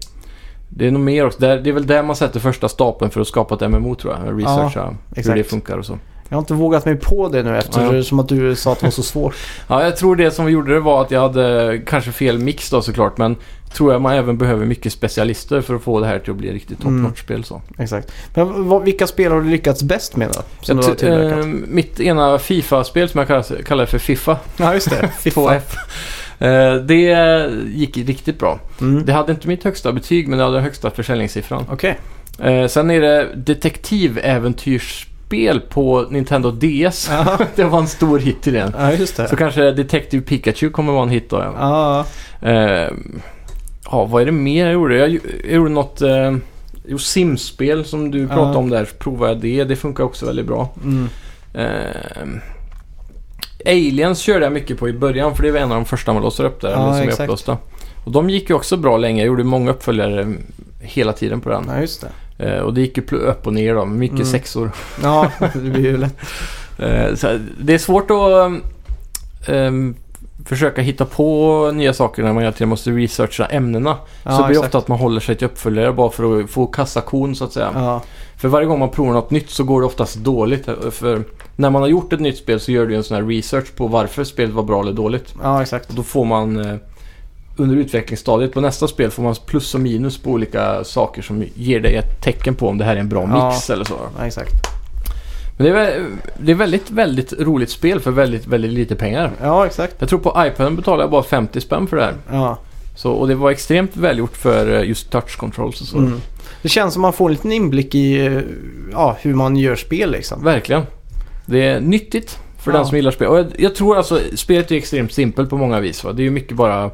Speaker 2: det är nog mer också. Där, det är väl där man sätter första stapeln för att skapa ett MMO tror jag. En Researcha hur det
Speaker 1: exakt.
Speaker 2: funkar och så.
Speaker 1: Jag har inte vågat mig på det nu
Speaker 2: Ja, ja.
Speaker 1: eftersom att du sa att det var så
Speaker 2: <laughs>
Speaker 1: svårt.
Speaker 2: Ja, jag tror det som vi gjorde det var att jag hade eh, kanske fel mix då såklart, men tror jag man även behöver mycket specialister för att få det här till att bli riktigt top
Speaker 1: Mm.
Speaker 2: notch-spel så.
Speaker 1: Exakt. Men vad, vilka spel har du lyckats bäst med då? Som
Speaker 2: Jag
Speaker 1: du har
Speaker 2: t- eh,
Speaker 1: tillverkat?
Speaker 2: mitt ena Fifa-spel som jag kallar, kallar
Speaker 1: <laughs>
Speaker 2: för Fifa,
Speaker 1: ja, just det.
Speaker 2: 2F, eh, det gick riktigt bra.
Speaker 1: Mm.
Speaker 2: Det hade inte mitt högsta betyg, men det hade den högsta försäljningssiffran.
Speaker 1: Okej.
Speaker 2: Eh, sen är det detektiväventyrsspel på Nintendo DS.
Speaker 1: <laughs> Ja.
Speaker 2: <laughs> det var en stor hit till den.
Speaker 1: Ja, just det.
Speaker 2: Så kanske Detective Pikachu kommer vara en hit då. Ja.
Speaker 1: Ja,
Speaker 2: Eh, ja, vad är det mer jag gjorde? Jag, gj- jag gjorde något... Eh, jo, Sims-spel som du pratade om där. Provade jag det. Det funkar också väldigt bra.
Speaker 1: mm.
Speaker 2: Eh, Aliens körde jag mycket på i början för det var en av de första man låser upp där.
Speaker 1: Ja,
Speaker 2: eller som
Speaker 1: exakt.
Speaker 2: är upplåsta. Och de gick ju också bra länge. Jag gjorde många uppföljare mm, hela tiden på den.
Speaker 1: ja, just det.
Speaker 2: Eh, och det gick ju pl- upp och ner då. Mycket
Speaker 1: Mm.
Speaker 2: sexor.
Speaker 1: Ja, det blir ju lätt.
Speaker 2: Eh, så det är svårt att ehm, försöka hitta på nya saker när man hela tiden måste researcha ämnena.
Speaker 1: Ja,
Speaker 2: <laughs> så det blir
Speaker 1: exakt.
Speaker 2: ofta att man håller sig till uppföljare bara för att få kassakon så att säga.
Speaker 1: Ja,
Speaker 2: För varje gång man provar något nytt så går det oftast dåligt. För när man har gjort ett nytt spel så gör du ju en sån här research på varför spelet var bra eller dåligt.
Speaker 1: ja exakt.
Speaker 2: Och då får man eh, under utvecklingsstadiet på nästa spel får man plus och minus på olika saker som ger dig ett tecken på om det här är en bra
Speaker 1: Ja.
Speaker 2: mix eller så.
Speaker 1: Ja, exakt.
Speaker 2: Men det är, vä- det är väldigt, väldigt roligt spel för väldigt, väldigt lite pengar.
Speaker 1: Ja, exakt.
Speaker 2: Jag tror på iPaden betalade jag bara 50 spänn för det här.
Speaker 1: Ja.
Speaker 2: Så, och det var extremt välgjort för eh, just touch controls och så.
Speaker 1: Mm. Det känns som man får en liten inblick i eh, ja, hur man gör spel liksom.
Speaker 2: Verkligen. Det är nyttigt för
Speaker 1: Ja.
Speaker 2: den som gillar spel. Och jag, jag tror alltså, spelet är extremt simpelt på många vis. Va? Det är ju mycket bara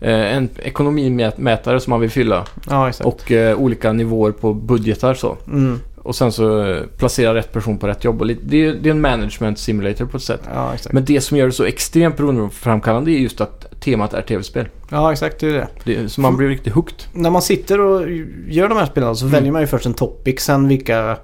Speaker 2: eh, en ekonomimätare som man vill fylla.
Speaker 1: Ja, exakt.
Speaker 2: Och eh, olika nivåer på budgetar så.
Speaker 1: Mm.
Speaker 2: Och sen så eh, placera rätt person på rätt jobb. Och lite, det, är, det är en management simulator på ett sätt.
Speaker 1: Ja, exakt.
Speaker 2: Men det som gör det så extremt beroendeframkallande är just att temat är tv-spel.
Speaker 1: Ja, exakt. Det är det.
Speaker 2: Det, så man blir riktigt hooked.
Speaker 1: När man sitter och gör de här spelen så
Speaker 2: Mm.
Speaker 1: väljer man ju först en topic, sen vilka...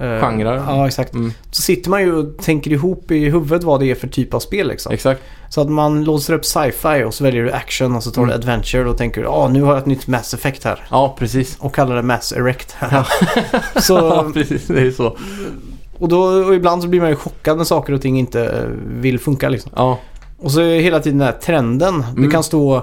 Speaker 1: Eh,
Speaker 2: Genrer.
Speaker 1: Ja, exakt.
Speaker 2: Mm,
Speaker 1: Så sitter man ju och tänker ihop i huvudet vad det är för typ av spel liksom.
Speaker 2: exakt.
Speaker 1: Så att man låser upp sci-fi och så väljer du action och så tar
Speaker 2: Mm.
Speaker 1: du adventure och tänker ja nu har jag ett nytt Mass Effect här.
Speaker 2: Ja, precis.
Speaker 1: Och kallar det Mass Erect.
Speaker 2: <laughs> Ja.
Speaker 1: <laughs> så,
Speaker 2: Ja, precis. Det är ju så.
Speaker 1: och, då, och ibland så blir man ju chockad när saker och ting inte eh, vill funka liksom.
Speaker 2: Ja,
Speaker 1: Och så är hela tiden den här trenden. Det
Speaker 2: Mm.
Speaker 1: kan stå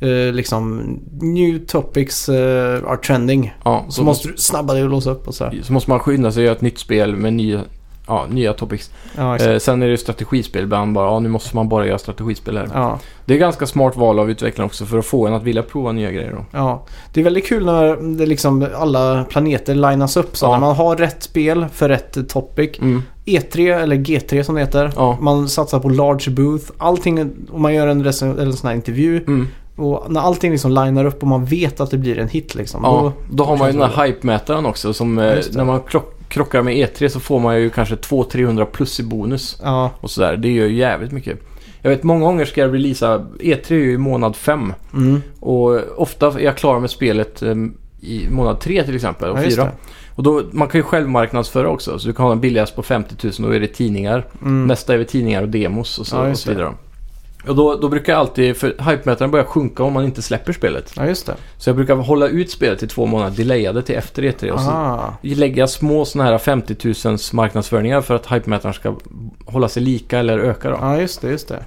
Speaker 1: eh, liksom new topics eh, are trending.
Speaker 2: ja.
Speaker 1: Så måste du snabba dig och låsa upp och så. här.
Speaker 2: så måste man skynda sig och göra ett nytt spel med nya, ja, nya topics.
Speaker 1: Ja, exakt.
Speaker 2: Eh, sen är det ju strategispel ibland bara. Ja, nu måste man bara göra strategispel här.
Speaker 1: Ja,
Speaker 2: Det är ganska smart val av utvecklaren också för att få en att vilja prova nya grejer. Då.
Speaker 1: ja. Det är väldigt kul när det liksom alla planeter linas upp. Så
Speaker 2: Ja.
Speaker 1: när man har rätt spel för rätt topic.
Speaker 2: Mm.
Speaker 1: E3 eller G3 som det heter.
Speaker 2: Ja.
Speaker 1: Man satsar på large booth. Allting, och man gör en, rec- eller en sån här intervju.
Speaker 2: Mm.
Speaker 1: Och när allting liksom linar upp och man vet att det blir en hit liksom.
Speaker 2: Ja,
Speaker 1: då-
Speaker 2: då har man ju
Speaker 1: känns
Speaker 2: den
Speaker 1: det
Speaker 2: här hype-mätaren också som eh,
Speaker 1: Ja, just det.
Speaker 2: när man krock, krockar med E3 så får man ju kanske 200-300 plus i bonus
Speaker 1: Ja,
Speaker 2: och sådär. Det gör ju jävligt mycket. Jag vet många gånger ska jag releasa, E3 är ju i månad 5
Speaker 1: mm.
Speaker 2: och ofta är jag klar med spelet eh, i månad 3 till exempel och
Speaker 1: ja, just
Speaker 2: 4.
Speaker 1: det.
Speaker 2: Och då, man kan ju själv marknadsföra också så du kan ha den billigast på 50 000 då är det tidningar.
Speaker 1: Mm.
Speaker 2: Nästa är det tidningar och demos och så,
Speaker 1: Ja,
Speaker 2: och
Speaker 1: just
Speaker 2: så vidare. Och då, då brukar jag alltid, för hypemätaren börjar sjunka om man inte släpper spelet.
Speaker 1: Ja, just det.
Speaker 2: Så jag brukar hålla ut spelet i två månader, delaya det till efter E3 och så
Speaker 1: Aha.
Speaker 2: lägga små sådana här 50 000 marknadsföringar för att hypemätaren ska hålla sig lika eller öka då.
Speaker 1: Ja, just det, just det.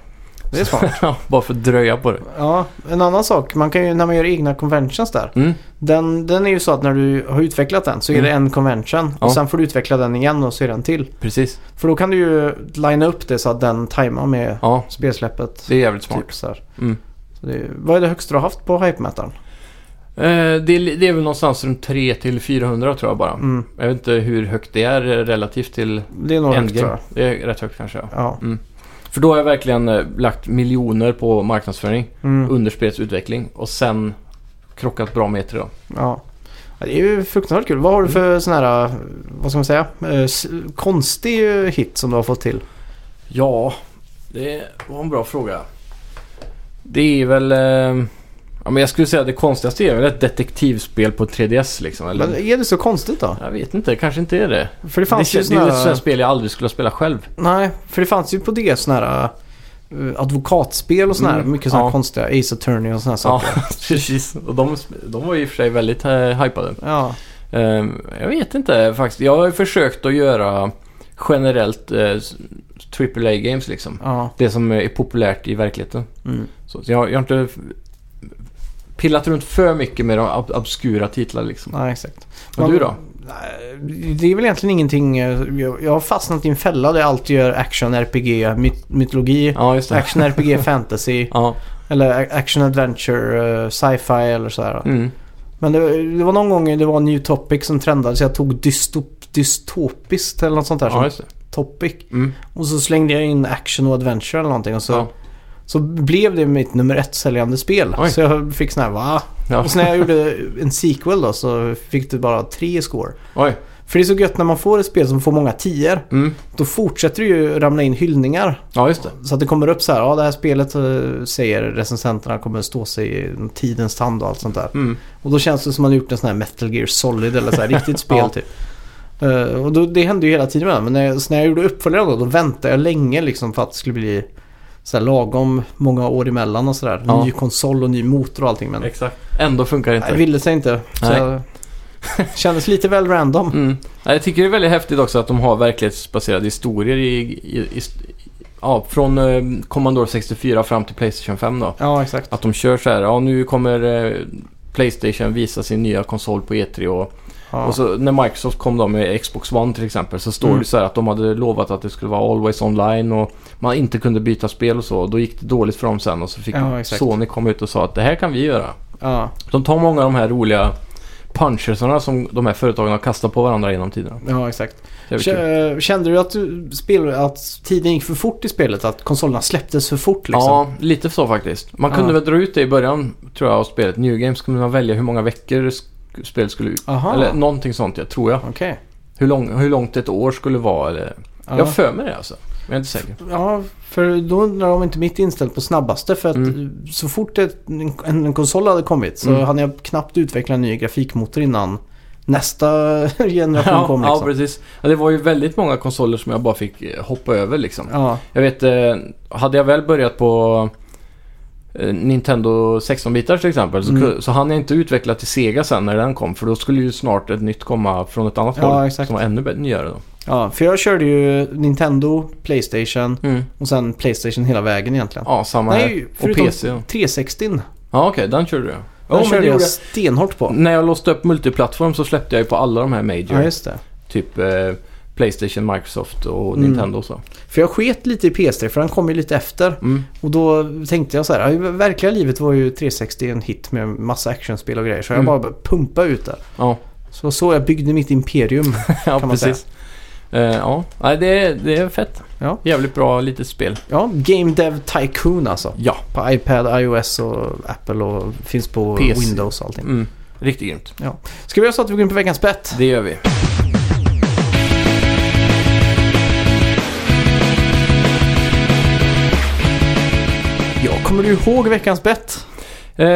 Speaker 1: Det är <laughs> smart.
Speaker 2: <laughs> Ja, Bara för att dröja på det.
Speaker 1: Ja, en annan sak. Man kan ju, när man gör egna conventions där.
Speaker 2: Mm.
Speaker 1: Den, den är ju så att när du har utvecklat den så är det en convention.
Speaker 2: Ja.
Speaker 1: Och sen får du utveckla den igen och så är det en till.
Speaker 2: Precis.
Speaker 1: För då kan du ju linea upp det så att den tajmar med
Speaker 2: Ja,
Speaker 1: spelsläppet.
Speaker 2: det är jävligt smart.
Speaker 1: Typ så här.
Speaker 2: Mm.
Speaker 1: Så det, är- vad är det högsta du har haft på hypemätaren?
Speaker 2: Eh, det, är, det är väl någonstans runt 3 till 400 tror jag bara.
Speaker 1: Mm.
Speaker 2: Jag vet inte hur högt det är eh, relativt till
Speaker 1: Det är nog högt tror
Speaker 2: Endgame.
Speaker 1: jag.
Speaker 2: Det är rätt högt kanske. Ja.
Speaker 1: Ja.
Speaker 2: För då har jag verkligen eh, lagt miljoner på marknadsföring
Speaker 1: Mm.
Speaker 2: under spelets utveckling och sen krockat bra med E3 då.
Speaker 1: ja. Ja, Det är ju fruktansvärt kul. Vad har du
Speaker 2: Mm.
Speaker 1: för sån här, eh, vad ska man säga, eh, s- konstig eh, hit som du har fått till?
Speaker 2: Ja, det var en bra fråga. Det är väl... Eh, ja, men jag skulle säga att det konstigaste är väl ett detektivspel på 3DS liksom. Eller?
Speaker 1: Men är det så konstigt då?
Speaker 2: Jag vet inte, kanske inte är det.
Speaker 1: För det
Speaker 2: Det,
Speaker 1: fanns
Speaker 2: kän-
Speaker 1: ju
Speaker 2: det är ju
Speaker 1: såna
Speaker 2: ett sånt
Speaker 1: här,
Speaker 2: spel jag aldrig skulle spela själv.
Speaker 1: Nej, för det fanns ju på det såna här eh, advokatspel och såna här,
Speaker 2: Mm.
Speaker 1: mycket såna här
Speaker 2: Ja.
Speaker 1: konstiga, Ace Attorney och såna här saker.
Speaker 2: Ja, <laughs> precis. Och de, de var ju i och för sig väldigt eh, hypade.
Speaker 1: Ja.
Speaker 2: Ehm, jag vet inte faktiskt. Jag har ju försökt att göra generellt eh, AAA-games liksom.
Speaker 1: Ja.
Speaker 2: Det som är populärt i verkligheten.
Speaker 1: Mm.
Speaker 2: Så jag, jag har inte f- pillat runt för mycket med de ab- obskura titlar liksom.
Speaker 1: Nej, exakt.
Speaker 2: Men du då?
Speaker 1: Nej, Det är väl egentligen ingenting. eh, Jag jag har fastnat i en fälla där jag alltid gör action, RPG, myt- mytologi.
Speaker 2: Ja, just det.
Speaker 1: Action
Speaker 2: <laughs>
Speaker 1: RPG fantasy
Speaker 2: Ja,
Speaker 1: eller a- action adventure eh, sci-fi eller sådär.
Speaker 2: mm.
Speaker 1: Men det, det var någon gång det var new topic som trendade så jag tog dystop, dystopiskt eller något sånt där
Speaker 2: ja
Speaker 1: som
Speaker 2: just det.
Speaker 1: topic.
Speaker 2: Mm.
Speaker 1: Och så slängde jag in action och adventure eller någonting och så,
Speaker 2: Ja.
Speaker 1: så blev det mitt nummer ett säljande spel.
Speaker 2: Oj.
Speaker 1: Så jag fick sån här va?
Speaker 2: Ja.
Speaker 1: Och sen när jag gjorde en sequel då så fick det bara tre score.
Speaker 2: Oj.
Speaker 1: För det är så gött när man får ett spel som får många tior.
Speaker 2: Mm.
Speaker 1: Då fortsätter det ju ramla in hyllningar.
Speaker 2: Ja, just det.
Speaker 1: Så att det kommer upp så här, ja det här spelet eh, säger recensenterna kommer stå sig i tidens tand och allt sånt där.
Speaker 2: Mm.
Speaker 1: Och då känns det som man gjort en sån här Metal Gear Solid eller
Speaker 2: <laughs>
Speaker 1: så här riktigt spel
Speaker 2: Ja.
Speaker 1: typ. Eh, och då, det hände ju hela tiden med den, men när jag, så när jag gjorde uppföljaren då, då väntade jag länge liksom för att det skulle bli så här lagom många år emellan och sådär.
Speaker 2: Ja.
Speaker 1: Ny konsol och ny motor och allting men
Speaker 2: Exakt. Ändå funkar det
Speaker 1: nej, det
Speaker 2: inte.
Speaker 1: ville sig inte. Så
Speaker 2: Nej.
Speaker 1: jag, <laughs> kändes lite väl random.
Speaker 2: Mm. Nej, Jag tycker det är väldigt häftigt också att de har verklighetsbaserade historier i, i, i, ja, från eh, Commodore 64 fram till Playstation 5 då.
Speaker 1: Ja, exakt.
Speaker 2: Att de kör så här, ja nu kommer eh, Playstation visa sin nya konsol på E3 och,
Speaker 1: Ja.
Speaker 2: och så när Microsoft kom då med Xbox One till exempel så står
Speaker 1: Mm.
Speaker 2: det så här att de hade lovat att det skulle vara Always Online och man inte kunde byta spel och så. Och då gick det dåligt för dem sen och så fick
Speaker 1: Ja, exakt.
Speaker 2: Sony komma ut och sa att det här kan vi göra.
Speaker 1: ja.
Speaker 2: De tar många av de här roliga punchersarna som de här företagen har kastat på varandra genom tiderna.
Speaker 1: ja, exakt.
Speaker 2: Det är väl kul.
Speaker 1: K- eh, Kände du att, du spel, att tiden gick för fort i spelet? Att konsolerna släpptes för fort liksom?
Speaker 2: Ja, lite så faktiskt. Man kunde
Speaker 1: Ja.
Speaker 2: väl dra ut det i början tror jag av spelet. New Games kunde man välja hur många veckor sk- spel skulle ut.
Speaker 1: Aha.
Speaker 2: Eller någonting sånt, jag tror jag.
Speaker 1: Okej.
Speaker 2: Hur, lång, hur långt ett år skulle vara eller... Jag
Speaker 1: Ja.
Speaker 2: har för mig det alltså. Men jag är inte säker.
Speaker 1: Ja, för då undrar de inte mitt inställt på snabbaste. För att
Speaker 2: Mm.
Speaker 1: så fort ett, en, en konsol hade kommit så
Speaker 2: Mm.
Speaker 1: hann jag knappt utveckla en ny grafikmotor innan nästa <laughs> generation
Speaker 2: Ja,
Speaker 1: kom.
Speaker 2: ja,
Speaker 1: Liksom.
Speaker 2: precis. Ja, det var ju väldigt många konsoler som jag bara fick eh, hoppa över liksom.
Speaker 1: Ja,
Speaker 2: Jag vet, eh, hade jag väl börjat på eh, Nintendo 16-bitar till exempel så,
Speaker 1: Mm.
Speaker 2: så hann jag inte utveckla till Sega sen när den kom. För då skulle ju snart ett nytt komma från ett annat
Speaker 1: Ja,
Speaker 2: håll
Speaker 1: exakt.
Speaker 2: som var ännu bä- nyare då.
Speaker 1: ja, för jag körde ju Nintendo, Playstation
Speaker 2: Mm.
Speaker 1: och sen Playstation hela vägen egentligen.
Speaker 2: Ja, samma
Speaker 1: Nej,
Speaker 2: här. Och
Speaker 1: förutom
Speaker 2: PC. Ja,
Speaker 1: 360 Den
Speaker 2: ja okej, den körde du. Den men det
Speaker 1: körde jag
Speaker 2: gjorde jag. Mm.
Speaker 1: stenhårt på.
Speaker 2: När jag låste upp multiplattform så släppte jag ju på alla de här major.
Speaker 1: Ja, just det.
Speaker 2: typ eh, Playstation, Microsoft och
Speaker 1: Mm.
Speaker 2: Nintendo och så.
Speaker 1: För jag sket lite i PS3 för den kom ju lite efter.
Speaker 2: Mm.
Speaker 1: Och då tänkte jag så här, ja, i verkliga livet var ju 360 en hit med massa actionspel och grejer. Så jag
Speaker 2: Mm.
Speaker 1: bara började pumpa ut det.
Speaker 2: Ja, <laughs>
Speaker 1: Så så jag byggde mitt imperium.
Speaker 2: ja
Speaker 1: man
Speaker 2: precis. Eh, ja, Nej, det, är, det är fett.
Speaker 1: Ja.
Speaker 2: Jävligt bra litet spel.
Speaker 1: Ja, Game Dev Tycoon alltså.
Speaker 2: Ja.
Speaker 1: På iPad, iOS och Apple och finns på
Speaker 2: PC.
Speaker 1: Windows och allting.
Speaker 2: Mm. Riktigt grymt.
Speaker 1: Ska vi göra så att vi går in på veckans bett?
Speaker 2: Det gör vi.
Speaker 1: Ja, kommer du ihåg veckans bett?
Speaker 2: Eh,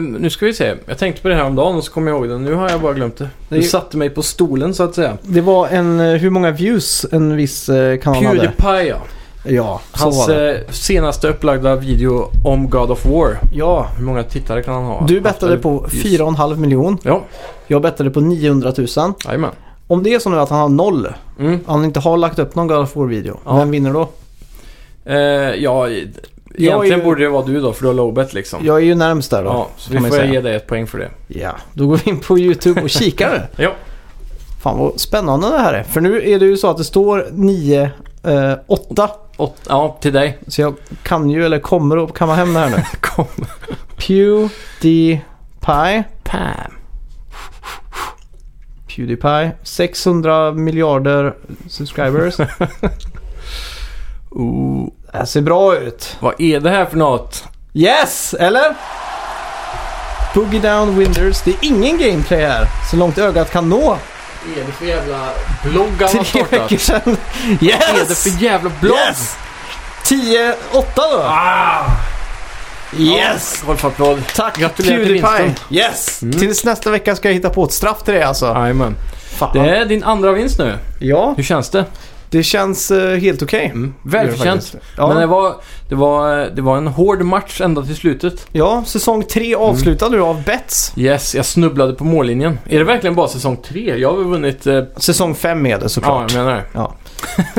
Speaker 2: nu ska vi se. Jag tänkte på det här om dagen och så kom jag ihåg det. Nu har jag bara glömt det.
Speaker 1: Det
Speaker 2: Du
Speaker 1: är ju-
Speaker 2: satte mig på stolen så att säga.
Speaker 1: Det var en, eh, hur många views en viss eh, kanal hade?
Speaker 2: Pewdiepie ja.
Speaker 1: Ja, så
Speaker 2: Hans
Speaker 1: var det.
Speaker 2: eh, senaste upplagda video om God of War.
Speaker 1: Ja,
Speaker 2: Hur många tittare kan han ha?
Speaker 1: du bettade
Speaker 2: Eller-
Speaker 1: på
Speaker 2: Just-
Speaker 1: 4,5 miljon.
Speaker 2: Ja,
Speaker 1: Jag bettade på 900 000.
Speaker 2: jajamän.
Speaker 1: Om det är så nu att han har noll,
Speaker 2: Mm.
Speaker 1: han inte har lagt upp någon God of War-video,
Speaker 2: Ja.
Speaker 1: vem vinner då?
Speaker 2: Eh, ja, e- egentligen
Speaker 1: ju-
Speaker 2: borde det vara du då, för du har lowbet liksom.
Speaker 1: Jag är ju närmst där då.
Speaker 2: ja, så vi
Speaker 1: kan
Speaker 2: får
Speaker 1: man
Speaker 2: jag
Speaker 1: säga.
Speaker 2: ge dig ett poäng för det.
Speaker 1: Ja, då går vi in på YouTube och
Speaker 2: <laughs>
Speaker 1: kikar.
Speaker 2: Ja.
Speaker 1: Fan vad spännande det här är. För nu är det ju så att det står 9, eh, 8.
Speaker 2: Åt, ja, till dig.
Speaker 1: Så jag kan ju, eller kommer att kamma hem det här
Speaker 2: <laughs>
Speaker 1: nu.
Speaker 2: Kom.
Speaker 1: Pewdiepie.
Speaker 2: Pam.
Speaker 1: Pewdiepie. 600 miljarder subscribers.
Speaker 2: <laughs> Ooh.
Speaker 1: Det här ser bra ut.
Speaker 2: Vad är det här för något?
Speaker 1: Yes! Eller? Boogie Down Winders. Det är ingen gameplay här. Så långt ögat kan nå.
Speaker 2: Vad är det för jävla blogg han har
Speaker 1: Tre
Speaker 2: startat?
Speaker 1: veckor sedan.
Speaker 2: Vad är det
Speaker 1: Yes!
Speaker 2: för jävla blogg?
Speaker 1: Yes! 10, 8 då.
Speaker 2: Ah!
Speaker 1: Yes!
Speaker 2: Ja, Golf applåd.
Speaker 1: Tack
Speaker 2: Gratulerar till vinsten.
Speaker 1: Yes!
Speaker 2: Mm.
Speaker 1: Tills nästa vecka ska jag hitta på ett straff till dig alltså.
Speaker 2: Jajamän.
Speaker 1: Fan.
Speaker 2: Det är din andra vinst nu.
Speaker 1: Ja,
Speaker 2: Hur känns det?
Speaker 1: det känns eh, helt okej.
Speaker 2: Mm.
Speaker 1: Gör det
Speaker 2: Välförtjänt.
Speaker 1: faktiskt. Ja.
Speaker 2: Men det var, det, var, det var en hård match ända till slutet.
Speaker 1: ja, säsong tre avslutad nu av Bets.
Speaker 2: Yes, jag snubblade på mållinjen. Är det verkligen bara säsong tre? Jag har väl vunnit... Eh,
Speaker 1: Säsong fem är det
Speaker 2: ja,
Speaker 1: såklart.
Speaker 2: jag menar det.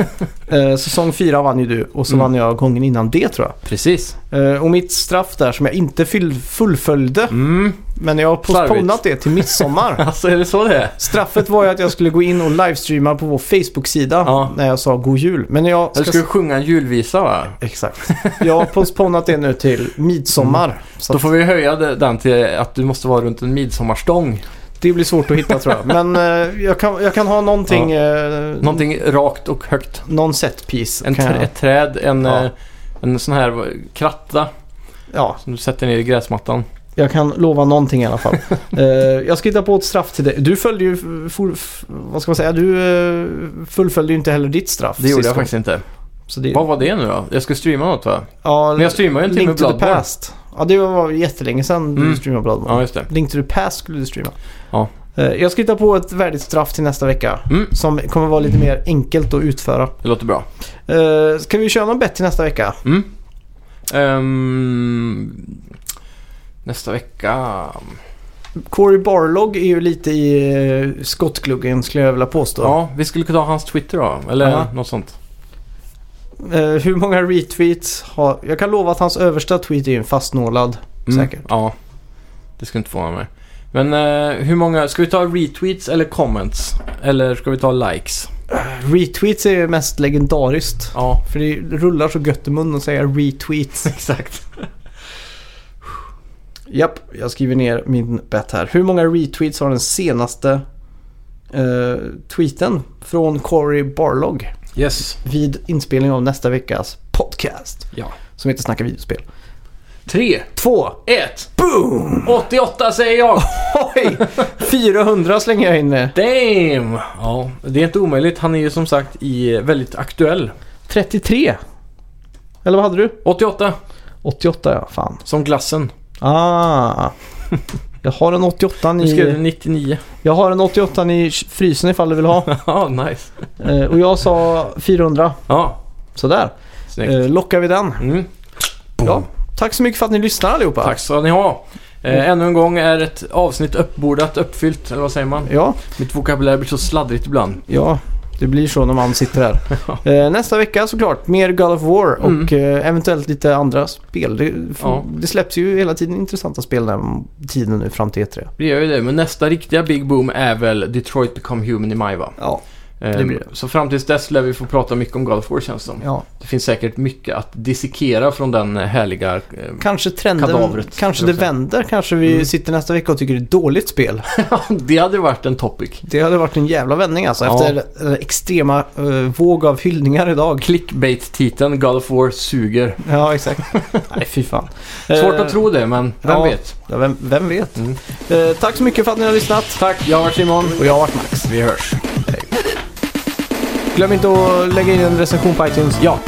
Speaker 1: <laughs> Eh, säsong fyra vann ju du och så
Speaker 2: Mm.
Speaker 1: vann jag gången innan det tror jag.
Speaker 2: Precis.
Speaker 1: Eh, och mitt straff där som jag inte fyll- fullföljde,
Speaker 2: Mm.
Speaker 1: men jag har postponat det till midsommar.
Speaker 2: Alltså är det så det är?
Speaker 1: Straffet var ju att jag skulle gå in och livestreama på vår Facebook-sida
Speaker 2: Ja.
Speaker 1: när jag sa God Jul. Men jag
Speaker 2: Du
Speaker 1: ska...
Speaker 2: skulle sjunga en julvisa va?
Speaker 1: Exakt. Jag har postponat det nu till midsommar. Så
Speaker 2: Mm. Då
Speaker 1: att-
Speaker 2: får vi höja det- den till att du måste vara runt en midsommarstång.
Speaker 1: Det blir svårt att hitta tror jag. Men eh, jag, kan, jag kan ha någonting... eh,
Speaker 2: Någonting rakt och högt.
Speaker 1: någon setpiece.
Speaker 2: En
Speaker 1: kan
Speaker 2: tr-
Speaker 1: jag-
Speaker 2: ett träd, en,
Speaker 1: Ja.
Speaker 2: eh, en sån här eh, kratta
Speaker 1: Ja,
Speaker 2: som du sätter ner i gräsmattan.
Speaker 1: jag kan lova någonting i alla
Speaker 2: <laughs>
Speaker 1: fall. Eh, jag ska hitta på ett straff till dig. Du följde ju... f- For, f- vad ska man säga? Du eh, fullföljde ju inte heller ditt straff.
Speaker 2: Det gjorde
Speaker 1: sist
Speaker 2: jag
Speaker 1: gång.
Speaker 2: faktiskt inte.
Speaker 1: Så det,
Speaker 2: Vad var det nu då? Jag skulle streama något va?
Speaker 1: ja,
Speaker 2: Men jag streamade ju en timme
Speaker 1: Link to the
Speaker 2: Bloodborne.
Speaker 1: past. Ja, det var jättelänge sedan du
Speaker 2: Mm.
Speaker 1: streamade Bloodborne.
Speaker 2: Ja, just det.
Speaker 1: Link to the past skulle du streama.
Speaker 2: Ja.
Speaker 1: Eh, jag ska hitta på ett värdigt straff till nästa vecka.
Speaker 2: Mm.
Speaker 1: Som kommer vara lite mer enkelt att utföra.
Speaker 2: Det låter bra.
Speaker 1: Eh, ska vi köra något bett till nästa vecka?
Speaker 2: Mm. Ehm, nästa vecka...
Speaker 1: Corey Barlog är ju lite i eh, skottgluggen skulle jag vilja påstå.
Speaker 2: Ja, vi skulle kunna ta hans Twitter då. Eller
Speaker 1: Ja.
Speaker 2: något sånt.
Speaker 1: Eh, hur många retweets har... Jag kan lova att hans översta tweet är en fastnålad. Säkert.
Speaker 2: Mm. Ja. Det skulle inte få mig. Men eh, hur många, ska vi ta retweets eller comments? Eller ska vi ta likes?
Speaker 1: Retweets är ju mest legendariskt.
Speaker 2: Ja,
Speaker 1: För det rullar så gött i munnen att säga <laughs> retweets.
Speaker 2: exakt.
Speaker 1: Japp, jag skriver ner min bet här. Hur många retweets har den senaste eh, tweeten från Corey Barlog
Speaker 2: Yes.
Speaker 1: vid inspelning av nästa veckas podcast
Speaker 2: Ja.
Speaker 1: som heter Snacka videospel?
Speaker 2: Tre,
Speaker 1: Två!
Speaker 2: ett,
Speaker 1: Boom!
Speaker 2: 88 säger jag!
Speaker 1: <laughs> Oj! 400 slänger jag in eh. med.
Speaker 2: Damn! Ja, det är inte omöjligt. Han är ju som sagt i, eh, väldigt aktuell.
Speaker 1: 33! Eller vad hade du?
Speaker 2: 88,
Speaker 1: 88 ja, fan.
Speaker 2: som glassen.
Speaker 1: Ah! <laughs> Jag har en 88
Speaker 2: Nu skrev du
Speaker 1: i...
Speaker 2: 99.
Speaker 1: Jag har en 88 i frysen ifall du vill ha.
Speaker 2: <laughs> Ja, nice.
Speaker 1: Eh, och jag sa 400.
Speaker 2: Ja,
Speaker 1: Sådär.
Speaker 2: snyggt.
Speaker 1: Eh, lockar vi den.
Speaker 2: Mm.
Speaker 1: Ja, tack så mycket för att ni lyssnar allihopa.
Speaker 2: Tack ska ni ha. Eh, ännu en gång är ett avsnitt uppbordat, uppfyllt, eller vad säger man?
Speaker 1: Ja,
Speaker 2: Mitt vokabulär blir så sladdrigt ibland.
Speaker 1: ja, det blir så när man sitter här.
Speaker 2: <laughs>
Speaker 1: Eh, nästa vecka såklart, mer God of War
Speaker 2: Mm.
Speaker 1: och eh, eventuellt lite andra spel. Det, för,
Speaker 2: Ja.
Speaker 1: det släpps ju hela tiden intressanta spel den tiden nu fram till E E3.
Speaker 2: Det gör ju det, men nästa riktiga big boom är väl Detroit Become Human i maj va?
Speaker 1: Ja,
Speaker 2: Eh,
Speaker 1: Det blir det.
Speaker 2: Så fram tills dess lär vi få prata mycket om God of War känns det som.
Speaker 1: ja.
Speaker 2: Det finns säkert mycket att dissekera från den härliga... <laughs> eh,
Speaker 1: Kanske trenden,
Speaker 2: Kadavret,
Speaker 1: kanske
Speaker 2: skulle
Speaker 1: det
Speaker 2: jag säga.
Speaker 1: vänder. Kanske vi
Speaker 2: Mm.
Speaker 1: sitter nästa vecka och tycker det är ett dåligt spel.
Speaker 2: det hade varit en topic.
Speaker 1: Det hade varit en jävla vändning alltså.
Speaker 2: Ja.
Speaker 1: Efter eh, extrema eh, våg av hyllningar idag.
Speaker 2: Clickbait-titeln God of War suger.
Speaker 1: Ja, exakt. <laughs> Nej, fy fan.
Speaker 2: Svårt
Speaker 1: Eh,
Speaker 2: att tro det, men vem
Speaker 1: ja.
Speaker 2: vet?
Speaker 1: Ja, vem, vem vet?
Speaker 2: Mm.
Speaker 1: Eh, tack så mycket för att ni har lyssnat.
Speaker 2: Tack, jag har varit Simon.
Speaker 1: Och jag har varit Max.
Speaker 2: Vi hörs.
Speaker 1: Glöm inte att lägga in en recension på iTunes.
Speaker 2: Ja.